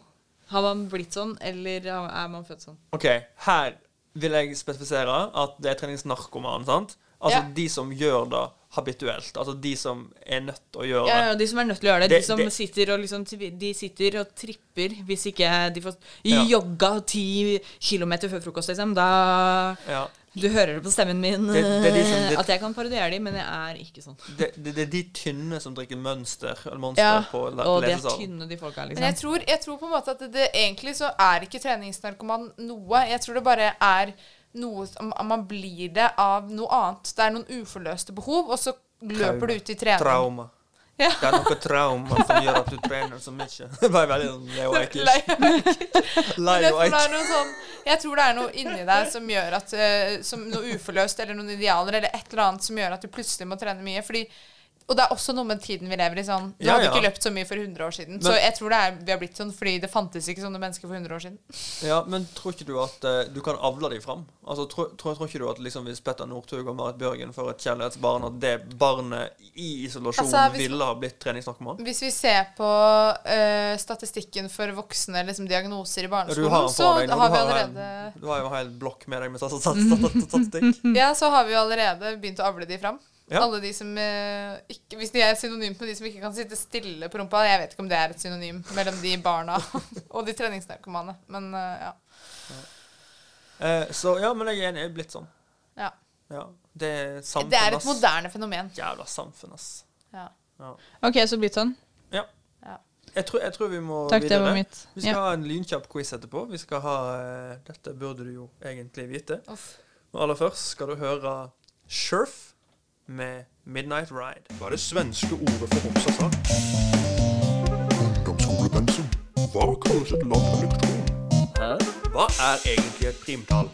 Speaker 7: Har man blitt sånn, eller har- er man født sånn?
Speaker 5: OK, her vil jeg spesifisere at det er treningsnarkoman, sant? Altså
Speaker 6: Ja.
Speaker 5: de som gjør det habituelt. Altså de som er nødt til å gjøre
Speaker 7: Ja,
Speaker 5: det.
Speaker 7: ja, de som er nødt til å gjøre det.
Speaker 5: Det-
Speaker 7: De som
Speaker 5: det-
Speaker 7: sitter og liksom tvi- De sitter og tripper hvis ikke de får
Speaker 5: Ja.
Speaker 7: jogga ti kilometer før frokost, liksom. Da
Speaker 5: Ja.
Speaker 7: Du hører det på stemmen min
Speaker 5: Det- det er de som-
Speaker 7: eh,
Speaker 5: det-
Speaker 7: at jeg kan parodiere de, men jeg er ikke sånn.
Speaker 5: Det, det, det er de tynne som drikker Mønster eller Monster
Speaker 6: Ja,
Speaker 5: på le-
Speaker 7: Og de er
Speaker 5: lesesalen.
Speaker 7: tynne, de folka,
Speaker 6: Men jeg
Speaker 7: liksom.
Speaker 6: tror, jeg tror på en måte at det, det egentlig så er ikke treningsnarkoman noe. Jeg tror det bare er noe som Man blir det av noe annet. Det er noen uforløste behov, og så
Speaker 5: Traume.
Speaker 6: løper du ut i trening.
Speaker 5: Trauma.
Speaker 6: Ja.
Speaker 5: Det er noe trauma som gjør at du trener så mye. Det var veldig sånn Leo Ajkic.
Speaker 6: Lei- Jeg
Speaker 5: Leo
Speaker 6: tror, det
Speaker 5: Ajkic.
Speaker 6: er noe sånn, jeg tror det er noe inni deg som gjør at eh, som Noe uforløst eller noen idealer eller et eller annet som gjør at du plutselig må trene mye. Fordi, og det er også noe med tiden vi lever i. sånn Du
Speaker 5: Ja,
Speaker 6: hadde
Speaker 5: ja.
Speaker 6: ikke løpt så mye for 100 år siden. så jeg tror det er, vi har blitt sånn fordi det fantes ikke sånne mennesker for 100 år siden.
Speaker 5: Ja, men tror ikke du at eh, du kan avle deg fram? Altså, tror, tror, tror ikke du at liksom, hvis Petter Northug og Marit Bjørgen får et kjærlighetsbarn, at det barnet i isolasjon
Speaker 6: Altså, hvis-
Speaker 5: ville ha blitt treningsnarkoman?
Speaker 6: Hvis vi ser på eh, statistikken for voksne liksom, diagnoser i
Speaker 5: Ja, du
Speaker 6: barneskolen,
Speaker 5: har den
Speaker 6: så
Speaker 5: foran deg nå.
Speaker 6: har
Speaker 5: Du
Speaker 6: vi
Speaker 5: har, en-
Speaker 6: allerede
Speaker 5: du har jo en hel blokk med deg med stats- stats- stats- statistikk.
Speaker 6: Ja, så har vi jo allerede begynt å avle de fram.
Speaker 5: Mm. Ja.
Speaker 6: Alle de som eh, ikke, Hvis de er synonymt med de som ikke kan sitte stille på rumpa Jeg vet ikke om det er et synonym mellom de barna og de treningsnarkomane. Men eh, ja.
Speaker 5: Eh, så ja, men jeg er enig. Jeg er blitt sånn.
Speaker 6: ja.
Speaker 5: Ja. Det er samfunn,
Speaker 6: Det er et
Speaker 5: ass.
Speaker 6: moderne fenomen.
Speaker 5: Jævla samfunn, ass.
Speaker 6: Ja.
Speaker 7: OK, så blitt sånn.
Speaker 5: Ja.
Speaker 6: Ja.
Speaker 5: Jeg tror, jeg tror vi må
Speaker 7: Takk, det
Speaker 5: videre.
Speaker 7: var mitt.
Speaker 5: Vi skal
Speaker 7: Ja.
Speaker 5: ha en lynkjapp quiz etterpå. Vi skal ha eh, Dette burde du jo egentlig vite.
Speaker 6: Uff.
Speaker 5: Men aller først skal du høre Shurf med Midnight Ride.
Speaker 10: Hva er det svenske ordet for homsasa? Ungdomsskolebensum. Hva kalles et langt lektron?
Speaker 5: Hva er egentlig et primtall?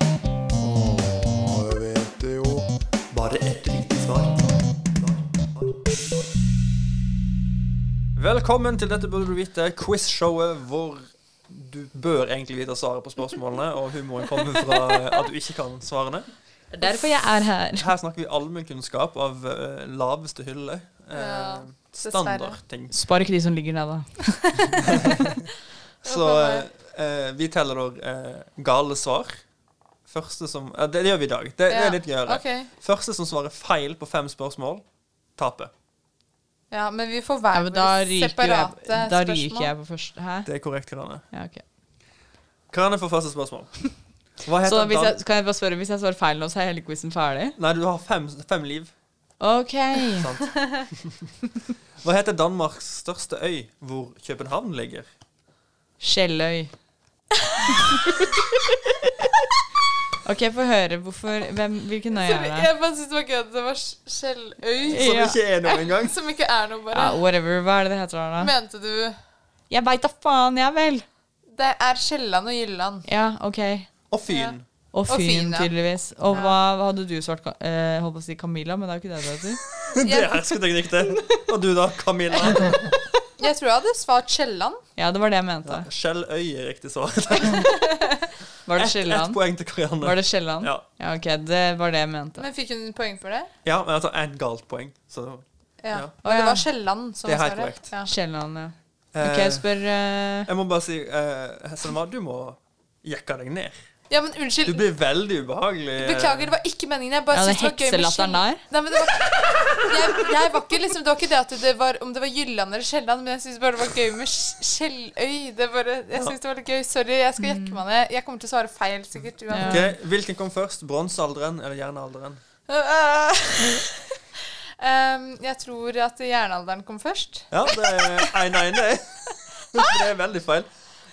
Speaker 10: Åh, jeg vet det jo.
Speaker 5: Bare ett riktig svar. Velkommen til Dette burde du vite, quizshowet hvor du bør egentlig vite svaret på spørsmålene, og humoren kommer fra at du ikke kan svarene.
Speaker 7: Det er derfor jeg er her.
Speaker 5: Her snakker vi allmennkunnskap av eh, laveste hylle. Eh,
Speaker 6: Ja,
Speaker 5: Standardting.
Speaker 7: Spar ikke de som ligger nede, da.
Speaker 5: Så eh, eh, vi teller da eh, gale svar. Første som ja, det, det gjør vi i dag. Det, det
Speaker 6: Ja,
Speaker 5: er litt gøyere.
Speaker 6: ok.
Speaker 5: Første som svarer feil på fem spørsmål, taper.
Speaker 6: Ja, men vi får hver
Speaker 7: Da
Speaker 6: våre
Speaker 7: ryker
Speaker 6: separate
Speaker 7: jeg, da ryker
Speaker 6: spørsmål.
Speaker 7: jeg på første Hæ?
Speaker 5: Det er korrekt, Karane.
Speaker 7: Ja, ok.
Speaker 5: Karane får første spørsmål. Hva
Speaker 7: Så
Speaker 5: heter
Speaker 7: hvis
Speaker 5: dan
Speaker 7: jeg, kan jeg bare spørre, hvis jeg svarer feil nå, så er hele quizen ferdig?
Speaker 5: Nei, du har fem, fem liv.
Speaker 7: OK.
Speaker 5: Hva heter Danmarks største øy, hvor København ligger?
Speaker 7: Skjelløy. OK, få høre hvorfor hvem, Hvilken øy er
Speaker 6: Sorry,
Speaker 7: det?
Speaker 6: jeg bare syntes det var gøy at det var Skjelløy.
Speaker 7: Som Ja.
Speaker 5: ikke er noe engang.
Speaker 6: Som ikke er noe, bare.
Speaker 7: Ja, whatever. Hva er det det heter da?
Speaker 6: Mente du
Speaker 7: Jeg veit da faen, jeg vel.
Speaker 6: Det er Skjelland og Jylland.
Speaker 7: Ja, OK.
Speaker 5: Og Fyn.
Speaker 7: Og
Speaker 6: Og
Speaker 7: Fyn,
Speaker 6: Fyn, ja.
Speaker 7: tydeligvis. Og hva, hva hadde du svart? Ka- Eh, holdt på å si Camilla, men det er jo ikke det det heter.
Speaker 5: Det er hersketeknikk, det. Og du da, Camilla?
Speaker 6: Jeg tror jeg hadde svart Skjelland.
Speaker 7: Ja, det var det jeg mente.
Speaker 5: Skjelløy er riktig svar.
Speaker 7: Var det
Speaker 5: Ett ett
Speaker 7: Kielland?
Speaker 5: poeng til Karianne.
Speaker 7: Var det Kielland?
Speaker 5: Ja.
Speaker 7: Ja, OK. Det var det jeg mente.
Speaker 6: Men fikk hun poeng for det?
Speaker 5: ja, men altså ett galt poeng. Så
Speaker 6: Ja.
Speaker 5: Ja.
Speaker 6: Men
Speaker 7: Å,
Speaker 6: det
Speaker 7: ja.
Speaker 6: var Skjelland som
Speaker 5: Det er
Speaker 6: var
Speaker 5: helt
Speaker 6: svaret.
Speaker 5: korrekt.
Speaker 6: Ja.
Speaker 7: Kielland, ja.
Speaker 5: eh,
Speaker 7: OK, spør eh,
Speaker 5: Jeg må bare si, eh, Selma, du må jekke deg ned.
Speaker 6: ja, men
Speaker 5: Du
Speaker 6: unnskyld.
Speaker 5: blir veldig ubehagelig. eh,
Speaker 6: Beklager, det var ikke meningen. Jeg bare
Speaker 7: Ja, den
Speaker 6: syntes det var gøy med
Speaker 7: hekselatteren
Speaker 6: Skjell-
Speaker 7: der.
Speaker 6: Nei, men det var, jeg, jeg var ikke liksom, det var ikke det at det var om det var Jylland eller Skjelland, men jeg syns bare det var gøy med Sk- Skjelløy. Det bare, jeg synes det var litt gøy. Sorry, jeg skal
Speaker 7: Mm.
Speaker 6: jekke meg ned. Jeg kommer til å svare feil sikkert. uansett.
Speaker 5: Ok, Hvilken kom først? Bronsealderen eller jernalderen?
Speaker 6: Um, jeg tror at jernalderen kom først.
Speaker 5: Ja, det er 1-1, det. Det er veldig feil.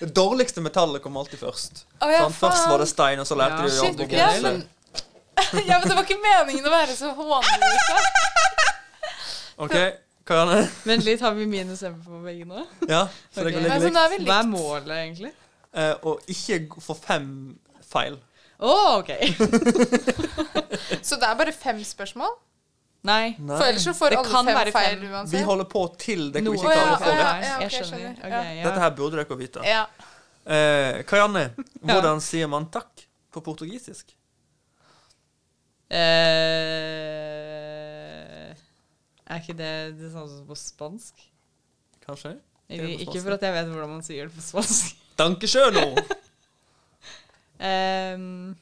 Speaker 5: Det dårligste metallet kom alltid først.
Speaker 6: Å, ja,
Speaker 5: sånn, først
Speaker 6: faen.
Speaker 5: var det stein, og så lærte
Speaker 7: Ja,
Speaker 5: de å
Speaker 6: Shit,
Speaker 5: jobbe med
Speaker 6: ja,
Speaker 5: det.
Speaker 6: men, ja, men det var ikke meningen å være så hånlig. liksom.
Speaker 5: OK, Karianne.
Speaker 7: Vent litt, har vi minus M på begge nå?
Speaker 5: Ja, så det
Speaker 7: Ok.
Speaker 5: går litt
Speaker 6: Men sånn
Speaker 5: likt.
Speaker 6: er vi
Speaker 7: Hva er
Speaker 6: likt.
Speaker 7: målet, egentlig?
Speaker 5: Eh, og ikke gå for fem feil.
Speaker 7: Å, OK.
Speaker 6: Så det er bare fem spørsmål?
Speaker 7: Nei.
Speaker 5: Nei.
Speaker 6: For ellers så får
Speaker 7: Det kan
Speaker 6: alle fem
Speaker 7: være
Speaker 6: feil
Speaker 7: fem.
Speaker 5: Vi
Speaker 6: uansett.
Speaker 5: holder på til dere
Speaker 7: Noe
Speaker 5: ikke
Speaker 6: Å,
Speaker 5: klarer
Speaker 6: ja,
Speaker 5: å få
Speaker 6: ja,
Speaker 5: det.
Speaker 6: ja, ja,
Speaker 7: Jeg
Speaker 6: ok,
Speaker 7: skjønner.
Speaker 6: skjønner.
Speaker 7: Ok,
Speaker 6: Ja.
Speaker 7: ja.
Speaker 5: Dette her burde dere vite.
Speaker 6: Ja.
Speaker 5: Eh, Karianne,
Speaker 7: Ja.
Speaker 5: hvordan sier man takk på portugisisk?
Speaker 7: Eh, er ikke det det samme som på spansk?
Speaker 5: Kanskje?
Speaker 7: Ikke, ikke for at jeg vet hvordan man sier det på spansk.
Speaker 5: Danke sjøl nå!
Speaker 7: Ehm,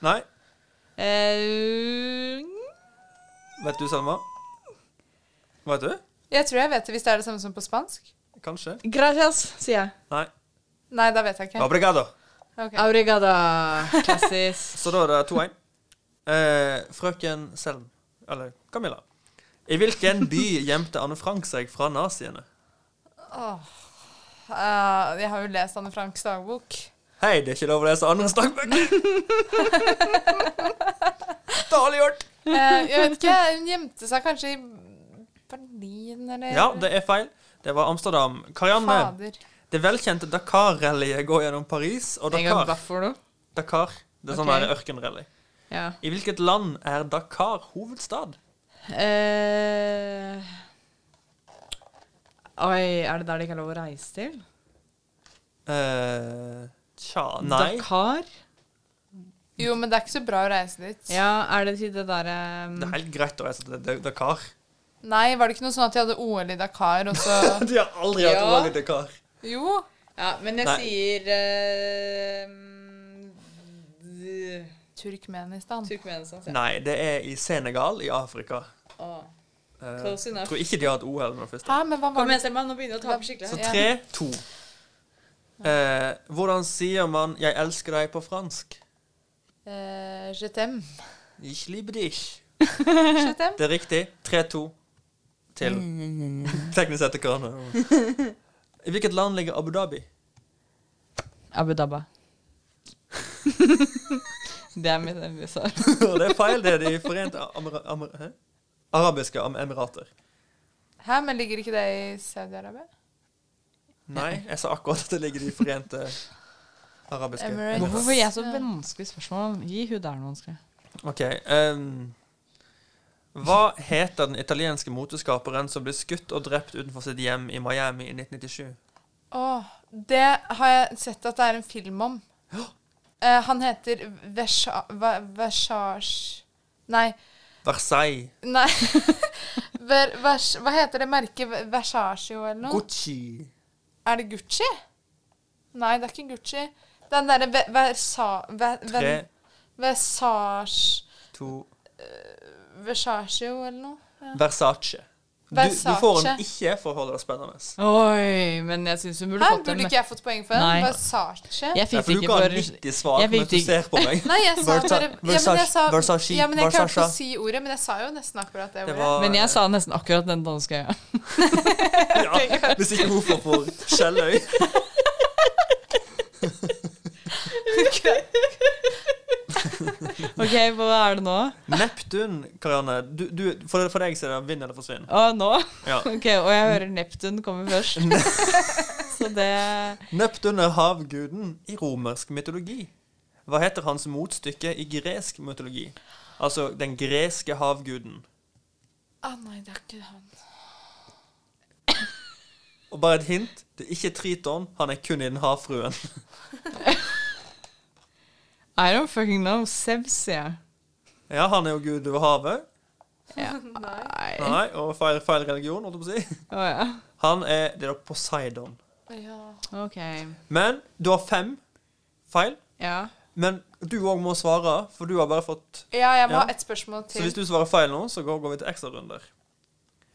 Speaker 5: Nei.
Speaker 7: eh,
Speaker 5: Vet du, Selma? Vet du?
Speaker 6: Jeg tror jeg vet det hvis det er det samme som på spansk.
Speaker 5: Kanskje?
Speaker 7: gracias, sier jeg.
Speaker 5: Nei.
Speaker 6: Nei, da vet jeg ikke.
Speaker 5: Obrigado.
Speaker 6: Ok.
Speaker 7: Aurigada. Klassis.
Speaker 5: Så da er det 2-1. Eh, frøken Selm, eller Camilla. I hvilken by gjemte Anne Frank seg fra naziene?
Speaker 6: Eh, jeg har jo lest Anne Franks dagbok.
Speaker 5: Hei, det er ikke lov å lese andres dagbøker! Dårlig gjort!
Speaker 6: Eh, jeg vet ikke, Hun gjemte seg kanskje i Berlin, eller
Speaker 5: Ja, det er feil. Det var Amsterdam. Karianne,
Speaker 6: Fader.
Speaker 5: det velkjente Dakar-rallyet går gjennom Paris og
Speaker 7: En gang
Speaker 5: Dakar.
Speaker 7: hva for noe?
Speaker 5: Dakar. Det er sånn
Speaker 7: Ok.
Speaker 5: okay. ørkenrally.
Speaker 7: Ja.
Speaker 5: I hvilket land er Dakar hovedstad?
Speaker 7: Eh, oi, er det der det ikke er lov å reise til?
Speaker 5: Eh, tja, nei.
Speaker 7: Dakar?
Speaker 6: Jo, men det er ikke så bra å reise dit.
Speaker 7: Ja, er det til det um, derre
Speaker 5: Det er helt greit å reise til Da- Dakar.
Speaker 6: Nei, var det ikke noe sånn at de hadde OL i Dakar, og så
Speaker 5: De har aldri hatt
Speaker 7: Ja.
Speaker 5: OL i Dakar.
Speaker 6: Jo.
Speaker 7: Ja, men jeg
Speaker 5: Nei.
Speaker 7: sier eh,
Speaker 6: Turkmenistan.
Speaker 7: Turkmenistan. sier jeg.
Speaker 5: Nei, det er i Senegal i Afrika.
Speaker 7: Åh.
Speaker 5: Eh,
Speaker 7: Close enough.
Speaker 5: tror ikke de har hatt OL med det første.
Speaker 6: Hæ, men hva var
Speaker 7: Kom igjen,
Speaker 6: det?
Speaker 7: Selma. Nå begynner du å tape
Speaker 5: Så
Speaker 7: skikkelig. her.
Speaker 6: Ja.
Speaker 5: tre, to. Eh, hvordan sier man 'jeg elsker deg' på fransk?
Speaker 6: Eh, je t'aime.
Speaker 5: Ich liebe dich.
Speaker 6: Je t'aime.
Speaker 5: Det er riktig. 3-2 til teknisk sett til Karianne. I hvilket land ligger Abu Dhabi?
Speaker 7: Abu Dhabi. det er mitt endelige svar.
Speaker 5: det er feil. Det er De forente Amera- Amer- hæ? arabiske Am- emirater.
Speaker 6: Hæ, men ligger ikke det i Saudi-Arabia?
Speaker 5: Nei, jeg sa akkurat at det ligger i De forente arabiske
Speaker 6: Emirates.
Speaker 7: Hvorfor
Speaker 5: emirater.
Speaker 7: får jeg så vanskelige spørsmål? Gi hun der noe vanskelig.
Speaker 5: Ok. ehm, hva heter den italienske moteskaperen som ble skutt og drept utenfor sitt hjem i Miami i 1997?
Speaker 6: Åh, det har jeg sett at det er en film om. Eh, han heter Versa- Va- Versage Nei.
Speaker 5: Versailles.
Speaker 6: Nei. Ver, vers, hva heter det merket? Ver- Versagio eller noe?
Speaker 5: Gucci.
Speaker 6: Er det Gucci? Nei, det er ikke Gucci. Den derre Ve- Versa... Ver,
Speaker 5: Tre,
Speaker 6: ver, Versage
Speaker 5: to
Speaker 6: Versagio eller noe?
Speaker 5: Versace. Du, du
Speaker 6: Versace.
Speaker 5: får en ikke for å holde det spennende.
Speaker 7: Oi, men jeg syns hun burde
Speaker 6: Hæ?
Speaker 7: fått
Speaker 6: Burde
Speaker 7: den.
Speaker 6: ikke jeg fått poeng for den?
Speaker 7: Nei.
Speaker 6: Versace?
Speaker 7: Jeg
Speaker 5: Ja,
Speaker 7: fikk
Speaker 5: for
Speaker 7: det
Speaker 5: du
Speaker 7: ikke
Speaker 5: kan
Speaker 7: for
Speaker 5: nikke svar,
Speaker 7: Jeg
Speaker 5: men
Speaker 7: fikk
Speaker 5: du
Speaker 7: det ikke.
Speaker 5: ser på meg.
Speaker 6: Nei, jeg sa
Speaker 5: Versa-
Speaker 6: bare ja, men jeg sa,
Speaker 5: Versace-
Speaker 6: ja, men jeg klarte ikke å
Speaker 5: Versace.
Speaker 6: si ordet, men jeg sa jo nesten akkurat det
Speaker 5: Det
Speaker 6: ordet.
Speaker 5: var,
Speaker 7: Men jeg sa nesten akkurat den danske øya.
Speaker 5: ja, Hvis ikke hvorfor for Skjelløy.
Speaker 7: Ok, hva er det nå?
Speaker 5: Neptun, Karianne. Du, du, for, for deg så er det vinn eller forsvinn.
Speaker 7: Å, nå?
Speaker 5: Ja.
Speaker 7: Ok, og jeg hører Neptun komme først. Så det
Speaker 5: Neptun er havguden i romersk mytologi. Hva heter hans motstykke i gresk mytologi? Altså den greske havguden.
Speaker 6: Ah, nei, det er ikke han.
Speaker 5: Og bare et hint, det er ikke Triton, han er kun i den havfruen.
Speaker 7: I don't fucking know. Sevs, sier jeg.
Speaker 5: Ja, han er jo gud over havet.
Speaker 7: Nei.
Speaker 5: Nei, og feil, feil religion, holdt jeg på å si.
Speaker 7: Å ja.
Speaker 5: Han er det er da Poseidon.
Speaker 6: Ja.
Speaker 7: Ok.
Speaker 5: Men du har fem feil.
Speaker 7: Ja.
Speaker 5: Men du òg må svare, for du har bare fått
Speaker 6: ja, jeg må
Speaker 5: Ja.
Speaker 6: ha ett spørsmål
Speaker 5: Så
Speaker 6: til.
Speaker 5: hvis du svarer feil nå, så går, går vi til ekstrarunder.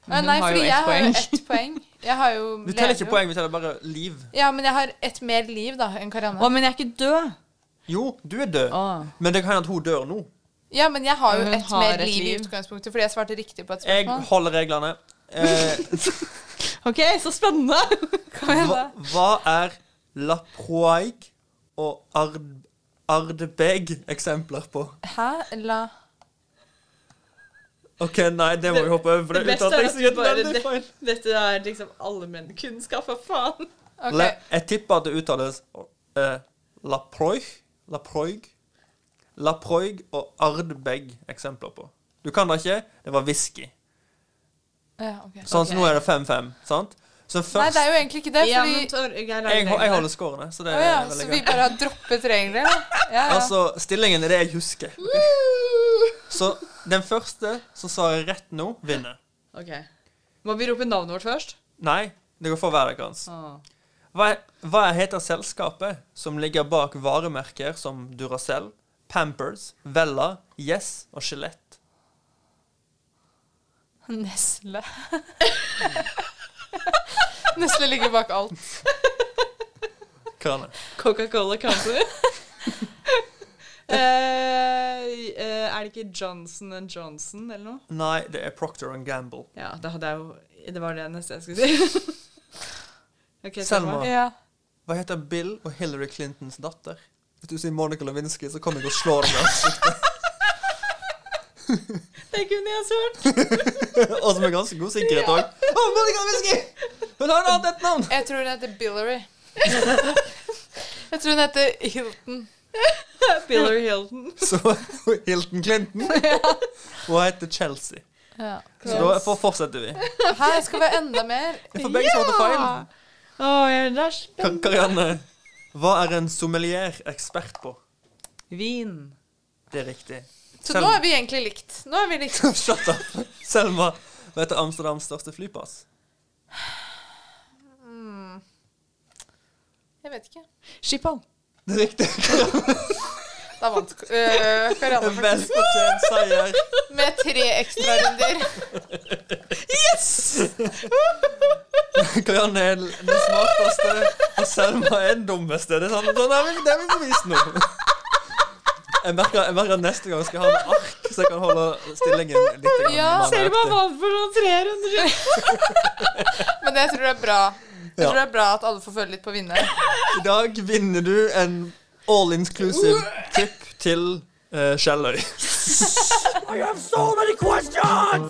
Speaker 6: Ah,
Speaker 7: Hun
Speaker 6: nei,
Speaker 7: har jo
Speaker 6: fordi
Speaker 7: ett
Speaker 6: jeg har jo
Speaker 7: poeng.
Speaker 6: ett poeng. Jeg har jo
Speaker 5: Vi teller
Speaker 6: lever
Speaker 5: ikke
Speaker 6: jo.
Speaker 5: poeng, vi teller bare liv.
Speaker 6: Ja, men jeg har ett mer liv da enn Karianne.
Speaker 7: Å, men jeg er ikke død.
Speaker 5: Jo, du er død,
Speaker 7: Å.
Speaker 5: men det kan hende at hun dør nå.
Speaker 6: Ja, men jeg har jo
Speaker 7: Men hun
Speaker 6: ett
Speaker 7: har
Speaker 6: mer
Speaker 7: et
Speaker 6: liv i
Speaker 7: liv.
Speaker 6: utgangspunktet, fordi jeg svarte riktig på et
Speaker 5: Jeg
Speaker 6: spørsmål.
Speaker 5: holder reglene. Eh,
Speaker 7: Ok, så spennende.
Speaker 5: hva, hva er laproig og ard, ardbeg eksempler på?
Speaker 6: Hæ? La
Speaker 5: OK, nei, det må vi hoppe over. for Det, uttalte jeg sikkert veldig feil.
Speaker 7: dette er liksom allmennkunnskap, for faen.
Speaker 6: OK.
Speaker 5: Le, jeg tipper at det uttales eh, laproig, laproig, laproig og ardbeg eksempler på. Du kan det ikke. Det var whisky.
Speaker 6: Ja, ok.
Speaker 5: Sånn, så nå er det 5-5, sant? Så
Speaker 6: Nei,
Speaker 5: først
Speaker 6: det er jo egentlig ikke det,
Speaker 7: Ja, men
Speaker 6: fordi
Speaker 7: Torgeir lager
Speaker 5: jeg,
Speaker 7: reglene.
Speaker 5: jeg holder scorene, så det
Speaker 6: Å
Speaker 5: er
Speaker 6: ja, så
Speaker 5: veldig
Speaker 6: vi
Speaker 5: gøy.
Speaker 6: bare har droppet regler? da. Ja, ja.
Speaker 5: Altså, stillingen er det jeg husker. Så den første som svarer rett nå, vinner.
Speaker 7: Ok. Må vi rope navnet vårt først?
Speaker 5: Nei, det går for hver deres.
Speaker 7: Å.
Speaker 5: Hva, hva heter selskapet som ligger bak varemerker som Duracell, Pampers, Vella, Yes og Skjelett?
Speaker 6: Nesle. Nesle ligger bak alt.
Speaker 5: Krane.
Speaker 7: Coca-Cola Company. Eh, eh, er det ikke Johnson and Johnson eller noe?
Speaker 5: Nei, det er Procter and Gamble.
Speaker 7: Ja, det hadde jeg jo Det var det neste jeg skulle si. Ok,
Speaker 5: Selma.
Speaker 6: Ja.
Speaker 5: Hva heter Bill og Hillary Clintons datter? Hvis du sier Monica Lewinsky, så kommer jeg og slår deg i ansiktet.
Speaker 7: Det kunne jeg svart.
Speaker 5: Og som er ganske god sikkerhet òg. Å, Monica Lewinsky! Hun har hatt et navn!
Speaker 6: Jeg tror hun heter Billery. Jeg tror hun heter Hilton.
Speaker 7: Biller Hilton.
Speaker 5: Så Hilton Clinton. Hun heter Chelsea.
Speaker 6: Ja.
Speaker 5: Så da for- fortsetter vi.
Speaker 6: Her skal vi ha enda mer.
Speaker 5: For begge svarte feil.
Speaker 7: Å, jeg er der.
Speaker 5: Kar- Karianne, hva er en sommelier ekspert på?
Speaker 7: Vin.
Speaker 5: Det er riktig.
Speaker 6: Så nå er vi egentlig likt. Nå er vi likt.
Speaker 5: Shut up. Selma, vet du Amsterdams største flyplass?
Speaker 6: Jeg vet ikke.
Speaker 7: Schiphol.
Speaker 5: Det er riktig.
Speaker 6: Da vant øh, Karianne
Speaker 5: En
Speaker 6: faktisk
Speaker 5: velfortjent seier.
Speaker 6: med tre ekstrarunder.
Speaker 5: Karianne er den smarteste, og Selma er den dummeste. Det er sånn, sånn er vi, det er vi bevist nå. Jeg merker, jeg merker at neste gang skal jeg ha med ark, så jeg kan holde stillingen litt. grann
Speaker 6: Ja,
Speaker 5: manøvrig.
Speaker 7: vant for
Speaker 6: sånn
Speaker 7: noen tre runder.
Speaker 6: Men jeg tror det er bra. Jeg
Speaker 5: Ja.
Speaker 6: tror det er bra at alle får føle litt på vinneren.
Speaker 5: I dag vinner du en all-inclusive trip til eh, Skjelløy.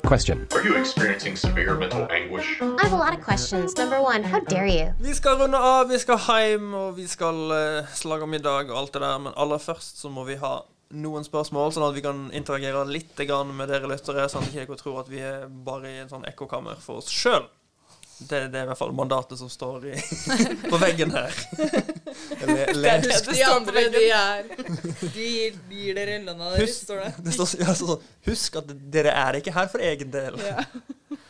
Speaker 1: Question.
Speaker 9: Are you experiencing severe mental anguish?
Speaker 11: I have a lot of questions. Number one, how dare you?
Speaker 5: Vi skal runde av, vi skal hjem, og vi skal eh, slage middag og alt det der. Men aller først så må vi ha noen spørsmål, sånn at vi kan interagere litt grann med dere lyttere, sånn at ikke dere tror at vi er bare i en sånn ekkokammer for oss sjøl. Det, det er i hvert fall mandatet som står i, på veggen her. Eller les.
Speaker 7: De andre, de er De gir dere lønna deres,
Speaker 5: Husk-
Speaker 7: står det.
Speaker 5: Det står, ja, så, sånn, husk at dere er ikke her for egen del.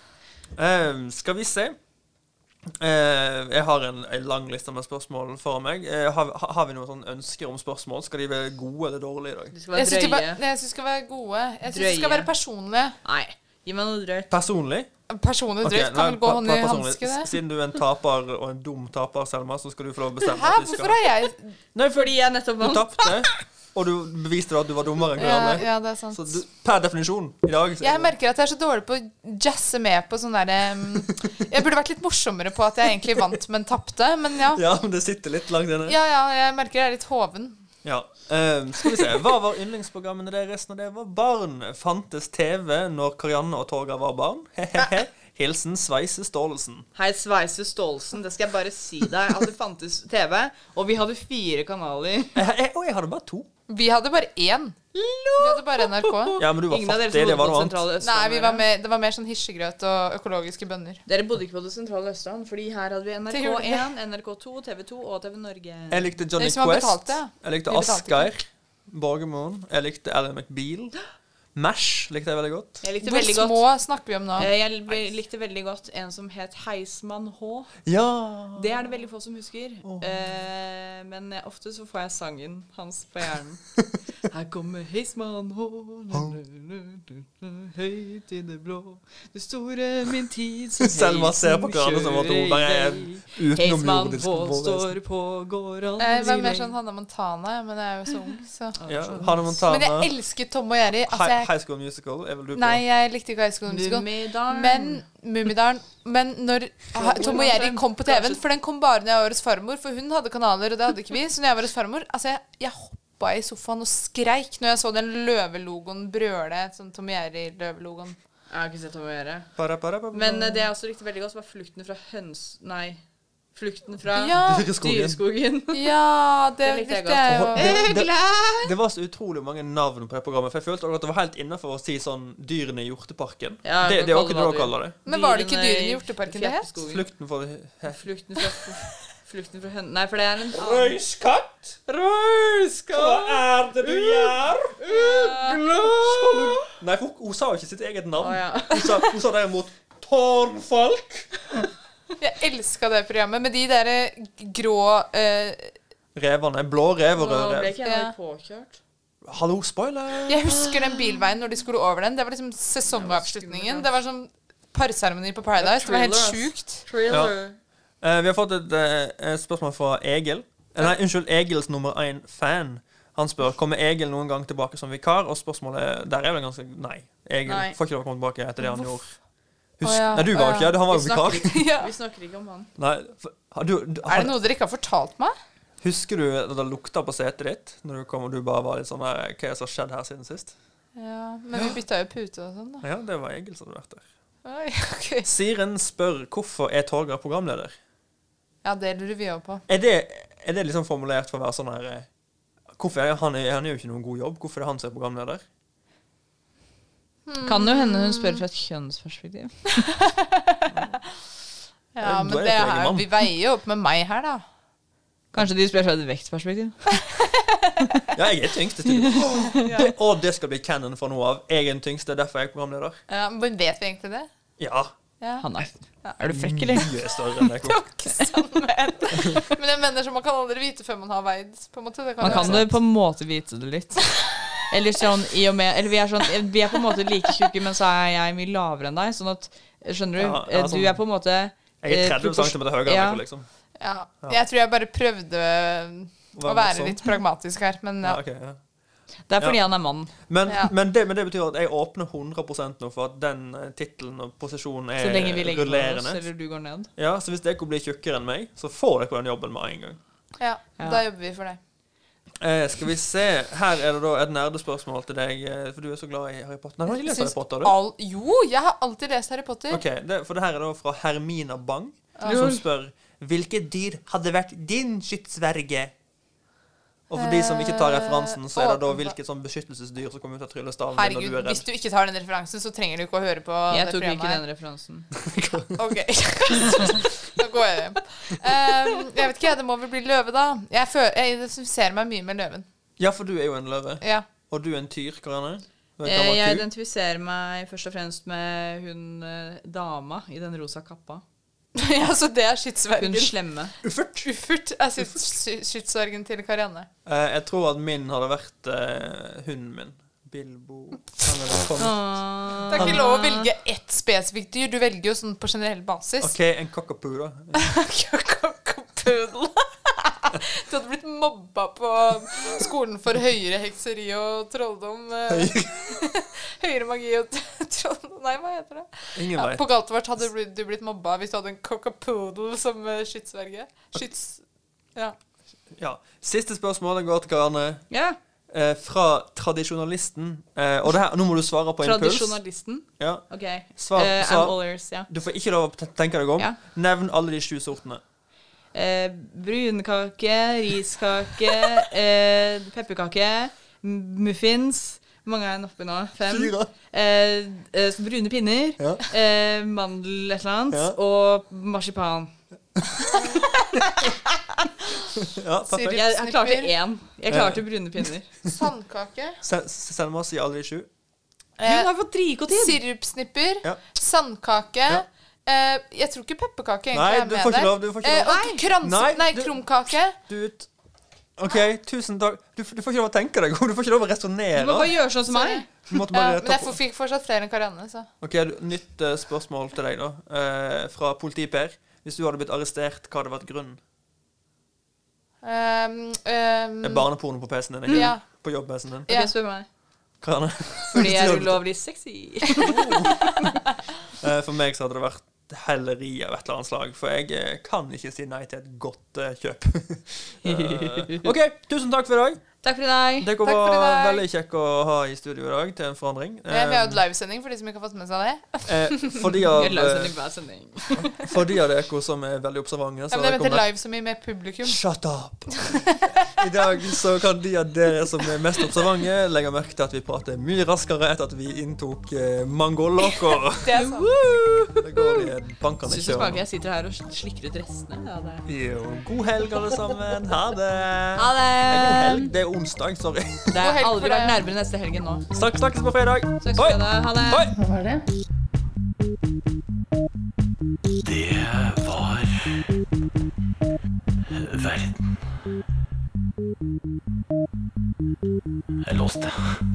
Speaker 5: Ehm, skal vi se. Eh, jeg har en, en lang liste med spørsmål foran meg. Eh, har, ha- har vi noen sånne ønsker om spørsmål? Skal de være gode eller dårlige i dag?
Speaker 7: Du skal
Speaker 6: Jeg
Speaker 7: være
Speaker 6: syns de,
Speaker 7: drøye.
Speaker 6: ba- Nei, jeg synes de skal være gode. Jeg syns de skal
Speaker 7: Drøye.
Speaker 6: være personlige.
Speaker 7: Nei, gi meg noe drøyt.
Speaker 5: Personlig?
Speaker 6: Personlig
Speaker 5: Ok,
Speaker 6: drift
Speaker 5: nei,
Speaker 6: kan vel gå
Speaker 5: pa-
Speaker 6: hånd
Speaker 5: pa-
Speaker 6: i
Speaker 5: personlig.
Speaker 6: hanske,
Speaker 5: S-
Speaker 6: det?
Speaker 5: Siden du er en taper og en dum taper, Selma, så skal du få lov å bestemme.
Speaker 6: Hæ?
Speaker 5: at vi skal-
Speaker 6: Hvorfor har jeg sånn?
Speaker 5: Nei,
Speaker 7: Fordi jeg nettopp
Speaker 5: Du
Speaker 7: vant.
Speaker 5: tapte, og du beviste da at du var dummere enn
Speaker 6: ja,
Speaker 5: hverandre.
Speaker 6: ja, det er sant.
Speaker 5: Så du, per definisjon i dag så
Speaker 6: Jeg merker at jeg er så dårlig på å jazze med på sånn derre um, Jeg burde vært litt morsommere på at jeg egentlig vant, men tapte. Men ja.
Speaker 5: Ja, men det sitter litt langt inne.
Speaker 6: Ja, ja, jeg merker jeg er litt hoven.
Speaker 5: Ja. ehm, skal vi se. Hva var yndlingsprogrammene deres når dere var barn? Fantes TV når Karianne og Torga var barn? Hehehe. Hilsen Sveise Staalesen.
Speaker 7: Hei, Sveise Staalesen, det skal jeg bare si deg. At det fantes TV, og vi hadde fire kanaler.
Speaker 5: Jeg- jeg- Og jeg hadde bare to.
Speaker 6: Vi hadde bare én. Vi hadde bare NRK.
Speaker 5: Ja, men du var fattig. Det var noe annet.
Speaker 6: Nei, vi var mer- det var mer sånn hysjegrøt og økologiske bønner.
Speaker 7: Dere bodde ikke på det sentrale Østland, fordi her hadde vi
Speaker 6: Det gjorde vi.
Speaker 7: NRK1, NRK2, TV2 og TV Norge.
Speaker 5: Jeg likte Johnny
Speaker 6: Det er som han
Speaker 5: Quest.
Speaker 6: betalte, ja.
Speaker 5: Jeg likte
Speaker 6: Vi betalte
Speaker 5: Asgeir Borgermoen. Jeg likte Ellen McBeal. Mash likte jeg veldig godt.
Speaker 7: Jeg likte
Speaker 6: Hvor
Speaker 7: veldig
Speaker 6: små
Speaker 7: godt
Speaker 6: snakker vi om nå?
Speaker 7: Eh, Jeg be- likte veldig godt en som het Heismann H.
Speaker 5: Ja.
Speaker 7: Det er det veldig få som husker. Eh, men eh, ofte så får jeg sangen hans på hjernen. Her kommer Heismann H. Høyt i det blå. Det store min tid som
Speaker 5: Selma ser på Karianne som at hun bare er
Speaker 7: Heismann
Speaker 5: utenomjordisk.
Speaker 7: H står på, går aldri
Speaker 6: Jeg var mer sånn Hanna Montana, men jeg er jo så ung, så
Speaker 5: Ja, Hannah Montana.
Speaker 6: Men jeg elsker Tom og Jerry. Altså,
Speaker 5: Hi-
Speaker 6: jeg,
Speaker 5: High School Musical er vel du på?
Speaker 6: nei, jeg likte ikke High School Musical.
Speaker 7: Mummidalen.
Speaker 6: Men Mummidalen Men når ha- Tom og Jerry kom på TV-en For den kom bare når jeg var hos farmor, for hun hadde kanaler, og det hadde ikke vi. Så når jeg var hos farmor Altså, jeg, jeg hoppa i sofaen og skreik når jeg så den løvelogoen brøle. Sånn Tom og Jerry-løvelogoen.
Speaker 7: Jeg har ikke sett hva å gjøre.
Speaker 5: Para, para, para, para.
Speaker 7: Men eh, det jeg også likte veldig godt, var Flukten fra høns... Nei. Flukten fra
Speaker 6: Ja,
Speaker 7: dyreskogen.
Speaker 6: ja, det,
Speaker 7: Det likte jeg
Speaker 6: likte jeg
Speaker 7: godt.
Speaker 6: jo.
Speaker 5: Det- det- Det var så utrolig mange navn på det programmet. For jeg følte også at det var helt innenfor å si sånn 'Dyrene i hjorteparken'.
Speaker 7: Ja,
Speaker 5: det, det
Speaker 7: du kan
Speaker 5: er jo
Speaker 7: kalle
Speaker 5: ikke
Speaker 7: det
Speaker 5: det
Speaker 7: hva
Speaker 5: dere
Speaker 7: du
Speaker 5: kaller det.
Speaker 6: Men var det ikke
Speaker 7: Dyrene
Speaker 6: dyrene i
Speaker 7: eh, i
Speaker 6: hjorteparken det het?
Speaker 7: Fjerteskogen.
Speaker 5: Flukten for
Speaker 7: Flukten fra Flukten fra høn... Nei, for det er en annen
Speaker 5: Røyskatt! Røyskatt! Hva er det du gjør? Nei, for hun, hun sa jo ikke sitt eget navn.
Speaker 7: Å, ja.
Speaker 5: hun, sa, hun sa derimot Tårnfolk.
Speaker 6: Jeg elska det programmet med de derre grå eh,
Speaker 5: Revene. Blå rev og
Speaker 7: Nå
Speaker 5: rød
Speaker 7: ble
Speaker 5: rev.
Speaker 7: ikke jeg påkjørt.
Speaker 5: Hallo, spoiler!
Speaker 6: Jeg husker den bilveien når de skulle over den. Det var liksom sesongavslutningen. Det var sånn parseremoni på Paradise. Det var helt
Speaker 7: Thriller, ass.
Speaker 6: sjukt.
Speaker 7: Thriller.
Speaker 5: Eh, vi har fått et, eh, et spørsmål fra Egil. Eh, Nei, unnskyld, Egils nummer én-fan. Han spør kommer Egil noen gang tilbake som vikar, og spørsmålet der er vel ganske nei. Egil
Speaker 7: Nei.
Speaker 5: får ikke lov å komme tilbake etter det han gjorde. Husk,
Speaker 6: Å, ja.
Speaker 5: Nei, du
Speaker 6: Å,
Speaker 5: var
Speaker 6: ja.
Speaker 5: jo ikke her. Han var jo
Speaker 7: Vi snakker,
Speaker 5: vikar.
Speaker 6: Ja.
Speaker 7: vi snakker ikke om han.
Speaker 5: Nei, for, har du, du-
Speaker 6: Er
Speaker 5: har,
Speaker 6: det noe dere ikke har fortalt meg?
Speaker 5: husker du at det lukta på setet ditt når du kom og du bare var litt sånn her, Hva er det som har skjedd her siden sist?
Speaker 6: Ja, Men vi bytta jo pute og sånn, da.
Speaker 5: Ja, det var Egil som hadde vært der.
Speaker 6: Oi, ok.
Speaker 5: Siren spør hvorfor er Torgeir programleder.
Speaker 6: Ja, det lurer vi òg på.
Speaker 5: Er det, er det liksom formulert for å være sånn her eh, Hvorfor er han, han er jo ikke noen god jobb? Hvorfor er det han som er programleder?
Speaker 6: Mm.
Speaker 7: Kan jo hende hun spør fra et kjønnsperspektiv.
Speaker 6: Ja,
Speaker 5: Du
Speaker 6: men
Speaker 5: er
Speaker 6: det
Speaker 5: et
Speaker 6: her,
Speaker 5: eget mann.
Speaker 6: Vi veier jo opp med meg her, da.
Speaker 7: Kanskje de spør fra et vektperspektiv.
Speaker 5: Ja, jeg er tyngste til det, Og det skal bli canon fra nå av. Jeg er den tyngste, derfor er jeg programleder.
Speaker 6: Ja, men Vet vi egentlig det?
Speaker 5: Ja.
Speaker 6: Ja.
Speaker 7: Han er Er du frekk, eller?
Speaker 5: Du er større enn jeg kom.
Speaker 6: Ikke sånn, men. men jeg mener så man kan aldri vite før man har veid. På en måte. Det kan
Speaker 7: Man kan
Speaker 6: være-
Speaker 7: det på en måte vite det litt. Eller sånn i og med Eller vi er sånn Vi er på en måte like tjukke, men så er jeg mye lavere enn deg. Sånn at Skjønner du?
Speaker 5: Ja, ja,
Speaker 7: Eh,
Speaker 5: sånn-
Speaker 7: Du er på en måte
Speaker 5: Jeg
Speaker 7: eh,
Speaker 5: er 30
Speaker 7: propors-
Speaker 5: cm høyere enn
Speaker 7: ja.
Speaker 5: deg, liksom.
Speaker 6: Ja. Jeg tror jeg bare prøvde å
Speaker 5: Var det
Speaker 6: være
Speaker 5: sånn?
Speaker 6: litt pragmatisk her, men ja.
Speaker 5: Ja, ok, ja.
Speaker 7: Det er fordi
Speaker 5: Ja.
Speaker 7: han er mann.
Speaker 5: Men,
Speaker 6: Ja.
Speaker 5: men, det, men det betyr at jeg åpner 100 nå for at den eh, tittelen og posisjonen
Speaker 7: Så
Speaker 5: er
Speaker 7: lenge vi legger på oss,
Speaker 5: Eh, rullerende.
Speaker 7: eller du går ned.
Speaker 5: Ja, så hvis dere blir tjukkere enn meg, så får dere den jobben med en gang.
Speaker 6: Ja,
Speaker 7: Ja.
Speaker 6: da jobber vi for det.
Speaker 5: Eh, skal vi se. Her er det da et nerdespørsmål til deg, eh, for du er så glad i Harry Potter. Nei, du har ikke lest
Speaker 6: Syns
Speaker 5: Harry Potter, du?
Speaker 6: all, jo, jeg har alltid lest Harry Potter.
Speaker 5: Ok, det, For det her er da fra Hermina Bang, som spør Hvilket dyr hadde vært din skytsverge? Og for de som ikke tar referansen, så er det da
Speaker 6: åpenbart.
Speaker 5: hvilket sånn beskyttelsesdyr som kommer ut av tryllestaven din når
Speaker 6: Herregud,
Speaker 5: du er
Speaker 6: hvis
Speaker 5: redd.
Speaker 6: du ikke tar den referansen, så trenger du ikke å høre på
Speaker 7: Jeg
Speaker 6: det
Speaker 7: tok ikke
Speaker 6: programmet.
Speaker 7: den referansen.
Speaker 6: her. Ok, Da går jeg hjem. Ehm, jeg vet ikke, det må vel bli løve, da. Jeg, føler, jeg identifiserer meg mye med løven.
Speaker 5: Ja, for du er jo en løve.
Speaker 6: Ja.
Speaker 5: Og du er en tyr, Karianne. Du er en
Speaker 7: Eh,
Speaker 5: gammel
Speaker 7: Jeg
Speaker 5: ku.
Speaker 7: identifiserer meg først og fremst med hun eh, dama i den rosa kappa.
Speaker 6: ja, så det er
Speaker 7: Hun
Speaker 6: skytsvergen.
Speaker 7: slemme.
Speaker 5: Uffert.
Speaker 6: Uffert er skyts- skytsvergen til Karianne.
Speaker 5: Eh, jeg tror at min hadde vært eh, hunden min. Bilbo Han er det sånn.
Speaker 6: Det er ikke
Speaker 7: Ah.
Speaker 6: lov å velge ett spesifikt dyr. Du velger jo sånn på generell basis.
Speaker 5: OK, en cockapoo, da.
Speaker 6: Pudel. Du hadde blitt mobba på skolen for høyere hekseri og trolldom. eh, høyere magi og trolldom Nei, hva heter det?
Speaker 5: Ingen
Speaker 6: Ja,
Speaker 5: vet.
Speaker 6: på Galtvort hadde du blitt, du blitt mobba hvis du hadde en cockapoodle som eh, skytsverge. Skyts... Ja.
Speaker 5: Ja. Siste spørsmål det går til hverandre.
Speaker 7: Ja.
Speaker 5: Eh, fra tradisjonalisten. Eh, og det her, nå må du svare på impuls.
Speaker 7: Tradisjonalisten.
Speaker 5: Ja.
Speaker 7: OK.
Speaker 5: Svar-
Speaker 7: Eh,
Speaker 5: svar.
Speaker 7: I'm all ears, ja.
Speaker 5: Du får ikke lov å te- tenke deg om.
Speaker 7: Ja.
Speaker 5: Nevn alle de sju sortene.
Speaker 7: Eh, brunkake, riskake, eh, pepperkake, m- muffins Hvor mange er den oppe nå? Fem?
Speaker 10: Fire.
Speaker 7: Eh, eh, så brune pinner,
Speaker 10: Ja.
Speaker 7: eh, mandel et eller annet,
Speaker 5: Ja.
Speaker 7: og marsipan.
Speaker 5: Ja, perfekt.
Speaker 6: Siri.
Speaker 7: Jeg, jeg klarte
Speaker 6: Snipper.
Speaker 7: én. Jeg klarte brune pinner.
Speaker 6: Sandkake.
Speaker 5: Se- se- Send oss i alle de sju.
Speaker 7: Hun
Speaker 6: Eh,
Speaker 7: har fått dritgod tid!
Speaker 6: Sirupsnipper.
Speaker 5: Ja.
Speaker 6: Sandkake.
Speaker 5: Ja.
Speaker 6: Eh, jeg tror ikke pepperkake egentlig
Speaker 5: Nei,
Speaker 6: er med
Speaker 5: du får ikke
Speaker 6: der.
Speaker 5: lov, du får ikke
Speaker 6: Eh,
Speaker 5: lov.
Speaker 6: og
Speaker 5: Nei.
Speaker 6: kranse,
Speaker 5: Nei,
Speaker 6: nei,
Speaker 5: du-
Speaker 6: krumkake.
Speaker 5: Du ut. OK, tusen takk. Du, f- du får ikke lov å tenke deg om. Du får ikke lov å
Speaker 7: Du må
Speaker 5: resonnere.
Speaker 7: bare Eh, gjøre sånn som meg.
Speaker 5: Du måtte
Speaker 6: Ja,
Speaker 5: bare
Speaker 6: Eh, men jeg
Speaker 5: toppe-
Speaker 6: får- fikk fortsatt flere enn Karianne, så.
Speaker 5: OK, du- nytt eh, spørsmål til deg, da. Eh, fra politi-Per. Hvis du hadde blitt arrestert, hva hadde vært grunnen?
Speaker 6: Um, um,
Speaker 5: Det
Speaker 7: Mm.
Speaker 5: er barneporno på PC-en din? ikke?
Speaker 6: Ja.
Speaker 5: På jobb-PC-en din?
Speaker 7: Ok,
Speaker 6: Ja.
Speaker 7: spør meg.
Speaker 5: Hva er det?
Speaker 7: Fordi jeg er ulovlig sexy.
Speaker 5: Eh, For meg så hadde det vært helleri av et eller annet slag, for jeg eh, kan ikke si nei til et godt eh, kjøp. Eh, OK, tusen takk for i dag.
Speaker 7: Takk for i dag.
Speaker 5: Dere
Speaker 6: Takk for i
Speaker 5: var
Speaker 6: dag.
Speaker 5: veldig kjekke å ha i studio i dag, til en forandring.
Speaker 6: eh, vi har jo et
Speaker 5: Eh,
Speaker 6: livesending for de som ikke har fått med seg det.
Speaker 5: eh, for de
Speaker 7: Vi
Speaker 5: av,
Speaker 7: gjør
Speaker 5: eh,
Speaker 7: løsning hver sending.
Speaker 5: for de av dere som er veldig observante,
Speaker 6: Ja,
Speaker 5: så
Speaker 6: men jeg
Speaker 5: kommer
Speaker 6: mente
Speaker 5: det
Speaker 6: live så mye med publikum.
Speaker 5: Shut up! I dag så kan de av dere som er mest observante, legge merke til at vi prater mye raskere etter at vi inntok eh, mangolok. Og
Speaker 6: Det er sant.
Speaker 5: det går i et bankende
Speaker 7: Syns du
Speaker 5: kjør.
Speaker 7: smaker jeg sitter her og slikker ut restene? Ja, det er.
Speaker 5: Jo, god helg, alle sammen. Ha det.
Speaker 7: Ha
Speaker 5: Nei, god
Speaker 7: det!
Speaker 5: helg. Det er onsdag, sorry.
Speaker 7: Det
Speaker 6: God
Speaker 7: har
Speaker 6: helg
Speaker 7: aldri
Speaker 6: for
Speaker 7: vært
Speaker 6: deg.
Speaker 7: nærmere neste helg enn nå.
Speaker 5: Snakk, snakkes på fredag.
Speaker 7: Snakkes på
Speaker 5: Oi.
Speaker 7: fredag. Ha det.
Speaker 5: Oi.
Speaker 1: Det var verden. Jeg låste.